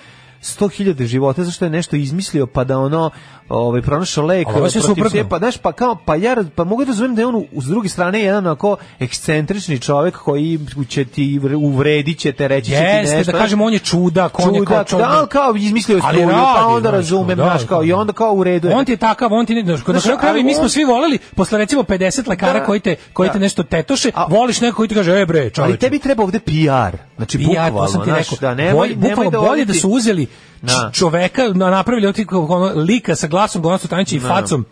E: 100.000 života zašto je nešto izmislio pa da ono ovaj pronašao lek
F: Ali ovo je sve
E: protiv
F: suprotno.
E: sve, pa znaš pa kao pa ja raz- pa mogu da razumem da je on u- s druge strane jedan onako ekscentrični čovek koji će ti uvre- uvredit će te reći će ti
F: Jeste,
E: nešto,
F: da kažemo, on je čudak, on je kao
E: čudak,
F: čudak.
E: da, ali kao izmislio
F: Ali
E: struju,
F: radi,
E: pa onda
F: znaš,
E: razumem,
F: kao, da,
E: znaš, kao, i
F: da.
E: onda kao u redu je.
F: On ti je takav, on ti ne, znaš, na
E: Znaš,
F: kraju krajeva
E: ali
F: mi smo
E: on-
F: svi voleli, posle recimo 50 lekara
E: Da.
F: koji te, koji te
E: Da.
F: nešto tetoše,
E: A-
F: voliš neko koji ti kaže, e bre, čoveče.
E: Ali tebi treba ovde PR. Znači,
F: Ja,
E: bukvalno,
F: to sam ti
E: znaš,
F: rekao.
E: da, nemoj,
F: bolje,
E: nemoj
F: bukvalno
E: da
F: bolje
E: ovdje
F: da
E: ti-
F: su uzeli č-
E: Da.
F: čoveka, na- napravili otik ono, lika sa glasom Gorana Sultanića i facom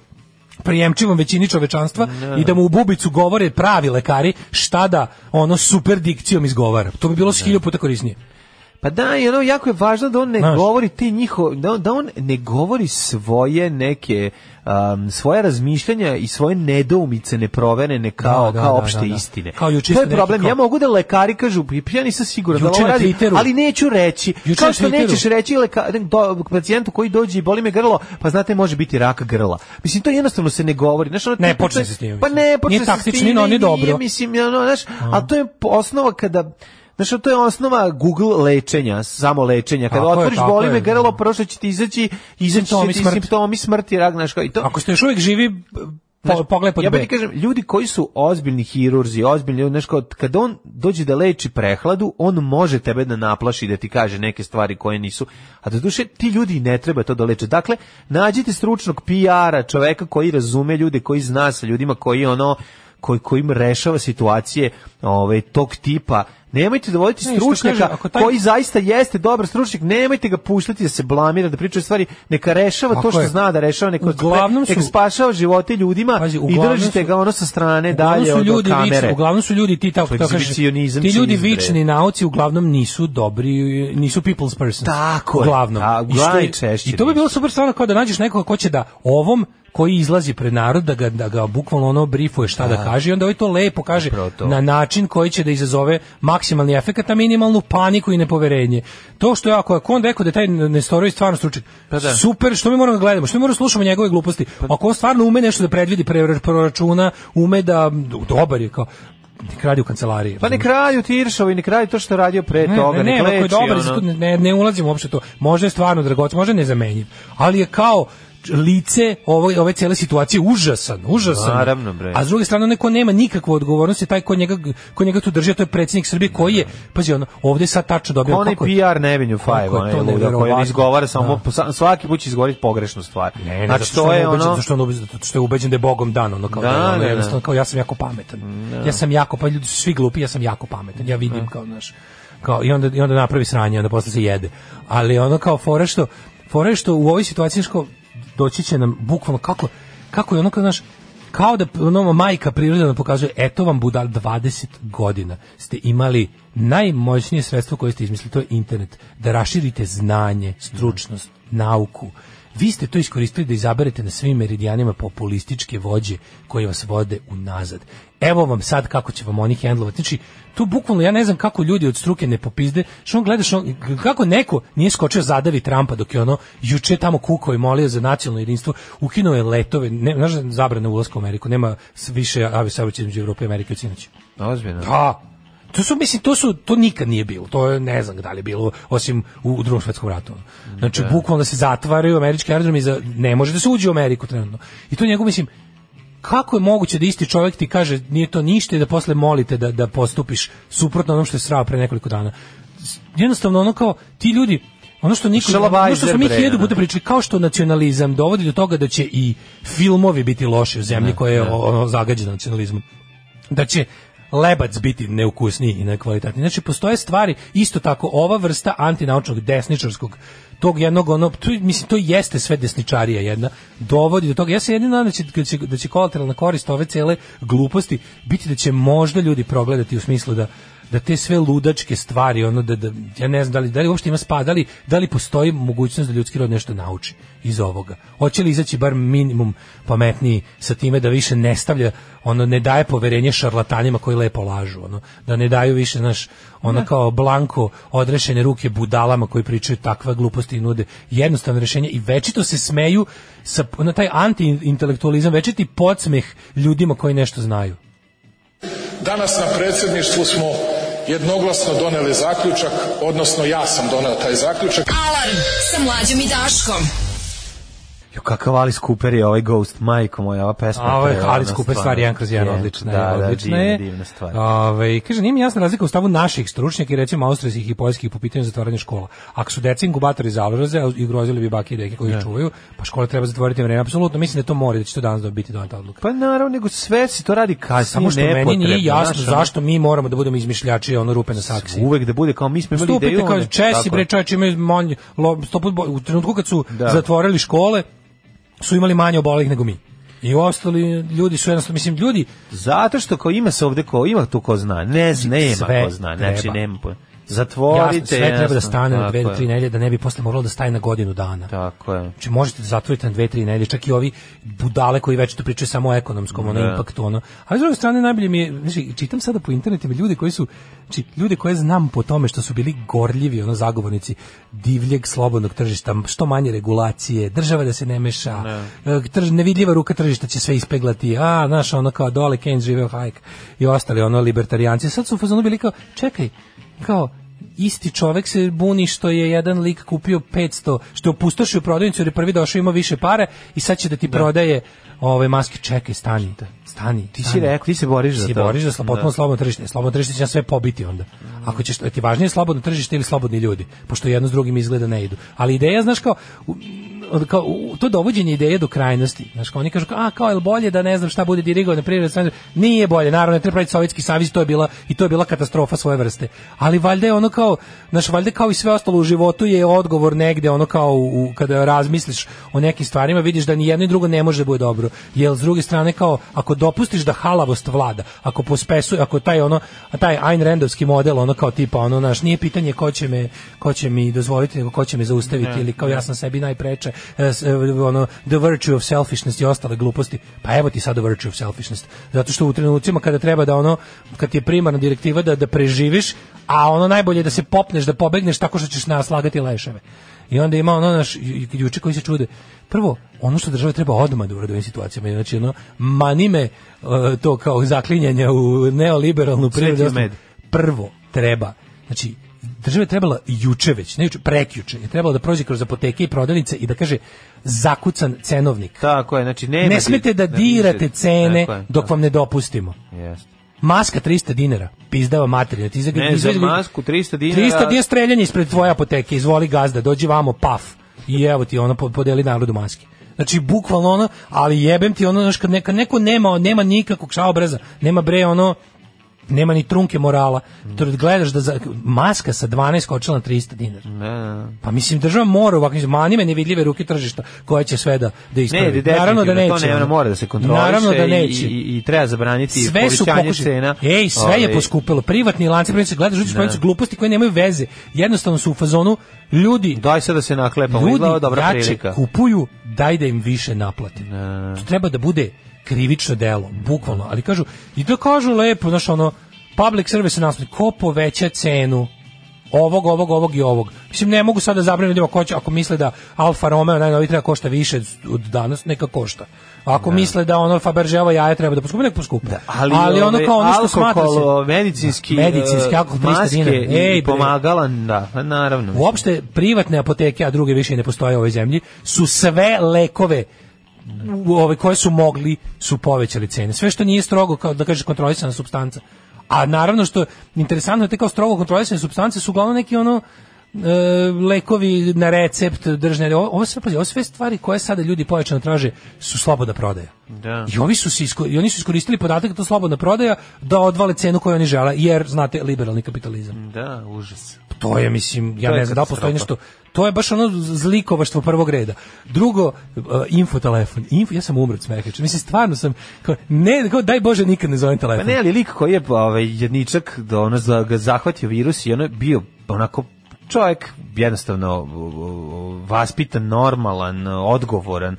F: prijemčivom većini čovečanstva i da mu u bubicu govore pravi lekari šta da ono super dikcijom izgovara. To bi bilo s hilju puta korisnije.
E: Pa da, i ono, jako je važno da on ne
F: Znaš.
E: govori te njiho, da, on- da on ne govori svoje neke, um, svoje razmišljanja i svoje nedoumice neproverene kao,
F: Da, da,
E: kao
F: da,
E: opšte
F: da, da.
E: istine.
F: Kao juče
E: to je
F: ste neki
E: problem.
F: kao-
E: Ja mogu da lekari kažu, "Pa ja nisam siguran da
F: Juče
E: ovo
F: na
E: radi,
F: Twitteru.
E: ali neću reći.
F: Juče
E: kao
F: na
E: što
F: Twitteru.
E: nećeš reći leka- do- pacijentu koji dođe i boli me grlo, pa znate, može biti rak grla. Mislim, to jednostavno se ne govori. Znaš, ono,
F: Ne,
E: to- to-
F: počne se s tim,
E: Pa
F: mislim.
E: ne, počne se
F: Nije
E: s
F: taktično,
E: tim
F: ni-
E: i
F: ni dobro.
E: mislim, ja, ono, znaš, a to je po- osnova kada Znaš, to je osnova Google lečenja, samo lečenja. Kada
F: Tako je,
E: otvoriš
F: tako
E: boli me
F: je.
E: grlo, prvo što će ti izaći, izaći će
F: Simptomi
E: ti
F: smrti.
E: simptomi smrti, rak, znaš, kao i to.
F: Ako ste još uvijek živi, po,
E: Znaš,
F: Pa, pogledaj pod
E: ja bih
F: B.
E: ti kažem, ljudi koji su ozbiljni hirurzi, ozbiljni, ljudi, znaš, kao, kada on dođe da leči prehladu, on može tebe da naplaši, da ti kaže neke stvari koje nisu, a do duše ti ljudi i ne treba to da leče. Dakle, nađite stručnog PR-a, čoveka koji razume ljude, koji zna sa ljudima, koji ono, koji kojim rešava situacije ovaj tog tipa nemojte dovoditi
F: Ne, što
E: stručnjaka
F: kaže, ako taj-
E: koji zaista jeste dobar stručnjak nemojte ga puštati da se blamira da priča stvari neka rešava to
F: Tako
E: što
F: je.
E: zna da rešava neka
F: Uglavnom su-
E: neka spašava živote ljudima
F: Pazi,
E: i
F: uglavnom
E: držite
F: su-
E: ga ono sa strane
F: Uglavnom
E: dalje
F: su
E: od
F: ljudi
E: kamere.
F: vični, uglavnom su ljudi ti tako
E: To je
F: to kažeš.
E: egzibicionizam
F: Ti ljudi
E: čini izbre.
F: vični nauci uglavnom nisu dobri, nisu people's persons.
E: Tako je.
F: Uglavnom.
E: A,
F: I, što je-
E: najčešće
F: I to bi bilo super stvarno kao da nađeš nekoga ko će da ovom koji izlazi pred narod da ga, da ga bukvalno ono brifuje šta da, kaže i onda ovaj to lepo kaže na način koji će da izazove maksimalni efekat na minimalnu paniku i nepoverenje. To što ja, ako je on rekao da je taj Nestorović stvarno stručnjak,
E: da.
F: super, što mi moramo Pa da gledamo, što mi moramo da slušamo njegove gluposti. Ako on stvarno ume nešto da predvidi pre- proračuna, ume da, dobar je kao, nek radi u kancelariji.
E: Pa ne kralju Tiršovi, ne kralju to što je radio pre
F: Ne,
E: toga,
F: ne,
E: ne,
F: ne, ako je
E: kleči,
F: dobar,
E: ono.
F: zato ne, ne ulazim uopšte u to. Možda je stvarno dragoc, možda je nezamenjiv. Ali je kao lice ove, ove cele situacije užasan, užasan.
E: Naravno, bre.
F: A s druge strane, onaj ko nema nikakvu odgovornost je taj ko njega, ko njega tu drži, a to je predsjednik Srbije koji je, pazi, ono, ovdje sad tačno dobio...
E: Pa Onaj
F: koliko je-
E: PR Nevenju Five, ono,
F: koliko
E: onaj
F: je to
E: luda koji on
F: neverovatno.
E: izgovara samo,
F: Da.
E: po- sa- svaki put će izgovoriti pogrešnu stvar.
F: Ne, ne,
E: znači, to je ono...
F: što on ubeđen, zato što je ubeđen da je bogom dan, ono kao
E: Da,
F: da, je ono,
E: da, da.
F: jednostavno kao ja sam jako pametan. Ja sam jako pa ljudi su svi glupi, ja sam jako pametan. Ja vidim kao naš kao i onda i onda napravi sranje, onda posle se jede. Ali ono kao fore što fore što u ovoj situaciji znaš, kao, doći će nam bukvalno kako kako je ono kao znaš kao da ono, majka priroda nam pokazuje eto vam budal 20 godina ste imali najmoćnije sredstvo koje ste izmislili to je internet da raširite znanje, stručnost, nauku vi ste to iskoristili da izaberete na svim meridijanima populističke vođe koje vas vode unazad. Evo vam sad kako će vam oni hendlovati. Znači, tu bukvalno ja ne znam kako ljudi od struke ne popizde, što on gledaš, on, kako neko nije skočio zadavi Trumpa dok je ono juče tamo kukao i molio za nacionalno jedinstvo, ukinuo je letove, ne, znaš da je zabrana ulaska u Ameriku, nema s- više aviosaobraćaja između Evrope i Amerike od sinoć.
E: Ozbiljno.
F: Da. To su, mislim, to su, to nikad nije bilo. To je, ne znam da li je bilo, osim u, u drugom svjetskom ratu. Znači, bukvalno da se zatvaraju američki aerodromi, za, ne može da se uđe u Ameriku trenutno. I to njegov, mislim, kako je moguće da isti čovjek ti kaže nije to ništa i da posle molite da, da postupiš suprotno onom što je srao pre nekoliko dana. S- Jednostavno, ono kao, ti ljudi, ono što niko, ono što
E: Šalabajzer,
F: smo mi
E: bre,
F: hiljadu
E: ono.
F: puta pričali, kao što nacionalizam dovodi do toga da će i filmovi biti loši u zemlji koja je ono, zagađena nacionalizmom da će lebac biti neukusniji i nekvalitetniji. Znači, postoje stvari, isto tako, ova vrsta antinaučnog, desničarskog, tog jednog, ono, tu, mislim, to jeste sve desničarija jedna, dovodi do toga. Ja se jedino nadam da će, da će, da će kolateralna korist ove cele gluposti biti da će možda ljudi progledati u smislu da da te sve ludačke stvari, ono da, da ja ne znam da li, da li uopšte ima spa, da li, da li postoji mogućnost da ljudski rod nešto nauči iz ovoga. Hoće li izaći bar minimum pametniji sa time da više ne stavlja, ono ne daje poverenje šarlatanima koji lepo lažu, ono da ne daju više naš ono kao blanko odrešene ruke budalama koji pričaju takve gluposti i nude jednostavno rješenje i večito se smeju sa na taj antiintelektualizam, večiti podsmeh ljudima koji nešto znaju.
G: Danas na predsjedništvu smo jednoglasno doneli zaključak, odnosno ja sam doneo taj zaključak.
D: Alarm sa mlađom i Daškom.
E: Jo, kakav Alice Cooper je ovaj Ghost, majko moja, ova pesma.
F: A ovo je
E: prevara,
F: Alice
E: ono,
F: Cooper stvar
E: stvarno.
F: 1 kroz 1,
E: Je,
F: odlična
E: da,
F: je,
E: da,
F: odlična
E: divna,
F: je.
E: divna stvar.
F: Ove, kaže, nije mi jasna razlika u stavu naših stručnjaka i recimo austrijskih i poljskih po pitanju zatvaranja škola. Ako su deca inkubatori zaloze a i grozili bi bake i reke koji ih čuvaju, pa škole treba zatvoriti na vreme. Apsolutno, mislim da to mora, da će to danas biti donata odluka.
E: Pa naravno, nego sve se to radi kasnije,
F: Samo što meni
E: nepotrebno,
F: nije jasno
E: znaš, ono,
F: zašto mi moramo da budemo izmišljači ono rupe na saksiji.
E: Uvek da bude kao mi smo imali ideju.
F: Stupite kao
E: ono,
F: Česi,
E: tako.
F: bre, čovječe, imaju manj, lo, sto put bo- u trenutku kad su
E: Da.
F: zatvorili škole, su imali manje obolelih nego mi. I ostali ljudi su jednostavno, mislim, ljudi,
E: Zato što ko ima se ovde ko ima tu ko zna. Ne, zna, nema
F: Znači, sve
E: ko zna.
F: treba.
E: Znači nema. po-
F: jasno,
E: Zatvorite.
F: sve treba da
E: jasno,
F: stane na
E: tako
F: dve do
E: je.
F: tri nedelje, da ne bi posle moralo da staje na godinu dana.
E: Tako je.
F: Znači možete da zatvorite na dve, tri nedelje, čak i ovi budale koji već tu pričaju samo o ekonomskom ono, impaktu. Ono. Ali s druge strane, najbolje mi je, znači, čitam sada po internetima ljude koji su, znači, ljude koje znam po tome što su bili gorljivi ono, zagovornici divljeg slobodnog tržišta, što manje regulacije, država da se ne meša, e, trž- nevidljiva ruka tržišta će sve ispeglati, a, znaš, ono kao dole Keynes živeo hajk i ostali ono libertarijanci. Sad su u fazonu bili kao, čekaj, kao, isti čovek se buni što je jedan lik kupio 500, što je opustošio prodavnicu jer je prvi došao ima više pare i sad će da ti prodaje ove maske. Čekaj, stani, stani.
E: Ti si
F: stani.
E: rekao, ti se boriš za
F: Ti
E: to.
F: boriš za slo- potpuno
E: Da.
F: slobodno tržište. Slobodno tržište će nas sve pobiti onda. Ako ćeš, ti važnije je slobodno tržište ili slobodni ljudi, pošto jedno s drugim izgleda ne idu. Ali ideja, znaš, kao, u- od- kao u- to dovođenje ideje do krajnosti. Znaš, kao oni kažu, kao, a, kao, jel bolje da ne znam šta bude dirigovano privreda, sve- nije bolje, naravno, ne treba praviti Sovjetski savez, to je bila, i to je bila katastrofa svoje vrste. Ali valjda je ono kao, znaš, valjda kao i sve ostalo u životu je odgovor negde, ono kao u, kada razmisliš o nekim stvarima, vidiš da ni jedno i drugo ne može da bude dobro. Jer s druge strane kao ako dopustiš da halavost vlada, ako pospesu, ako taj ono taj Ayn Randovski model ono kao tipa ono naš nije pitanje ko će me ko će mi dozvoliti, nego ko će me zaustaviti ili kao ja sam sebi najpreče e, s- e, ono, the virtue of selfishness i ostale gluposti. Pa evo ti sad the virtue of selfishness. Zato što u trenucima kada treba da ono, kad ti je primarna direktiva da, da preživiš, a ono najbolje je da se popneš, da pobegneš tako što ćeš naslagati leševe. I onda ima ono naš ju- ju- juče koji se čude. Prvo, ono što država treba odmah da uradi u ovim situacijama, znači ono, manime e, to kao zaklinjanje u neoliberalnu
E: Sveti
F: privredu.
E: med.
F: Prvo treba, znači, država je trebala juče već, ne juče, prekjuče, je trebala da prođe kroz apoteke i prodavnice i da kaže zakucan cenovnik.
E: Tako je, znači nema
F: ne
E: ti-
F: smete da
E: ne
F: dirate
E: diže-
F: cene
E: Tako je,
F: dok
E: da.
F: vam ne dopustimo.
E: Jeste.
F: Maska 300 dinara, pizdava materija. Ti izag-
E: Ne, za
F: izvađi-
E: masku 300 dinara.
F: 300 dinara streljanje ispred tvoje apoteke, izvoli gazda, dođi vamo, paf. I evo ti ono po- podeli narodu maske. Znači, bukvalno ono, ali jebem ti ono, znaš, kad neka, neko nema, nema nikakvog šaobraza, nema bre ono, nema ni trunke morala. Mm. Gledaš da za, maska sa 12 kočila na 300 dinara.
E: Ne, ne, ne.
F: Pa mislim država mora ovakvim manime nevidljive ruke tržišta koja će sve da da
E: Ne,
F: ispravi.
E: definitivno,
F: Naravno da neće.
E: To ne, ono
F: ono.
E: mora da se kontroliše
F: Naravno da
E: i-
F: neće.
E: I, i, treba zabraniti
F: sve su
E: povećanje
F: pokušali.
E: cena.
F: Ej, sve je
E: Ovaj,
F: poskupilo. Privatni lanci prodavnice gledaš uđeš u prodavnicu, gluposti koje nemaju veze. Jednostavno su u fazonu ljudi
E: Daj sad da se naklepamo,
F: ljudi
E: izgleda dobra
F: jače
E: prilika.
F: kupuju, daj da im više naplati. To treba da bude krivično delo, bukvalno. Ali kažu, i da kažu lepo, znaš, ono, public service naslov, ko poveća cenu ovog, ovog, ovog i ovog. Mislim, ne mogu sada zabraniti ljudima ko će, ako misle da Alfa Romeo najnovi treba košta više od danas, neka košta. Ako misle da ono Fabergeova jaja treba da poskupe, neka poskupe.
E: ali,
F: ono
E: ovaj,
F: kao ono što
E: alkohol,
F: smatra se...
E: medicinski, e,
F: Medicinski alkohol, 300
E: maske
F: dinara. Ej,
E: i
F: bre.
E: pomagala, da, pa naravno.
F: Uopšte privatne apoteke, a druge više i ne postoje u ovoj zemlji, su sve lekove u- ove koje su mogli su povećali cene. Sve što nije strogo kao da kaže kontrolisana supstanca. A naravno što je interesantno je te kao strogo kontrolisane supstance su uglavnom neki ono e, lekovi na recept držne ovo, ovo sve pazi, ovo sve stvari koje sada ljudi povećano traže su slobodna prodaja.
E: Da.
F: I ovi su se isko- i oni su iskoristili podatak da je to slobodna prodaja da odvale cenu koju oni žele jer znate liberalni kapitalizam
E: Da, užas.
F: to je mislim ja
E: To je
F: ne znam da li postoji nešto
E: katastrofa.
F: to je baš ono zlikovaštvo prvog reda drugo uh, info telefon info ja sam umro od smeha juče. mislim stvarno sam kao, ne kao, daj bože nikad ne zovem
E: Pa
F: telefon
E: ne, ali lik koji je ovaj, jedničak, da ono za, ga zahvatio virus i ono je bio onako čovjek jednostavno o, o, vaspitan, normalan, odgovoran.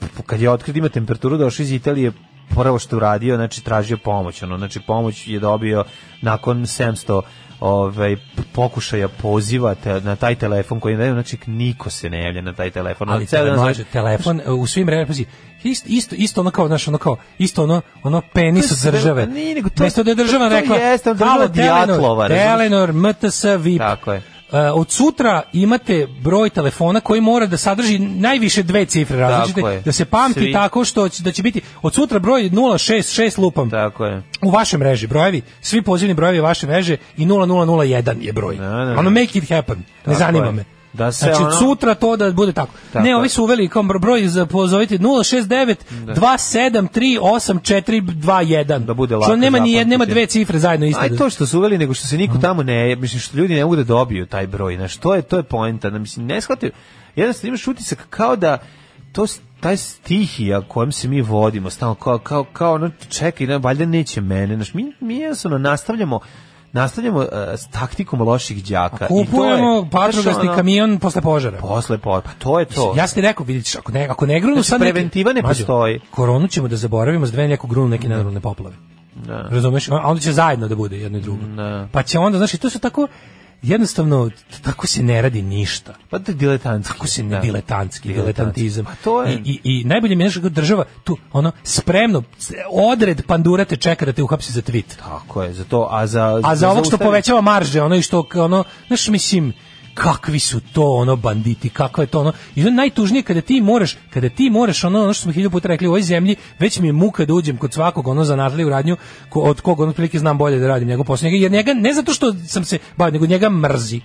E: P- Kad je otkrio da ima temperaturu, došao iz Italije, prvo što uradio, znači tražio pomoć. Ono, znači pomoć je dobio nakon 700 ovaj p- pokušaja poziva te- na taj telefon koji ne znači niko se ne javlja na taj telefon
F: ali
E: Ceo dan
F: telefon,
E: zove-
F: telefon uh, u svim vremenima pazi, isto isto isto ono kao znaš ono kao isto ono ono penis
E: To
F: od
E: je sve-
F: države
E: nije, nego to-
F: Mesto da je država
E: to- to
F: rekla
E: jeste, država
F: "Halo, Telenor,
E: Dijatlova, razumeš?"
F: Telenor MTS VIP
E: Tako je.
F: Uh, od sutra imate broj telefona koji mora da sadrži najviše dve cifre
E: Tako
F: različite,
E: je.
F: da se pamti
E: Svi.
F: tako što će, da će biti od sutra broj 066 lupam
E: Tako je.
F: u vašoj mreži brojevi, svi pozivni brojevi vaše mreže i 0001 je broj.
E: Da, da, da.
F: Ono make it happen, ne
E: Tako
F: zanima
E: je.
F: me.
E: Da se
F: znači,
E: ono-
F: sutra to da bude tako.
E: Tako
F: ne,
E: je.
F: ovi su uveli kao broj za pozovite 069 273 8421.
E: Da bude lako
F: Što nema ni jed, nema
E: zapamtiti.
F: dve cifre zajedno isto.
E: Aj to što su uveli nego što se
F: Mhm.
E: niko tamo ne, mislim što ljudi ne mogu da dobiju taj broj, znaš, to je to je poenta, da mislim ne shvataju. Jednostavno imaš utisak kao da to s- taj stihija kojom se mi vodimo, stalno kao kao kao ono čekaj, ne, valjda neće mene, znaš, mi mi jednostavno nastavljamo nastavljamo eh, s taktikom loših đaka. I to je,
F: Kupujemo
E: znaš,
F: patrogasni
E: ono,
F: kamion posle požara.
E: posle po, pa to je to.
F: Ja sam ti rekao, vidjet ćeš, ako ne, ako ne grunu
E: Znači,
F: sad... neki-
E: preventiva ne
F: Mlađo,
E: postoji.
F: Koronu ćemo da zaboravimo, za dve neko grunu neke nenormalne poplave.
E: Da.
F: Razumeš? A onda će zajedno da bude jedno i drugo. Pa će onda, znaš, i to su tako, jednostavno, t- tako se ne radi ništa.
E: Pa to je diletantski.
F: Tako se ne
E: da.
F: diletantski, diletantizam.
E: Pa to je...
F: I, i, i najbolje mi je nešto kako država tu, ono, spremno, s- odred pandurate čeka da te uhapsi za tweet.
E: Tako je, za to, a za...
F: A za ovog što
E: zaustaviti-
F: povećava marže, ono i što k- ono, znaš, mislim, kakvi su to ono banditi, kakva je to ono. I ono najtužnije kada ti moraš, kada ti moraš ono, ono što smo hiljadu puta rekli u ovoj zemlji, već mi je muka da uđem kod svakog ono zanatlije u radnju, ko, od kog ono prilike znam bolje da radim njegov posao. Njega, jer njega, ne zato što sam se bavio, nego njega mrzi.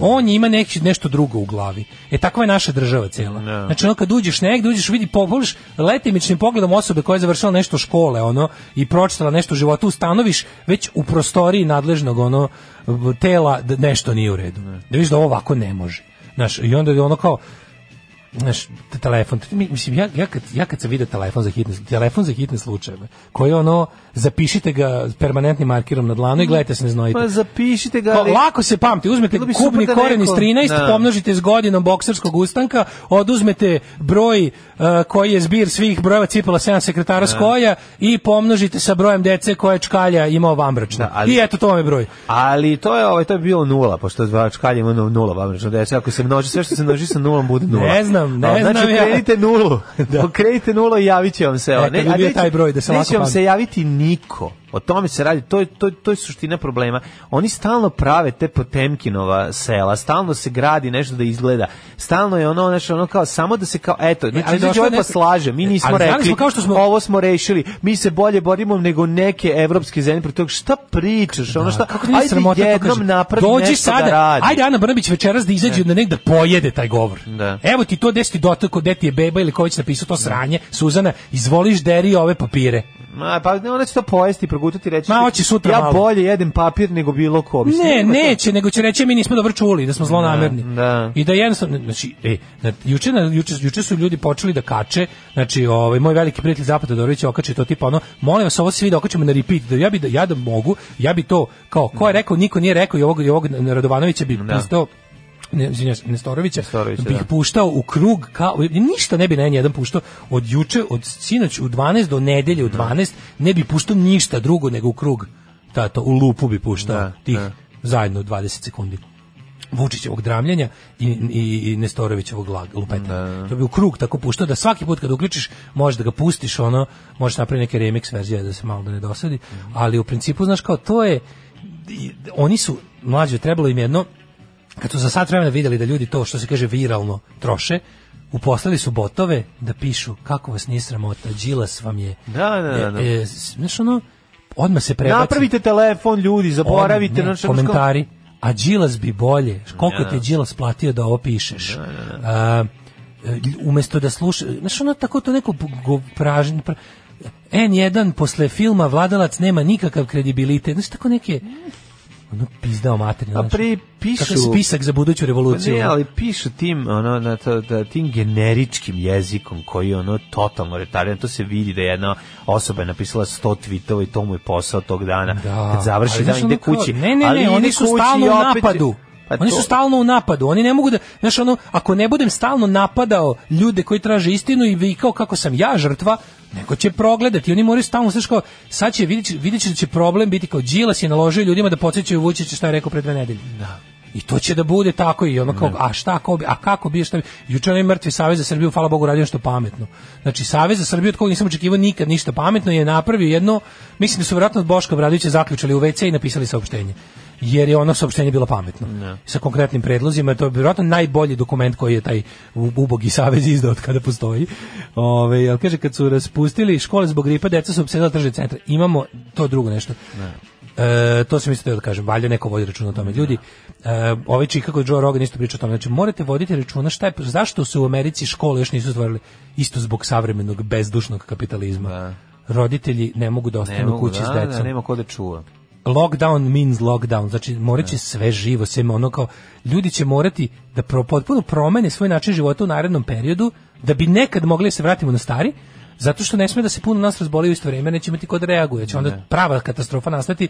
F: On je ima neki, nešto drugo u glavi. E takva je naša država cela. Znači ono kad uđeš negde, uđeš, vidi, pogledaš letimičnim pogledom osobe koja je završila nešto škole, ono, i pročitala nešto u životu, ustanoviš već u prostoriji nadležnog, ono, v- tela da nešto nije u redu. Da vidiš da ovo ovako ne može. Znaš, i onda je ono kao, znaš, t- telefon, t- mi- mislim, ja, ja, kad, ja kad sam vidio telefon za hitne, telefon za hitne slučajeve, koji je ono, zapišite ga permanentnim markirom na dlanu i gledajte se ne znojite.
E: Pa zapišite ga,
F: Kao,
E: ali...
F: lako se pamti, uzmete
E: Bilo bi super
F: kubni
E: da
F: koren iz
E: neko-
F: 13,
E: Da.
F: pomnožite s godinom bokserskog ustanka, oduzmete broj uh, koji je zbir svih brojeva cipala 7 sekretara Skoja i pomnožite sa brojem dece koje čkalja imao vambračno.
E: Da, ali-
F: I eto, to vam je broj.
E: Ali to je ovaj to je bilo nula, pošto dva čkalje ima nula, vam rečeno da ako se množi sve što se množi sa nulom bude nula.
F: Ne znam, ne
E: A, znači,
F: znam ja.
E: krenite nulu.
F: Da.
E: da. Pokrenite nulu i javit će vam se.
F: E,
E: on.
F: kad bi
E: a
F: bio
E: neće-
F: taj broj da se lako
E: neće vam
F: pamti.
E: se javiti niko. O tome se radi, to je, to, je- to je suština problema. Oni stalno prave te Potemkinova sela, stalno se gradi nešto da izgleda. Stalno je ono, znači ono kao samo da se kao eto, znači
F: E, ali
E: dođe
F: došlo je
E: ovaj pa
F: neko-
E: slaže, mi
F: E,
E: nismo
F: ali znali
E: rekli.
F: smo kao što smo-
E: ovo smo rešili. Mi se bolje borimo nego neke evropske zemlje protiv toga šta pričaš, ono šta.
F: Pa Kako nije
E: Ajde
F: sramota to
E: jednom
F: kaže?
E: napravi
F: Dođi
E: nešto
F: sada,
E: da radi.
F: Ajde Ana Brnabić večeras da izađe na negde da pojede taj govor.
E: Da.
F: Evo ti to desi ti dotako, gde ti je beba ili ko već napisao to sranje, Suzana, izvoliš deri ove papire.
E: Ma, pa ne, ona će to pojesti, i progutati i reći.
F: Ma, hoće sutra
E: Ja
F: malo."
E: bolje jedem papir nego bilo ko. Mislim,
F: Ne,
E: nema to.
F: neće, nego će reći "E, mi nismo dobro čuli, da smo zlonamerni.
E: da.
F: I da jednostavno, znači, e, na- juče, na- juče, juče su ljudi počeli da kače, znači, ovaj, moj veliki prijatelj Zapad Todorović je okačio to tipa ono, molim vas, ovo svi da okačimo na repeat, da ja bi, da, ja da mogu, ja bi to, kao, ko je rekao, niko nije rekao i ovog, i ovog Radovanovića bi pustao, ne, izvinjavam se, Nestorovića,
E: Nestorovića,
F: bih
E: da.
F: puštao u krug kao ništa ne bi na jedan puštao od juče od sinoć u 12 do nedelje u 12 ne bi puštao ništa drugo nego u krug tato u lupu bi puštao
E: Da,
F: tih
E: da.
F: zajedno 20 sekundi Vučićevog dramljenja i, i, i Nestorovićevog lag, lupeta. To bi u krug tako puštao da svaki put kad uključiš možeš da ga pustiš ono, možeš napraviti neke remix verzije da se malo da ne dosadi,
E: Mhm.
F: ali u principu znaš kao to je i- oni su mlađe trebalo im jedno kad su za sat vremena vidjeli da ljudi to što se kaže viralno troše, uposlali su botove da pišu kako vas nije sramota, Đilas vam je.
E: Da, da, da, da.
F: E, e, znaš ono, odmah se prebaci.
E: Napravite telefon, ljudi, zaboravite.
F: Odmah, ne,
E: znači, ono što-
F: komentari. A Đilas bi bolje. Koliko ti je Đilas platio da ovo pišeš? A, e, umesto da sluša, znaš ono tako to neko go- pražnje, pra- N1 posle filma Vladalac nema nikakav kredibilitet. Znaš tako neke ono pizdao materijalno.
E: A pri Pa pišu... Pa
F: Kakav spisak za buduću revoluciju.
E: Ne, ali pišu tim, ono, na to, da, tim generičkim jezikom koji je ono totalno retardan, to se vidi da je jedna osoba je napisala 100 tweetova i to mu je posao tog dana.
F: Da.
E: Kad završi
F: Ali
E: dan
F: znaš
E: ide
F: ono kao-
E: kući.
F: Ne, ne,
E: Ali
F: ne,
E: ide
F: oni su
E: kući
F: stalno
E: i
F: u
E: opet-
F: napadu.
E: Pa
F: oni su
E: to-
F: stalno u napadu. Oni ne mogu da, znaš ono, ako ne budem stalno napadao ljude koji traže istinu i vikao kako sam ja žrtva, neko će progledati. Oni moraju stalno, znaš kao, sad će vidjet, će- vidjet će da će problem biti kao Đilas je naložio ljudima da podsjećaju Vučića šta je rekao pre dve nedelje. I to će da bude tako i ono kao, a šta, ko bi, a kako bi, šta bi. Juče onaj mrtvi Savez za Srbiju, hvala Bogu, radio nešto pametno. Znači, Savez za Srbiju, od kog nisam očekivao nikad ništa pametno, je napravio jedno, mislim da su vjerojatno od Boška Bradovića zaključali u WC i napisali saopštenje. Jer je ono saopštenje bilo pametno. Sa konkretnim predlozima, to je vjerojatno najbolji dokument koji je taj u- ubogi Savez izdao od kada postoji. Ove, jel kaže, kad su raspustili škole zbog gripa, deca su obsedala tržne centre. Imamo to drugo nešto. E, to sam isto teo da kažem, valjda neko vodi računa o tome. Ljudi, e, ovaj Chicago Joe Rogan isto priča o tome. Znači, morate voditi računa šta je, zašto se u Americi škole još nisu stvorili? Isto zbog savremenog bezdušnog kapitalizma. Roditelji ne mogu da
E: Ne
F: ostanu
E: mogu,
F: kući
E: da,
F: s
E: da,
F: decom
E: nema ko da čuva.
F: lockdown means lockdown. Znači, morat će sve živo, sve ono kao, ljudi će morati da pro, potpuno promene svoj način života u narednom periodu, da bi nekad mogli da se vratimo na stari, zato što ne sme da se puno nas razboli u isto vrijeme, neće imati ko da reaguje, će onda prava katastrofa nastati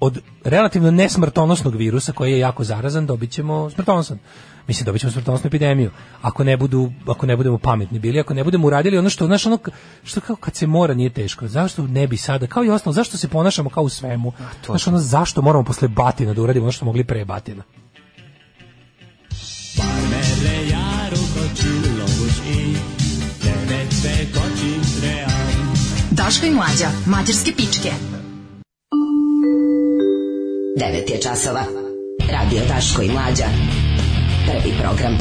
F: od relativno nesmrtonosnog virusa koji je jako zarazan, dobit ćemo smrtonosan. Mislim, dobit ćemo smrtonosnu epidemiju. Ako ne, budu, ako ne budemo pametni bili, ako ne budemo uradili ono što, znaš, ono, k- što kao kad se mora nije teško. Zašto ne bi sada, kao i ostalo, zašto se ponašamo kao u svemu? Znaš, ono, zašto moramo posle batina da uradimo ono što smo mogli pre batina?
D: Daško i Mlađa, mađarske pičke.
K: 9 je časova. Radio Daško i Mlađa. Prvi program.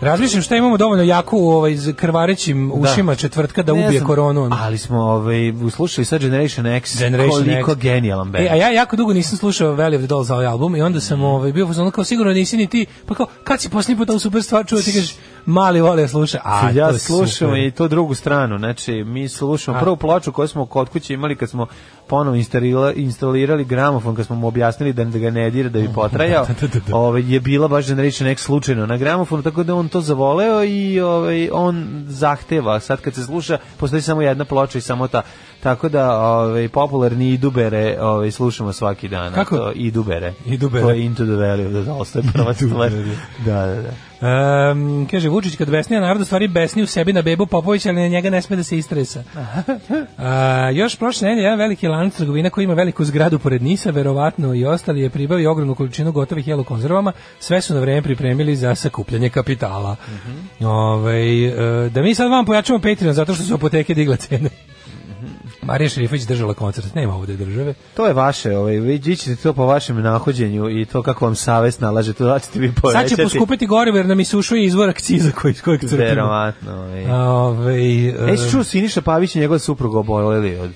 F: Razmišljam šta imamo dovoljno jako u ovaj, z- krvarećim ušima četvrtka da
E: Ne
F: ubije
E: znam,
F: koronu. ono.
E: Ali smo ovaj, slušali sad Generation X,
F: Generation
E: koliko
F: X.
E: genijalan band. Mhm.
F: E, a ja jako dugo nisam slušao Valley of the Dolls ovaj album i onda sam ovaj, bio fazon kao sigurno nisi ni ti, pa kao kad si posljednji put ovu super stvar čuo ti kažeš mali vole da sluša. A, to
E: ja
F: je
E: slušam
F: super.
E: i to drugu stranu, znači mi slušamo
F: A.
E: prvu ploču koju smo kod kuće imali kad smo ponovo instalirali, instalirali gramofon, kad smo mu objasnili da, da ga ne dira da bi potrajao,
F: Da, da, da.
E: ovaj, je bila baš Generation X slučajno na gramofonu, tako da on to zavoleo i ovaj, on zahteva, sad kad se sluša, postoji samo jedna ploča i samo ta, tako da ovaj, popularni idubere ovaj, slušamo svaki dan. a
F: Kako?
E: To, idubere.
F: Idubere.
E: To je Into the Valley of the Dolls, to je prva stvar.
F: Idubere.
E: Da, da, da.
F: Ehm, kaže Vučić kad besnija narod u stvari besni u sebi na bebu Popovića, ali na njega ne sme da se istresa. A, još prošle nedelje jedan veliki lanac trgovina koji ima veliku zgradu pored Nisa, verovatno i ostali je pribavio ogromnu količinu gotovih jelo konzervama, sve su na vreme pripremili za sakupljanje kapitala.
E: Mhm.
F: Ovaj, e, da mi sad vam pojačamo Patreon zato što su apoteke digle cene. Marija Šerifović držala koncert, nema ovde države.
E: To je vaše, ovaj, vi vi ćete to po vašem nahođenju i to kako vam savest nalaže, to da ćete vi
F: Sad
E: povećati.
F: će poskupiti gorivo jer nam isušuje izvor akciza koji, iz kojeg crpimo.
E: Verovatno. Ovaj.
F: A, Ovaj, e,
E: Ej, si čuo Siniša Pavić i njegova supruga oboleli od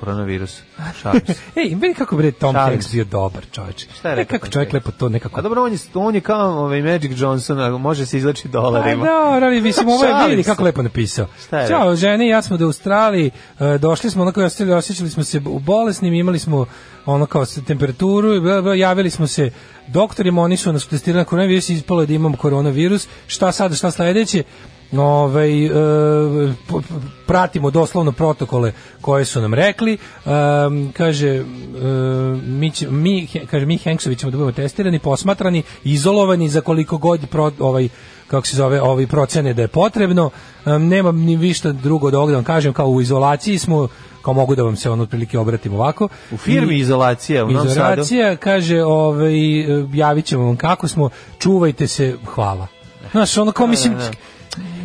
E: koronavirusa. Šalim se.
F: Ej, vidi kako bre Tom
E: Šalim
F: Hanks
E: se.
F: bio dobar, čoveče.
E: Šta je
F: Vidi
E: rekao
F: kako
E: Tom
F: čovjek
E: Hanks?
F: lepo to nekako.
E: A dobro, on je, on je kao ovaj, Magic Johnson, a može se izlači
F: A
E: dolarima.
F: dobro, Pa ali mislim, ovo je
E: Šalim
F: vidi
E: se.
F: kako lepo napisao.
E: Šta je
F: Ćao, žene, i ja smo do Australiji, e, došli smo, onako osjećali, osjećali smo se u bolesnim, imali smo ono kao s- temperaturu, i bla, bla, javili smo se doktorima, oni su nas testirali na koronavirus, i ispalo je da imam koronavirus, šta sad, šta sledeće? Ovaj, e, p- p- pratimo doslovno protokole koje su nam rekli Em, kaže e, mi, će, mi, he- kaže mi Henksovi ćemo da budemo testirani, posmatrani izolovani za koliko god pro, ovaj, kako se zove, ovi procene da je potrebno. Em, nemam ni višta drugo od ovoga da vam kažem, kao u izolaciji smo, kao mogu da vam se on otprilike obratim ovako.
E: U firmi
F: I-
E: izolacija u Novom Sadu.
F: Izolacija, kaže, ovaj, e, javit ćemo vam kako smo, čuvajte se, hvala. Znaš, ono kao, mislim,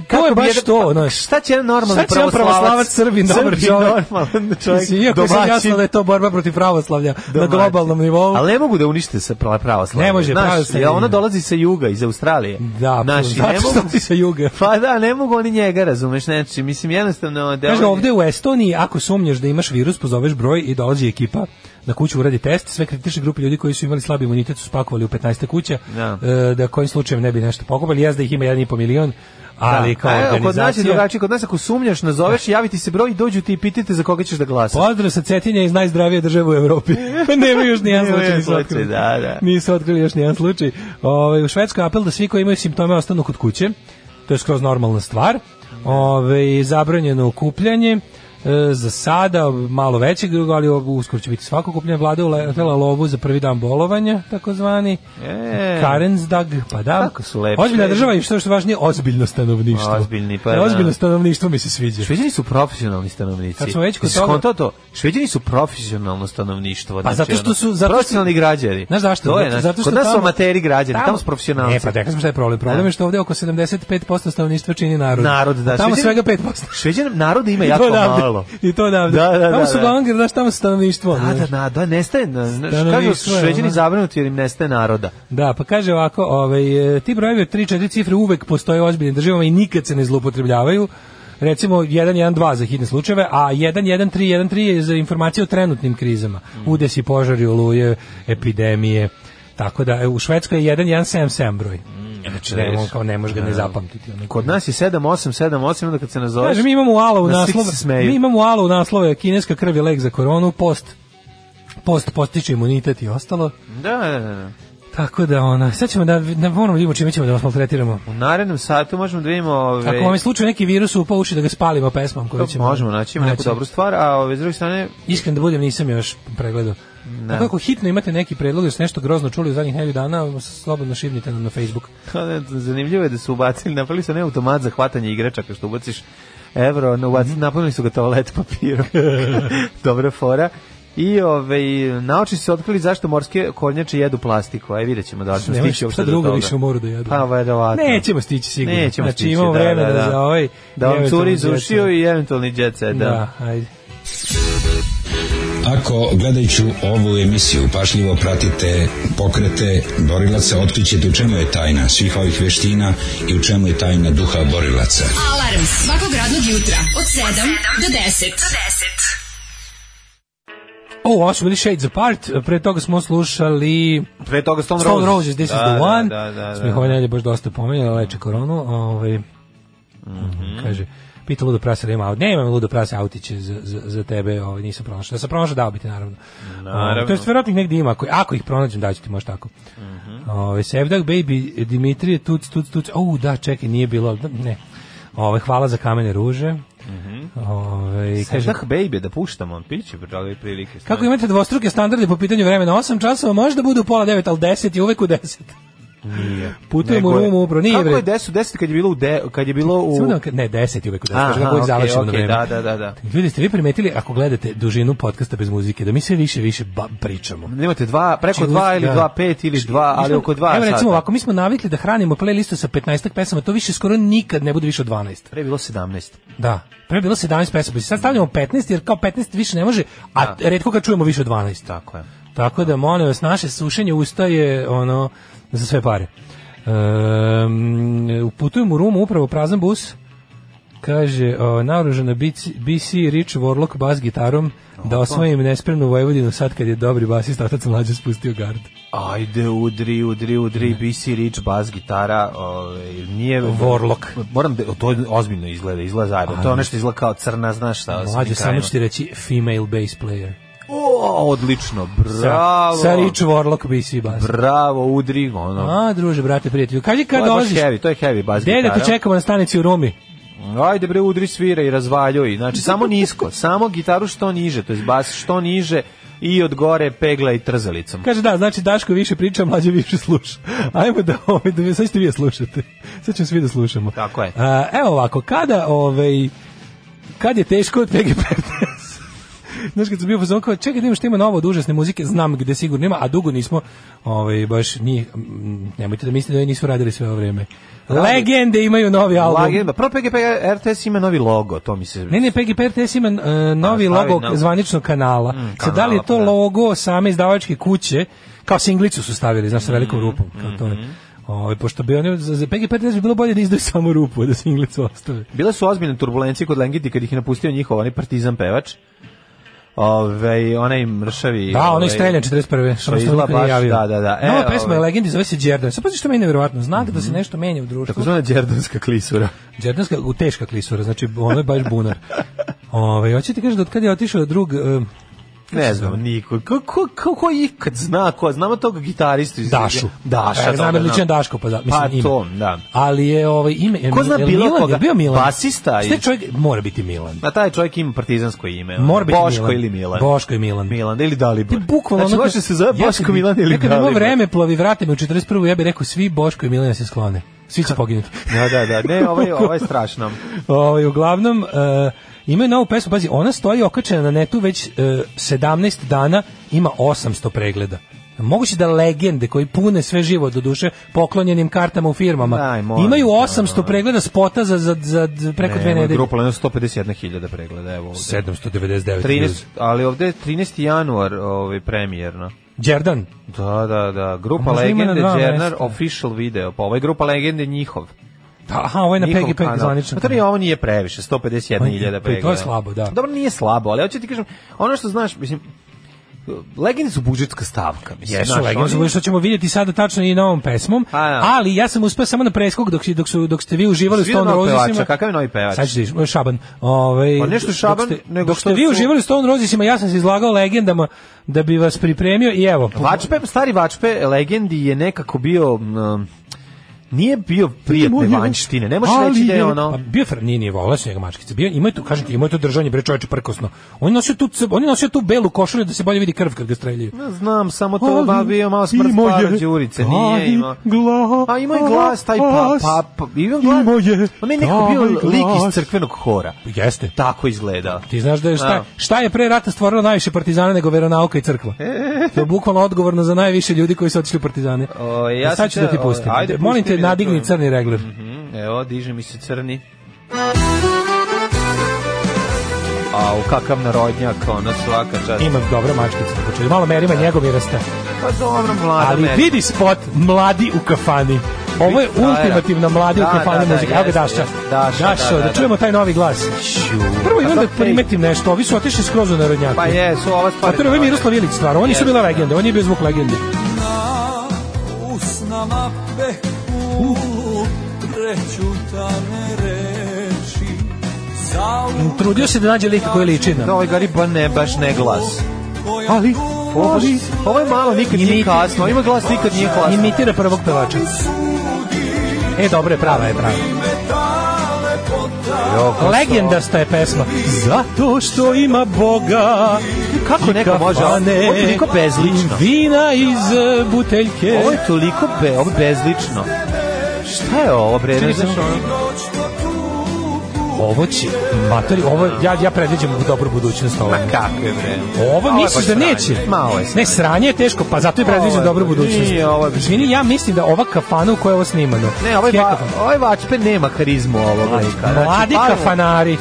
F: Kako je
E: bi
F: baš
E: jedan-
F: to,
E: pa,
F: znaš,
E: Šta će jedan normalni
F: Sad će jedan pravoslavac Srbin, dobar čovjek.
E: normalan čovjek,
F: Mislim, Iako sam
E: domaćin.
F: jasno da je to borba protiv pravoslavlja na
E: domaćin.
F: globalnom nivou.
E: Ali ne mogu da unište se pra- pravoslavlje.
F: Ne može,
E: Znaš,
F: pravoslavlje.
E: jer Ona dolazi sa juga, iz Australije.
F: Da,
E: Znaš, i
F: zato
E: ne
F: što
E: mogu-
F: ti sa juga.
E: Pa da, ne mogu oni njega, razumeš, znači, mislim, jednostavno... Da
F: Kaže,
E: on-
F: ovde u Estoniji, ako sumnjaš da imaš virus, pozoveš broj i dolazi ekipa na kuću uradi test, sve kritične grupe ljudi koji su imali slabi imunitet su spakovali u 15 kuća,
E: Da.
F: e, da kojim slučajem ne bi nešto pokopali, jaz da ih ima 1,5 milion, ali
E: Da.
F: kao
E: A, evo, Kod nas je
F: organizacija...
E: drugačije, kod nas ako sumnjaš, nazoveš, javiti se broj i dođu ti i pitajte za koga ćeš da glasaš.
F: Pozdrav sa Cetinja iz najzdravije države u Evropi. Pa nema još nijedan
E: Nema
F: slučaj.
E: još
F: nisu
E: slučaj,
F: otkrili.
E: da, da.
F: Nisu otkrili još nijedan slučaj. Ove, u Švedskoj apel da svi koji imaju simptome ostanu kod kuće. To je skroz normalna stvar. Ove, zabranjeno okupljanje. E, za sada malo većeg, ali uskoro će biti svako kupljanje vlade uletela lovu za prvi dan bolovanja, takozvani.
E: E.
F: Karensdag, pa da.
E: Kako su lepi.
F: Ozbiljna država i što je što važnije, ozbiljno stanovništvo. E,
E: Ozbiljni, pa da.
F: Ozbiljno stanovništvo mi se sviđa.
E: Šveđani su profesionalni stanovnici.
F: Kad smo već kod
E: Jesi
F: toga-
E: skontao to? Šveđani su profesionalno stanovništvo.
F: Pa
E: znači,
F: zato što
E: ono,
F: su zato što-
E: profesionalni građani.
F: Znaš zašto?
E: To je,
F: Zato-
E: znači,
F: zato što
E: kod nas su
F: tamo-
E: amateri građani, tamo, su profesionalci. E.
F: Ne, pa čekaj, znaš šta je problem? Problem je što ovde oko 75% stanovništva čini narod.
E: Narod, da.
F: A Tamo
E: Šveđani-
F: svega 5%.
E: Šveđan narod ima
F: I
E: jako
F: to odavde.
E: malo.
F: I to odavde.
E: Da, da,
F: tamo
E: da,
F: su
E: da.
F: uglavnom, da. znaš, tamo stanovništvo.
E: Da, da, da, da, nestaje, na- znaš, kažu
F: Stanovništvo je,
E: šveđani
F: ono.
E: zabrinuti jer im nestaje naroda.
F: Da, pa kaže ovako, ovaj, e, ti brojevi od 3-4 cifre uvek postoje u ozbiljnim državama i nikad se ne zloupotrebljavaju. Recimo 112 za hitne slučajeve, a 11313 je za informacije o trenutnim krizama. Udesi, požari, oluje, epidemije. Tako da e, u Švedskoj je 11777 broj. znači, ne,
E: vidiš.
F: kao ne možeš ga ne zapamtiti. ono.
E: Kod nas je 7878, onda kad se nazoveš...
F: Kaže, mi imamo u Alovu
E: na svih
F: naslov,
E: se smeju.
F: mi imamo u Alovu naslove kineska krv je lek za koronu, post post postiče imunitet i ostalo.
E: Da, da, da. da.
F: Tako da ona, sad ćemo da da moramo da vidimo čime ćemo da vas maltretiramo.
E: U narednom satu možemo da vidimo... Ove,
F: Ako vam je slučaj neki virus upao u uši da ga spalimo pesmom koju
E: to
F: ćemo.
E: možemo naći, ima neku
F: naći.
E: dobru stvar, a ove, s druge strane,
F: Iskren da budem, nisam još pregledao.
E: Ne.
F: Tako ako hitno imate neki predlog, jer ste nešto grozno čuli u zadnjih nedelju dana, slobodno šibnite nam na Facebook.
E: ono, zanimljivo je da su ubacili, napravili su ne automat za hvatanje igračaka što ubaciš evro, no, ubaci,
F: Mhm.
E: napunili su ga toalet papirom. Dobra fora. I ove, naučnici su otkrili zašto morske kornjače jedu plastiku, aj vidjet ćemo da li ćemo
F: Nema
E: stići
F: šta
E: uopšte do
F: drugo
E: toga.
F: više u moru da jedu.
E: Pa, verovatno.
F: Nećemo stići sigurno.
E: Nećemo
F: znači,
E: stići,
F: imamo
E: da,
F: vremena
E: da,
F: da,
E: da.
F: za ovaj...
E: Da vam
F: eventualno
E: curi iz
F: jet set.
E: ušiju i eventualni jet set, da.
F: Da, ajde.
L: Ako gledajuću ovu emisiju pašljivo pratite pokrete borilaca, otkrićete u čemu je tajna svih ovih veština i u čemu je tajna duha borilaca.
D: Alarm svakog radnog jutra od 7 do 10. Do 10.
F: O, u 8 ili Shades Apart, pre toga smo slušali...
E: Pre toga Stone,
F: Stone
E: Roses.
F: Roses, This
E: Da,
F: is the
E: da,
F: One.
E: da, da, da.
F: Smo ih ove nedelje baš dosta pomenjali, leče koronu. Ovaj,
E: Mhm.
F: Kaže, pita ludo prase da ima aut. Ne imam ludo prase autiće za, za, za tebe, ovaj, nisam pronašao. Da sam pronašao, dao bi ti, naravno.
E: Naravno.
F: Ovaj, to je verovatno ih negdje ima. Ako, ako ih pronađem, daću ti možda tako.
E: Mhm.
F: Ovaj, Sevdak, baby, Dimitrije, tuc, tuc, tuc. O, da, čekaj, nije bilo. Ne. Ovaj, hvala za kamene ruže.
E: Mhm.
F: Ovaj, kaže,
E: Sevdah Baby, da puštamo, piće, ali prilike.
F: kako imate dvostruke standarde po pitanju vremena? 8 časova možda bude u pola 9, ali 10 je uvek u 10.
E: Nije.
F: Putujemo
E: Nego
F: u
E: je-
F: Rumu, upravo, nije
E: Kako
F: bre.
E: je 10 10 kad je bilo u de, kad je bilo u
F: Samo da vam ka- ne, 10 je uvek u 10, kaže, kako uvek
E: okej,
F: završimo na
E: okej,
F: vreme.
E: da, da, da, da.
F: Ljudi, ste vi primetili, ako gledate dužinu podcasta bez muzike, da mi sve više više ba- pričamo?
E: Nemate dva, preko
F: Znači,
E: 2 ili
F: da.
E: 2 5 ili 2,
F: Mi
E: ali
F: smo-
E: oko 2
F: Evo recimo ovako, mi smo navikli da hranimo playlistu sa 15 pesama, to više skoro nikad ne bude više od 12.
E: Pre je bilo 17.
F: Da. Pre je bilo 17 pesama, sad stavljamo 15 jer kao 15 više ne može, a
E: Da.
F: redko kad čujemo više od 12.
E: Tako je.
F: Tako da molim vas, naše sušenje usta je ono za sve pare. Ehm, putujem u Rumu upravo prazan bus. Kaže, o, naoružana BC, BC Rich Warlock bas gitarom da osvojim nespremnu Vojvodinu sad kad je dobri basista otac mlađe spustio gard.
E: Ajde, udri, udri, udri, BC Rich, bas, gitara, ovaj, nije...
F: Warlock.
E: Moram, da, to ozbiljno izgleda, izgleda zajedno. To je ono što izgleda kao crna, znaš šta. sa
F: Mlađe, samo
E: krajima.
F: ću ti reći female bass player.
E: O, odlično,
F: Sa,
E: bravo.
F: sa Rich Warlock BC bas.
E: Bravo, udri, ono.
F: A, druže, brate, prijatelju, kaži kad
E: to je baš
F: dolaziš.
E: heavy, to je heavy bas
F: Gde da
E: gitara. Mm,
F: te čekamo na stanici u Rumi?
E: Ajde bre, udri svira i razvaljuj. Znači, samo nisko, samo gitaru što niže, to je bas što niže i od gore pegla i trzalicom.
F: Kaže da, znači Daško više priča, mlađe više sluša. Ajmo da ovaj da vi- sad ćete vi da slušate. Sad ćemo svi da slušamo.
E: Tako je.
F: A, evo ovako, kada ovaj kad je teško od PG15. Znaš kad sam bio pozvan kao, čekaj, da imaš ima novo od užasne muzike, znam gde sigurno ima, a dugo nismo, ovaj, baš njih, mm, nemojte da mislite da oni nisu radili sve ovo vrijeme. Legende imaju novi album.
E: Lagenda. Prvo PGP RTS ima novi logo, to mi se...
F: Ne, ne, PGP RTS ima e, novi
E: stavi
F: logo
E: na-
F: zvaničnog kanala. Sad, da li je
E: kanala,
F: to
E: pa da.
F: logo same izdavačke kuće, kao singlicu su stavili, znaš, sa velikom
E: Mm,
F: rupom, kao to je. Ovaj, pošto bi oni, za, za PGP RTS bi bilo bolje da izdaju samo rupu, a da singlicu ostave.
E: Bile su ozbiljne turbulencije kod Lengiti kad ih je napustio njihov onaj partizan pevač. Ove, onaj mršavi...
F: Da, ono onaj
E: ovaj,
F: streljan 41. ono Što
E: što
F: se
E: izgleda
F: niko nije
E: baš,
F: javio.
E: da, da, da. E,
F: Nova pesma
E: ovaj. Mhm.
F: je legendi, zove se Đerdan. Sad pazi što meni je nevjerovatno. Znak da se nešto menja u društvu.
E: Takozvana džerdonska klisura.
F: Đerdanska u teška klisura, znači ono je baš bunar. Ove, hoćete ti kažem da od kada je otišao drug... e,
E: Ne znam, niko. Ko, ko, ko, ko ikad zna? Ko, znamo tog gitaristu iz...
F: Dašu.
E: Daša.
F: E, znam
E: dobro,
F: odličan Daško, pa da,
E: Pa
F: mislim, ime.
E: to, da.
F: Ali je ovaj ime... je
E: Ko zna
F: je
E: bilo
F: Milan,
E: koga?
F: Je bio Milan.
E: Basista
F: Sve
E: je.
F: čovjek mora biti Milan.
E: Na taj čovjek ima partizansko ime. ono,
F: Mora biti
E: Boško
F: Milan.
E: ili Milan.
F: Boško i Milan.
E: Milan ili Dalibor.
F: Ti bukvalno
E: znači,
F: ono
E: može
F: kad-
E: se zove
F: ja
E: Boško
F: kad bi-
E: Milan ili
F: ja kad bi imao
E: Dalibor.
F: vreme plovi vrate me u 41. ja bih rekao svi Boško i Milan da se sklone. Svi će poginuti.
E: Da, da, da. Ne, ovo je, ovo je strašno.
F: Ovaj, uglavnom, e, imaju novu pesmu, pazi, ona stoji okačena na netu već e, 17 dana, ima 800 pregleda. Moguće da legende koji pune sve živo do duše poklonjenim kartama u firmama
E: Daj, molim
F: imaju
E: te,
F: 800 pregleda spota za, za, za preko dve
E: Ne,
F: nedelje.
E: grupa Leno 151.000 pregleda, evo ovde.
F: 799
E: 13, ali ovde je 13. januar ovaj, premijerno.
F: Đerdan.
E: Da, da, da. Grupa
F: Možda ima na
E: Legende,
F: dva
E: Džernar,
F: mesta.
E: official video. Pa ovaj Grupa Legende njihov.
F: Aha, ovo je na
E: Njihov
F: PGP
E: kanal.
F: zvanično.
E: Pa to ni ovo nije previše,
F: Pa,
E: 151.000
F: pa i to je
E: pregleda.
F: slabo, da.
E: Dobro, nije slabo, ali hoću ti kažem, ono što znaš, mislim, Legende su budžetska stavka. Mislim,
F: Jesu
E: znaš,
F: legende,
E: oni-
F: zato što ćemo vidjeti sada tačno i novom pesmom,
E: A, da.
F: ali ja sam uspeo samo na preskok dok, si- dok, su, dok ste vi uživali u
E: Svi do
F: Stone
E: novog
F: Rosesima.
E: pevača, Kakav je novi pevač?
F: Sad ću ti, o, Šaban. Ovaj,
E: Pa nešto
F: dok
E: Šaban,
F: ste-
E: nego
F: dok
E: što
F: ste vi
E: su-
F: uživali u Stone Rosesima, ja sam se izlagao legendama da bi vas pripremio i evo.
E: Vačpe, stari Vačpe legendi je nekako bio mm, nije bio prijatne vanjštine. Ne možeš
F: Ali
E: reći da je
F: Pa
E: ono
F: bio Fer nije nije volao su njega mačkice. Bio ima tu kažete, ima tu držanje bre čoveče prkosno. On je nosio tu c- on je nosio tu belu košulju da se bolje vidi krv kad ga streljaju.
E: znam samo to
F: Ali
E: ba bio malo smrt
F: imao je
E: para Đurice, nije
F: taj
E: imao.
F: glas,
E: A ima i glas taj pa pa, pa ima glas.
F: Imao je
E: On Pa je nekako bio
F: taj
E: lik
F: glas.
E: iz crkvenog hora.
F: Jeste.
E: Tako izgleda.
F: Ti znaš da je šta,
E: Da.
F: šta je pre rata stvorilo najviše partizana nego veronauka i crkva. To je bukvalno odgovorno za najviše ljudi koji su otišli u partizane.
E: O, ja
F: A
E: sam
F: sad ću da ti
E: te- o,
F: pustim.
E: ajde,
F: Molim
E: pusti
F: te,
E: mi da
F: nadigni
E: čujem.
F: crni regler.
E: Mhm, Evo, diže mi se crni. A u kakav narodnjak, ono svaka čast.
F: Ima dobra mačkica. na početku. Malo merima njegov i rasta.
E: Pa dobro, mlada
F: Ali
E: meni.
F: vidi spot, mladi u kafani. Ovo je
E: biti frajera.
F: ultimativna mlada
E: Da,
F: u kafani
E: da, da,
F: muzika. Evo ga
E: jeste,
F: Daša.
E: jeste. Daša,
F: Dašo,
E: da,
F: da,
E: da,
F: čujemo taj novi glas. Prvo imam da primetim nešto, ovi su otišli skroz u narodnjaku.
E: Pa jesu, ova stvar
F: A
E: je
F: prvo je
E: dobra.
F: Miroslav Ilić stvar, oni su
E: Jeste,
F: bila
E: da.
F: legende, on je bio zvuk legende.
M: usnama peku prećutane reči zauvek
F: Trudio se da nađe lika koji liči na.
E: Da, ovaj gari ba ne, baš ne glas.
F: Ali,
E: Ovo, baš- ovo je malo, nikad nije
F: Imitira-
E: kasno. Ima glas, nikad nije kasno.
F: Imitira prvog pevača. E, dobro je, prava je, prava. Legendasta je pesma. Zato što ima Boga.
E: Kako
F: i
E: neko može,
F: kafane,
E: ovo je toliko bezlično.
F: i Vina iz e, buteljke.
E: Ovo je toliko be, ovo je bezlično. Šta je ovo, bre?
F: Čekaj,
E: Ne znaš
F: samo-
E: ono-
F: Ovo će, matori, ovo, ja, ja predviđam dobru budućnost ovo.
E: Ma kako je, bre?
F: Ovo
E: je
F: misliš
E: baš
F: da
E: sranje.
F: neće?
E: Ma, ovo je sranje.
F: Ne, sranje je teško, pa zato i predviđam
E: Ovo je-
F: dobru budućnost.
E: nije, ovo je-
F: Izvini, ja mislim da ova kafana u kojoj je ovo snimano.
E: Ne, ovaj, va,
F: Hekafan.
E: ovaj vačpe nema karizmu ovog lika. Znači,
F: Mladi
E: Pavle-
F: kafanari.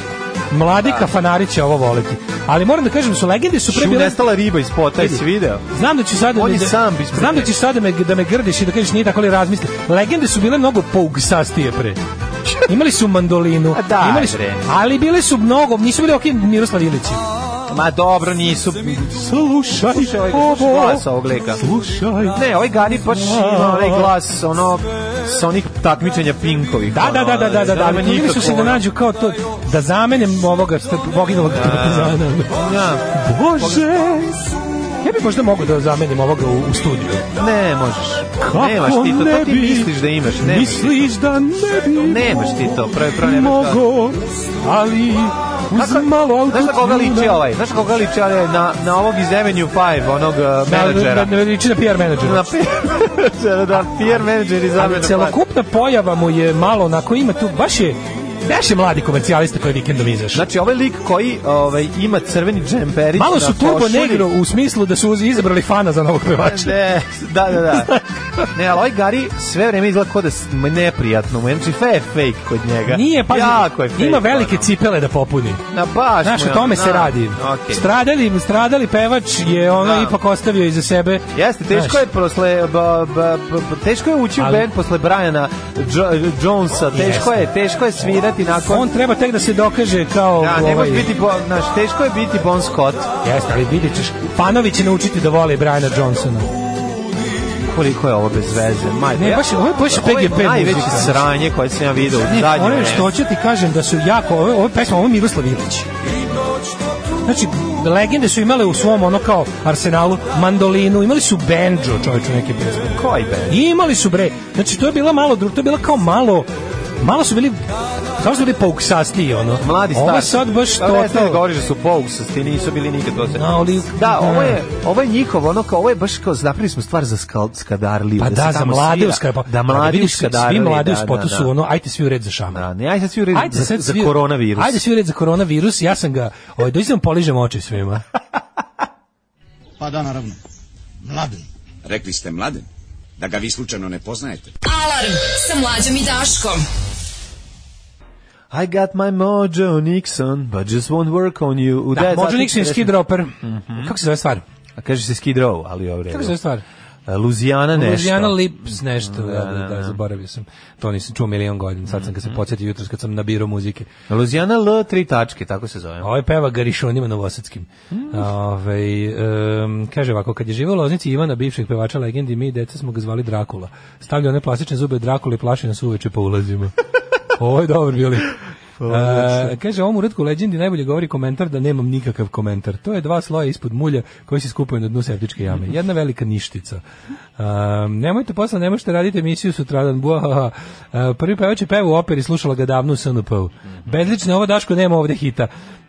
F: Mladi kafanari će ovo voleti. Ali moram da kažem, su legende su pre
E: Šu,
F: bile...
E: nestala riba iz pota, jesi video?
F: Znam da ću sada
E: On
F: da,
E: je sam bi
F: Znam da ćeš sada da me da me grdiš i da kažeš nije tako li razmisli. Legende su bile mnogo pougsastije pre. Imali su mandolinu,
E: A daj,
F: imali su,
E: bre.
F: ali bile su mnogo, nisu bili okej Miroslav Ilić.
E: Ma dobro, nisu...
F: Slušaj,
E: Slušaj
F: ovo.
E: ovaj glas ovog lika.
F: Slušaj.
E: Ne, ovaj gari baš ima onaj glas, ono, sa onih takmičenja Pinkovih. ono,
F: Da, da, da, da, da, da, da, ali trudili su se da nađu kao to, da zamenem ovoga str- poginulog partizana.
E: Ja.
F: Bože! Ja bi možda mogu da zamenim ovoga u, u studiju.
E: Ne, možeš.
F: Kako
E: nemaš ti to,
F: ne
E: to ti
F: bi?
E: misliš da imaš. Nemaš ti
F: Misliš da ne bi
E: to. Nemaš ti to, prvo, prvo nemaš to.
F: mogo, ali uz
E: Kako-
F: malo
E: Znaš na koga liči
F: autotuna-
E: ovaj? Znaš na koga liči ovaj? Na, na ovog iz Avenue 5, onog uh, menadžera.
F: Na, na, na, liči na PR menadžera.
E: Na PR, da, PR menadžer iz Avenue
F: Ali
E: 5.
F: celokupna pojava mu je malo onako ima tu, baš je, baš je mladi komercijalista koji je vikendom izašao.
E: Znači, ovaj lik koji ovaj, ima crveni džemperić
F: Malo
E: na
F: su turbo
E: košulji.
F: negro u smislu da su uz- izabrali fana za novog pevača.
E: Ne, da, da, da. Ne, ali ovaj Gari sve vreme izgleda kao da s- m- neprijatno mu je. Znači, sve je fake kod njega.
F: Nije, pa
E: jako je fake.
F: ima velike
E: ono.
F: cipele da popuni.
E: Na baš
F: Znaš,
E: mu
F: o
E: je
F: tome
E: ono,
F: se
E: na,
F: radi.
E: okej.
F: Stradali, stradali pevač je ono
E: Da.
F: ipak ostavio iza sebe.
E: Jeste, teško
F: Znaš.
E: je posle ba, ba, ba- teško je ući
F: Ali-
E: u bend posle Briana Jo- Jonesa, teško je, teško je svirati nakon
F: On treba tek da se dokaže kao
E: Da, ne
F: ovaj...
E: može biti, bo, znaš, teško je biti Bon Scott.
F: Jeste, ali vidjet ćeš. Fanovi će naučiti da vole Briana Johnsona.
E: Koliko je ovo bez veze, majko.
F: Ne,
E: ja-
F: baš je- ovo je baš
E: Ovo je
F: PGP
E: najveće
F: muzika.
E: sranje koje sam ja video u
F: Ne,
E: zadnje
F: ono
E: vreme.
F: što hoću ti kažem da su jako, ovo, ovo je pesma, ovo je Miroslav Ilić. Znači, legende su imale u svom ono kao arsenalu mandolinu, imali su banjo, čovječu neke pesme.
E: Koji band?
F: I imali su bre. Znači, to je bila malo drugo, to je bila kao malo, malo su bili, samo su bili pouksastiji, ono.
E: Mladi stari.
F: Ovo je sad baš
E: to. Ne, sad
F: to.
E: govoriš da su pouksasti, nisu bili nikad to se.
F: Na, ali-
E: da, ovo je,
F: da.
E: ovo je njihov, ono kao, ovo je baš kao, napravili smo stvar za skal, skadarliju.
F: Pa
E: se
F: da, za
E: tamo
F: mlade pa-
E: svira.
F: u skapa.
E: Da, mladi u
F: Svi
E: skadarliju.
F: mladi u
E: da,
F: spotu
E: da, da.
F: su ono, ajte svi u red za šama.
E: Da, ne, ajde sad svi u redu
F: Ajde
E: za,
F: sad
E: za
F: svi-
E: koronavirus.
F: Ajde svi u red za koronavirus, ja sam ga, ovaj, dođi da vam poližem oči svima.
N: Pa da, naravno. Mladen.
A: Rekli ste mladen? Da ga vi slučajno ne poznajete?
D: Alarm sa mlađom i Daškom.
E: I got my mojo Nixon, but just won't work on you. U
F: Da,
E: deset-
F: Mojo Nixon i Skid Roper.
E: Mhm.
F: Kako se zove stvar?
E: A kaže se Skid Row, ali ovdje.
F: Kako se zove stvar?
E: Luzijana nešto.
F: Louisiana Lips nešto, da, da,
E: da, Mhm. da.
F: zaboravio sam. To nisam čuo milion godina, sad sam ga se podsjetio jutros kad sam nabirao muzike.
E: Luzijana L, tri tačke, tako se zove.
F: Ovo je peva Garišonima Novosadskim. Ovaj, em, kaže ovako, kad je živeo u Loznici Ivana, bivšeg pevača legendi, mi deca smo ga zvali Drakula. Stavlja one plastične zube Drakula i plaši nas uveče po ulazima. Ovo je dobro bili. E, kaže, ovom uredku legendi najbolje govori komentar da nemam nikakav komentar. To je dva sloja ispod mulja koji se skupaju na dnu septičke jame. Jedna velika ništica. Um, nemojte posla, ne možete raditi emisiju sutradan. Buahaha. Uh, prvi pevač je peva u operi, slušala ga davno u SNP-u. Bezlično, ovo Daško nema ovde hita.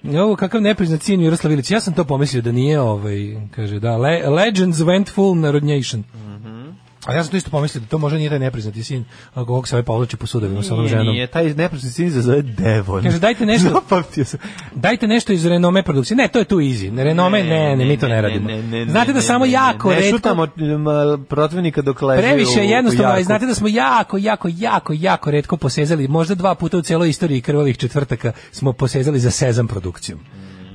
F: Ovo kakav nepriznat sin Miroslav Ilić. Ja sam to pomislio da nije ovaj, kaže, da, le- Legends went full narodnjation. A ja sam to isto pomislio da to možda nije taj nepriznati sin ako ovog se ovaj povlači po sudovima sa onom
E: Nije,
F: ženom.
E: nije, taj neprosti sin se zove Devon.
F: Kaže, dajte nešto-
E: Zapamtio sam.
F: Dajte nešto iz renome produkcije. Ne, to je tu easy. Ne, renome, ne, ne, mi to ne radimo.
E: ne, ne,
F: znate da
E: ne,
F: samo
E: ne,
F: jako
E: ne, ne,
F: retko-
E: šutamo m, protivnika dok leži
F: Previše
E: u-
F: je
E: u
F: jednostavno,
E: jarku.
F: ali znate da smo jako, jako, jako, jako redko posezali, možda dva puta u cijeloj istoriji krvavih četvrtaka smo posezali za Sezam produkcijom.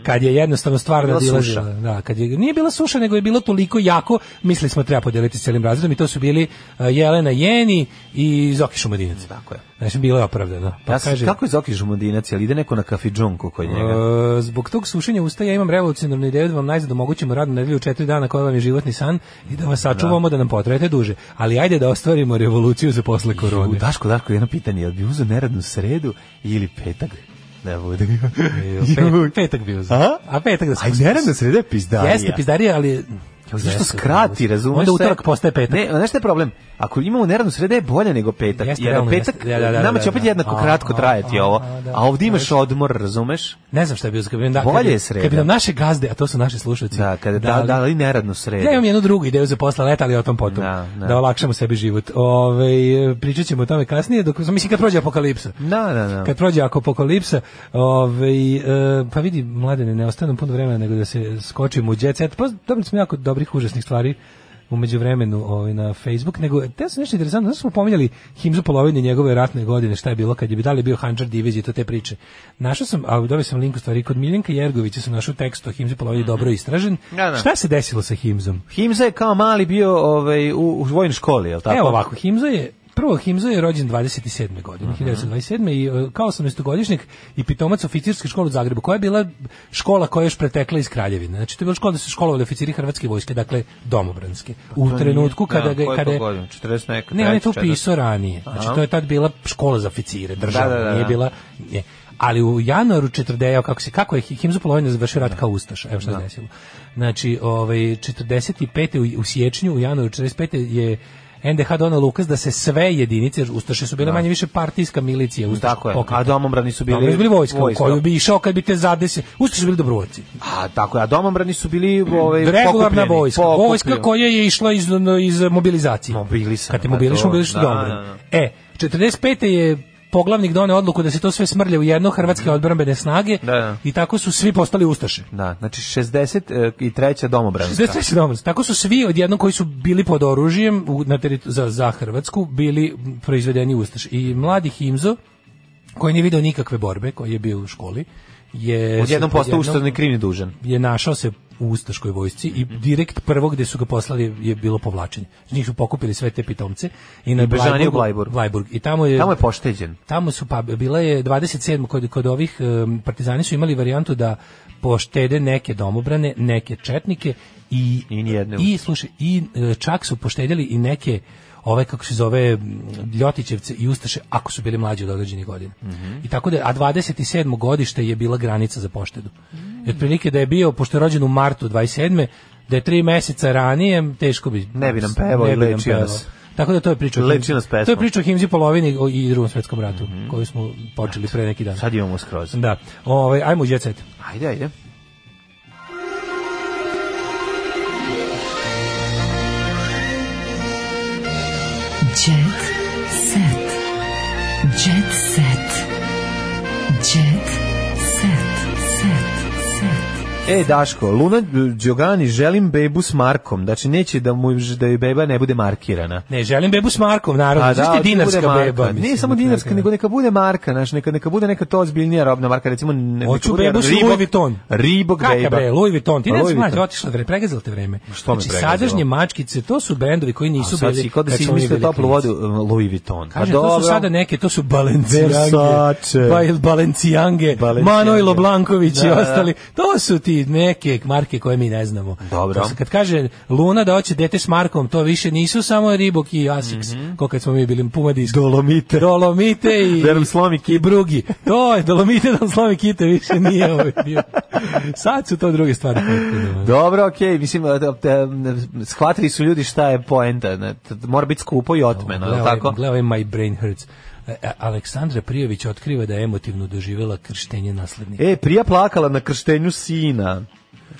F: kad je jednostavno stvar
E: Bila
F: nadilazila.
E: suša.
F: Da, kad je, nije bila suša, nego je bilo toliko jako, mislili smo treba podeliti s celim razredom i to su bili uh, Jelena Jeni i Zoki Šumadinac. Tako je. Znači, bilo je opravdano. Pa
E: Ja sam,
F: kaže,
E: kako je Zoki Žumundinac, jel ide neko na kafidžonku kod njega?
F: E, zbog tog sušenja usta ja imam revolucionarnu ideju da vam najzad omogućimo radnu nedelju u četiri dana koja vam je životni san i da vas sačuvamo da, nam potrajete duže. Ali ajde da ostvarimo revoluciju za posle korone.
E: U Daško, Daško, jedno pitanje, jel bi uzeo neradnu sredu ili petak? Da bude.
F: Pe- petak bio za.
E: A?
F: A petak da se
E: Aj, neradna sreda je pizdarija.
F: Jeste pizdarija, ali...
E: Jel, Zašto skrati, razumeš?
F: Onda
E: sve?
F: utorak postaje petak.
E: Ne, znaš šta je problem? Ako imamo neradnu sredu je bolje nego petak.
F: Jeste,
E: jer
F: realno
E: petak,
F: jeste. Da, da, da,
E: nama
F: da,
E: će opet
F: da.
E: jednako
F: A,
E: kratko
F: a,
E: trajati
F: a,
E: ovo.
F: a, da.
E: A ovdje imaš odmor, razumeš?
F: Ne znam šta je bio za kad bi, da,
E: Bolje
F: kad bi-
E: je sreda.
F: Kad bi nam naše gazde, a to su naši slušalci.
E: Da, kada da,
F: dali-
E: da, li neradnu sredu.
F: Ja imam jednu drugu ideju za posle leta, ali o tom potom. Da,
E: da.
F: olakšamo sebi život. Ove, pričat ćemo o tome kasnije, dok, mislim kad prođe apokalipsa.
E: Da, da, da.
F: Kad prođe ako apokalipsa, ovaj, e, pa vidi, mladene, ne ostane nam puno vremena nego da se skočimo u jet set. Pa dobili smo jako dobrih, užasnih stvari u međuvremenu ovaj, na Facebook, nego te su nešto interesantno, znaš smo pominjali Himzu polovine njegove ratne godine, šta je bilo kad je bi da li je bio Hanđar Divez i to te priče. Našao sam, a dobio sam link u stvari, kod Miljenka Jergovića sam našao tekst o Himzu polovini dobro istražen.
E: Mhm. Da, da.
F: Šta se desilo sa Himzom?
E: Himza je kao mali bio ovaj, u, u vojnoj školi, je tako?
F: Evo ovako, Himzo je Prvo, Himzo je rođen 27. godine,
E: Mhm.
F: 1927. i e, kao 18-godišnjak i pitomac oficirske škole u Zagrebu, koja je bila škola koja je još pretekla iz Kraljevine. Znači, to je bila škola da su se školovali oficiri Hrvatske vojske, dakle, domobranske. U
E: Pa To
F: trenutku
E: nije- da,
F: kada... ga-
E: koje je
F: kada
E: to
F: je-
E: godine? 40 neka,
F: ne, on je to
E: 44.
F: pisao ranije. Znači,
E: Aha.
F: to je tad bila škola za oficire, država,
E: Da, da, da,
F: nije
E: da.
F: bila... nije. Ali u januaru 40 kako se kako je Himzo Polovina završio rat kao ustaš. Evo šta se desilo. Znači, ovaj 45. u, u siječnju, u januaru 45. je NDH donao Lukas da se sve jedinice jer ustaše su bile
E: Da.
F: manje više partijska milicija ustaškog
E: Tako je.
F: pokreta.
E: A domobrani su bili
F: Dobro, su bili vojska,
E: vojska.
F: u koju bi išao kad bi te zadesio. Ustaše su bili dobrovoljci.
E: A tako je, a domobrani su bili ovaj
F: Regularna
E: pokupljeni,
F: vojska.
E: pokupljeni.
F: Vojska koja je išla iz, iz mobilizacije.
E: Mobilisana,
F: Kad te mobiliš,
E: pa to,
F: mobiliš
E: da,
F: dobro.
E: da, da.
F: E, 45. je poglavnik doneo odluku da se to sve smrlja u jedno hrvatske odbrambene snage
E: Mhm. Da, da.
F: i tako su svi postali ustaše.
E: Da, znači 60 i treća domobranska.
F: 63. domobrana. Tako su svi odjednom koji su bili pod oružjem u, na teritoriju- za, za Hrvatsku bili m, proizvedeni ustaši. I mladi Himzo, koji nije video nikakve borbe, koji je bio u školi, je...
E: Odjednom
F: se-
E: postao
F: odjednom-
E: ustavni krivni dužan.
F: je našao se u ustaškoj vojsci i direkt prvo gde su ga poslali je bilo povlačenje. Znači, Njih su pokupili sve te pitomce i na
E: I bežanije u
F: Blajburgu-
E: Blajburg.
F: Blajburg. I tamo je
E: Tamo je pošteđen.
F: tamo su pa bila je 27 kod kod ovih em, partizani su imali varijantu da poštede neke domobrane, neke četnike i
E: I nijedne
F: i slušaj i e, čak su poštedjeli i neke ove kako se zove m, Ljotićevce i Ustaše ako su bili mlađi od određenih godina.
E: Mhm.
F: I tako da a 27. godište je bila granica za poštedu. I otprilike da je bio pošto je rođen u martu 27. da je tri meseca ranije teško bi
E: Ne bi nam pevao
F: ne
E: i
F: bi nam
E: lečio
F: pevao.
E: nas.
F: Tako da to je priča. o
E: Leči
F: Himzi.
E: nas pesmom.
F: To je priča o Himzi polovini o- i drugom svetskom ratu, koju smo počeli pre neki dan.
E: Mhm. Sad imamo skroz.
F: Da. Ovaj ajmo u Jet Set.
E: Ajde, ajde.
D: Jet set. Jet set. Jet set. Set. Set.
E: E, Daško, Luna Đogani, želim bebu s Markom. Znači, neće da, mu, da joj beba ne bude markirana.
F: Ne, želim bebu s Markom, naravno.
E: A
F: Pa Znaš ti
E: hoće Pa bude
F: dinarska
E: marka.
F: beba. mislim,
E: Nije samo
F: neka-
E: dinarska, nego neka bude marka, znaš, neka, neka bude neka to ozbiljnija robna marka, recimo... ne- neka
F: Hoću
E: bude
F: bebu s
E: Reebok-
F: Louis Vuitton.
E: Reebok
F: Kaka
E: beba. Pa
F: bre, Louis Vuitton, ti ne
E: Louis
F: znaš, mlađe,
E: Vuitton.
F: otišla vreme, pregazilo te vreme.
E: Što me
F: znači,
E: pregazilo?
F: sadašnje mačkice, to su bendovi koji
E: A
F: nisu
E: sad si
F: bili...
E: kao da
F: kad
E: si
F: smo mi
E: izmislio
F: bili
E: toplu vodu um, Louis Vuitton.
F: Kaže,
E: pa
F: to
E: dobro.
F: su sada neke, to su Pa Balenciange,
E: Versace.
F: Bal- Balenciange,
E: Balenciange.
F: Manojlo Blanković i
E: Da, da.
F: ostali. To su ti neke marke koje mi ne znamo.
E: Dobro.
F: To su- kad kaže Luna da hoće dete s Markom, to više nisu samo Ribok i Asics, ko kad smo mi bili Puma Disco.
E: Mhm. Dolomite.
F: Dolomite i...
E: Da nam slomi
F: i Brugi. To je Dolomite da nam slomi kite, više nije ovaj bio. Sad su to druge stvari.
E: Dobro, okej, mislim, e, e, shvatili su ljudi šta je poenta, ne, t- mora biti skupo i otmeno, je
F: Gle,
E: li
F: ovaj-
E: tako?
F: gle, ovaj My Brain Hurts. E, e, Aleksandra Prijović otkriva da je emotivno doživjela krštenje naslednika.
E: E, prija plakala na krštenju sina.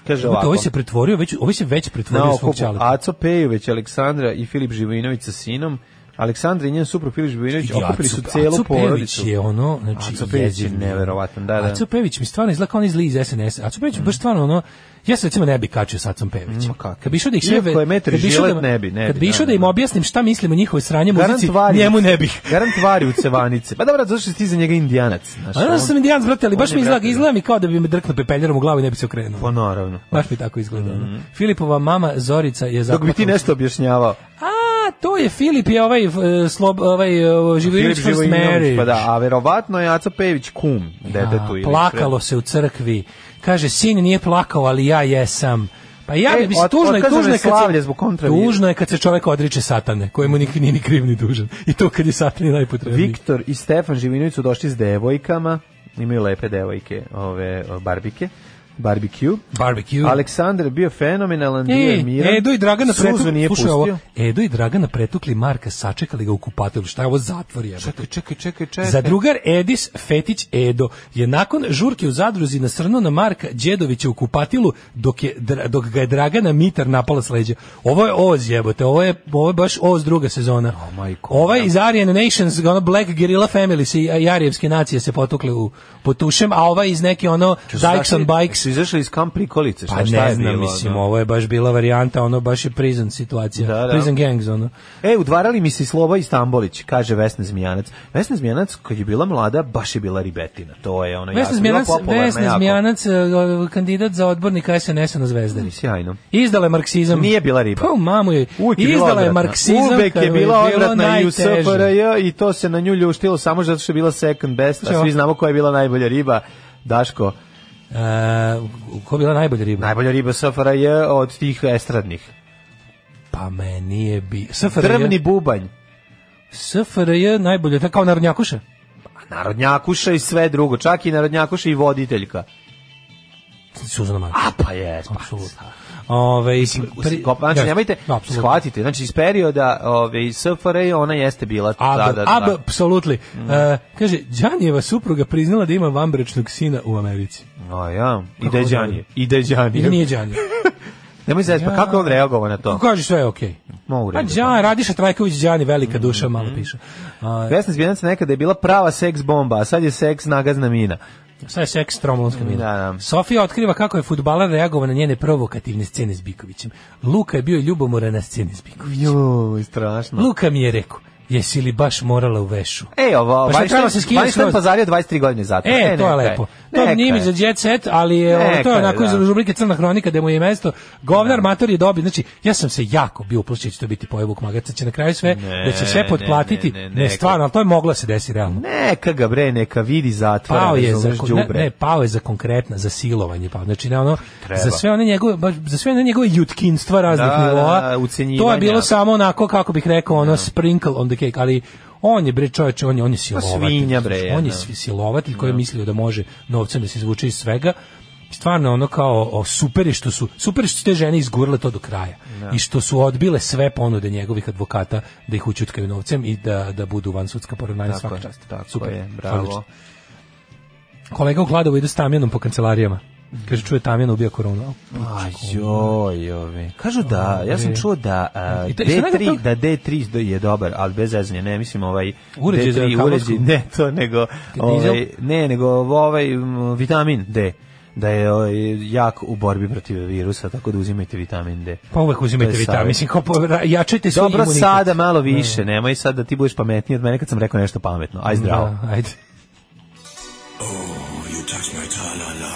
E: Kaže
F: Evo te,
E: ovako.
F: Ovaj se pretvorio, već, ovaj se već
E: na
F: pretvorio u svog
E: okupu
F: čaleta.
E: Aco Pejović, Aleksandra i Filip Živojinović sa sinom Aleksandra i njen suprug Filiš Bivinović
F: Aco-
E: okupili su celu
F: Aco Pejević
E: porodicu.
F: je ono, znači,
E: Aco Pejević je
F: jeziv.
E: neverovatan, da, da.
F: Aco Pević mi stvarno izlako on iz Liz SNS. Aco Pević je baš stvarno ono Ja se recimo ne bi kačio sa Acom Pevićem. Kad bi išao da ih sve...
E: Iako je metar
F: kad bi išao
E: žilet, ne bi, ne bi,
F: Kad bi
E: da,
F: išao
E: da,
F: da im objasnim šta mislim o njihovoj sranje muzici,
E: vari-
F: njemu ne bih.
E: Garant vari u cevanice. Pa dobro, zato što si ti za njega indijanac. Znaš,
F: A ja sam
E: on-
F: indijanac, brate, ali
E: on
F: baš
E: je,
F: mi izgleda,
E: brate,
F: izgleda mi kao da bi me drknuo pepeljerom u glavu i ne bi se okrenuo.
E: Pa naravno.
F: Baš mi tako izgleda. ono. Filipova mama Zorica je
E: Dok bi ti
F: zaplakala-
E: nešto objašnjavao.
F: A, Pa, to je Filip je ovaj, e, slob, ovaj
E: Filip
F: Živojinović First
E: Živojinović,
F: Marriage.
E: Pa da, a verovatno je Aco Pejević kum detetu.
F: A,
E: ili
F: plakalo se u crkvi. Kaže, sin nije plakao, ali ja jesam. Pa ja
E: E,
F: ne, mislim,
E: od-
F: tužno je,
E: otkazano
F: tužno
E: je
F: je kad
E: slavlje
F: se,
E: zbog kontravire.
F: tužno je kad se čovek odriče satane, kojemu nik, nije ni kriv ni dužan. I to kad je satan najpotrebniji.
E: Viktor i Stefan Živinović su došli s devojkama, imaju lepe devojke, ove o, barbike, barbecue.
F: Barbecue.
E: Aleksandar je bio fenomenalan, bio
F: Ej,
E: je miran.
F: Edo i Dragana
E: Suzu
F: pretukli,
E: nije
F: slušaj
E: pustio.
F: ovo, Edo i Dragana pretukli Marka, sačekali ga u kupatelju, šta je ovo zatvor je? Čekaj,
E: čekaj, čekaj, čekaj.
F: Za drugar Edis Fetić Edo je nakon žurke u zadruzi nasrnuo na Marka Đedovića u kupatilu dok, je, dra- dok ga je Dragana Mitar napala s leđa. Ovo je Oz jebote, ovo je, ovo je baš Oz druga sezona. ovaj iz Aryan Nations, ono Black Guerrilla Family, se, i arijevske nacije se potukle u potušem, a ovaj iz neke ono Dykes on Bikes
E: Su izašli iz kamp prikolice, šta,
F: pa
E: šta
F: ne
E: je
F: znam,
E: bilo?
F: mislim,
E: ono?
F: ovo je baš bila varijanta, ono baš je prison situacija,
E: Da, da.
F: prison gangs, ono.
E: E, udvarali mi se i Sloba Istambolić, kaže Vesna Zmijanac. Vesna Zmijanac, kad je bila mlada, baš je bila ribetina. To je ono,
F: Vesna
E: jasno, bila
F: Zmijanac,
E: popularna
F: Vesna
E: jako.
F: Zmijanac, e, kandidat za odbornika SNS-a na Zvezdani.
E: Sjajno.
F: Izdala je marksizam.
E: Nije bila riba.
F: Pa, mamu je.
E: Uvijek je bila
F: Izdala je
E: odvratna.
F: marksizam.
E: Uvek
F: kad
E: je
F: mu
E: bila
F: bilo
E: odvratna i u
F: najteže.
E: SFRJ i to se na nju ljuštilo samo zato što je bila second best,
F: Slušaj,
E: a
F: ovo.
E: svi znamo koja je bila najbolja riba. Daško,
F: E, ko je bila najbolja riba?
E: najbolja riba SFRJ od tih estradnih.
F: Pa meni je bi... SFRJ.
E: Drvni bubanj,
F: SFRJ najbolja, ta kao narodnjakuša.
E: narodnjakuša i sve drugo, čak i narodnjakuša i voditeljka.
F: Suzana Marković.
E: A pa je, pa.
F: Ove,
E: Pri, znači, nemojte, shvatite, znači iz perioda ovaj, ove, iz SFRJ ona jeste bila
F: Ab,
E: tada.
F: ab,
E: da. Mm.
F: apsolutli. E, kaže, Đanijeva supruga priznala da ima vambrečnog sina u Americi.
E: A ja, i da je
F: Kako
E: Đanije, i da je Đanije.
F: Ili nije Đanije.
E: Nemoj zezati, pa kako je on reagovao na to?
F: Kaže, sve je okej.
E: Mogu
F: Pa Đan, Radiša Trajković, Đani, velika
E: Mm,
F: duša, malo piše. A,
E: Vesna Zvijanac nekada je bila prava seks bomba, a sad je seks nagazna mina.
F: Šta je seks tromlonska mina?
E: Da, da.
F: Sofija otkriva kako je futbaler reagovao na njene provokativne scene s Bikovićem. Luka je bio ljubomoran na sceni s Bikovićem.
E: Joj, strašno.
F: Luka mi je rekao, jesi li baš morala u vešu?
E: E, ovo,
F: Pa šta, treba se
E: Vajšten,
F: skinuti
E: Vajšten
F: skroz?
E: pazario 23 godine zatvora.
F: E,
E: E,
F: to
E: neka
F: je lepo. To
E: neka
F: nije mi za jet set, ali je, ovo,
E: Neka
F: to je
E: je,
F: onako iz
E: da.
F: rubrike Crna hronika da mu je mesto. Govnar mator je dobio, znači ja sam se jako bio uplašio da će to biti pojevuk magaca, će na kraju sve,
E: Ne,
F: da će sve
E: ne,
F: potplatiti. Ne,
E: ne, ne, neka.
F: stvarno, ali to je moglo da se desi realno.
E: Neka ga bre, neka vidi zatvora.
F: Pao je za
E: razumeš,
F: kon- ne,
E: đubre.
F: ne, pao je za konkretna za silovanje, pa znači ne ono
E: Treba.
F: za sve one njegove baš za sve one njegove jutkinstva raznih
E: Da, da,
F: nivoa.
E: da, ucenjivanja.
F: to je bilo samo onako kako bih rekao ono sprinkle on the cake, ali on je bre čovjek, on je on je silovatelj.
E: Pa svinja, bre,
F: Znači, on je
E: jedna.
F: svi- silovatelj koji je mislio da može novcem da se izvuče iz svega. Stvarno ono kao o, super je što su super je što su te žene izgurile to do kraja i što su odbile sve ponude njegovih advokata da ih ućutkaju novcem i da da budu van sudska poravnanja
E: Tako
F: svaka
E: je,
F: čast.
E: tako
F: super
E: je, bravo.
F: odlično. Kolega u Kladovu ide s Tamjanom po kancelarijama. Kaže, čuje Tamjan ubija koronu.
E: A Pa joj, ovi. Kažu da, ja sam
F: Ovi.
E: čuo da a,
F: I to- i šta nego
E: D3,
F: to-
E: da D3 do- je dobar, ali bez zezanja, ne mislim ovaj
F: Uređaj za
E: D3
F: kablovsku?
E: uređaj, ne to, nego
F: dizel?
E: ovaj, ne, nego ovaj m, vitamin D da je ovaj, jak u borbi protiv virusa, tako da uzimajte vitamin D.
F: Pa uvek uzimajte
E: To je
F: vitamin.
E: savjet.
F: Mislim, kao, po- ra- jačajte svoj
E: Dobro
F: imunitet.
E: sada malo više, nemoj sad da ti budeš pametniji od mene kad sam rekao nešto pametno. Aj zdravo.
F: Da, ajde.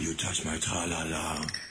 I: You touch my tra-la-la.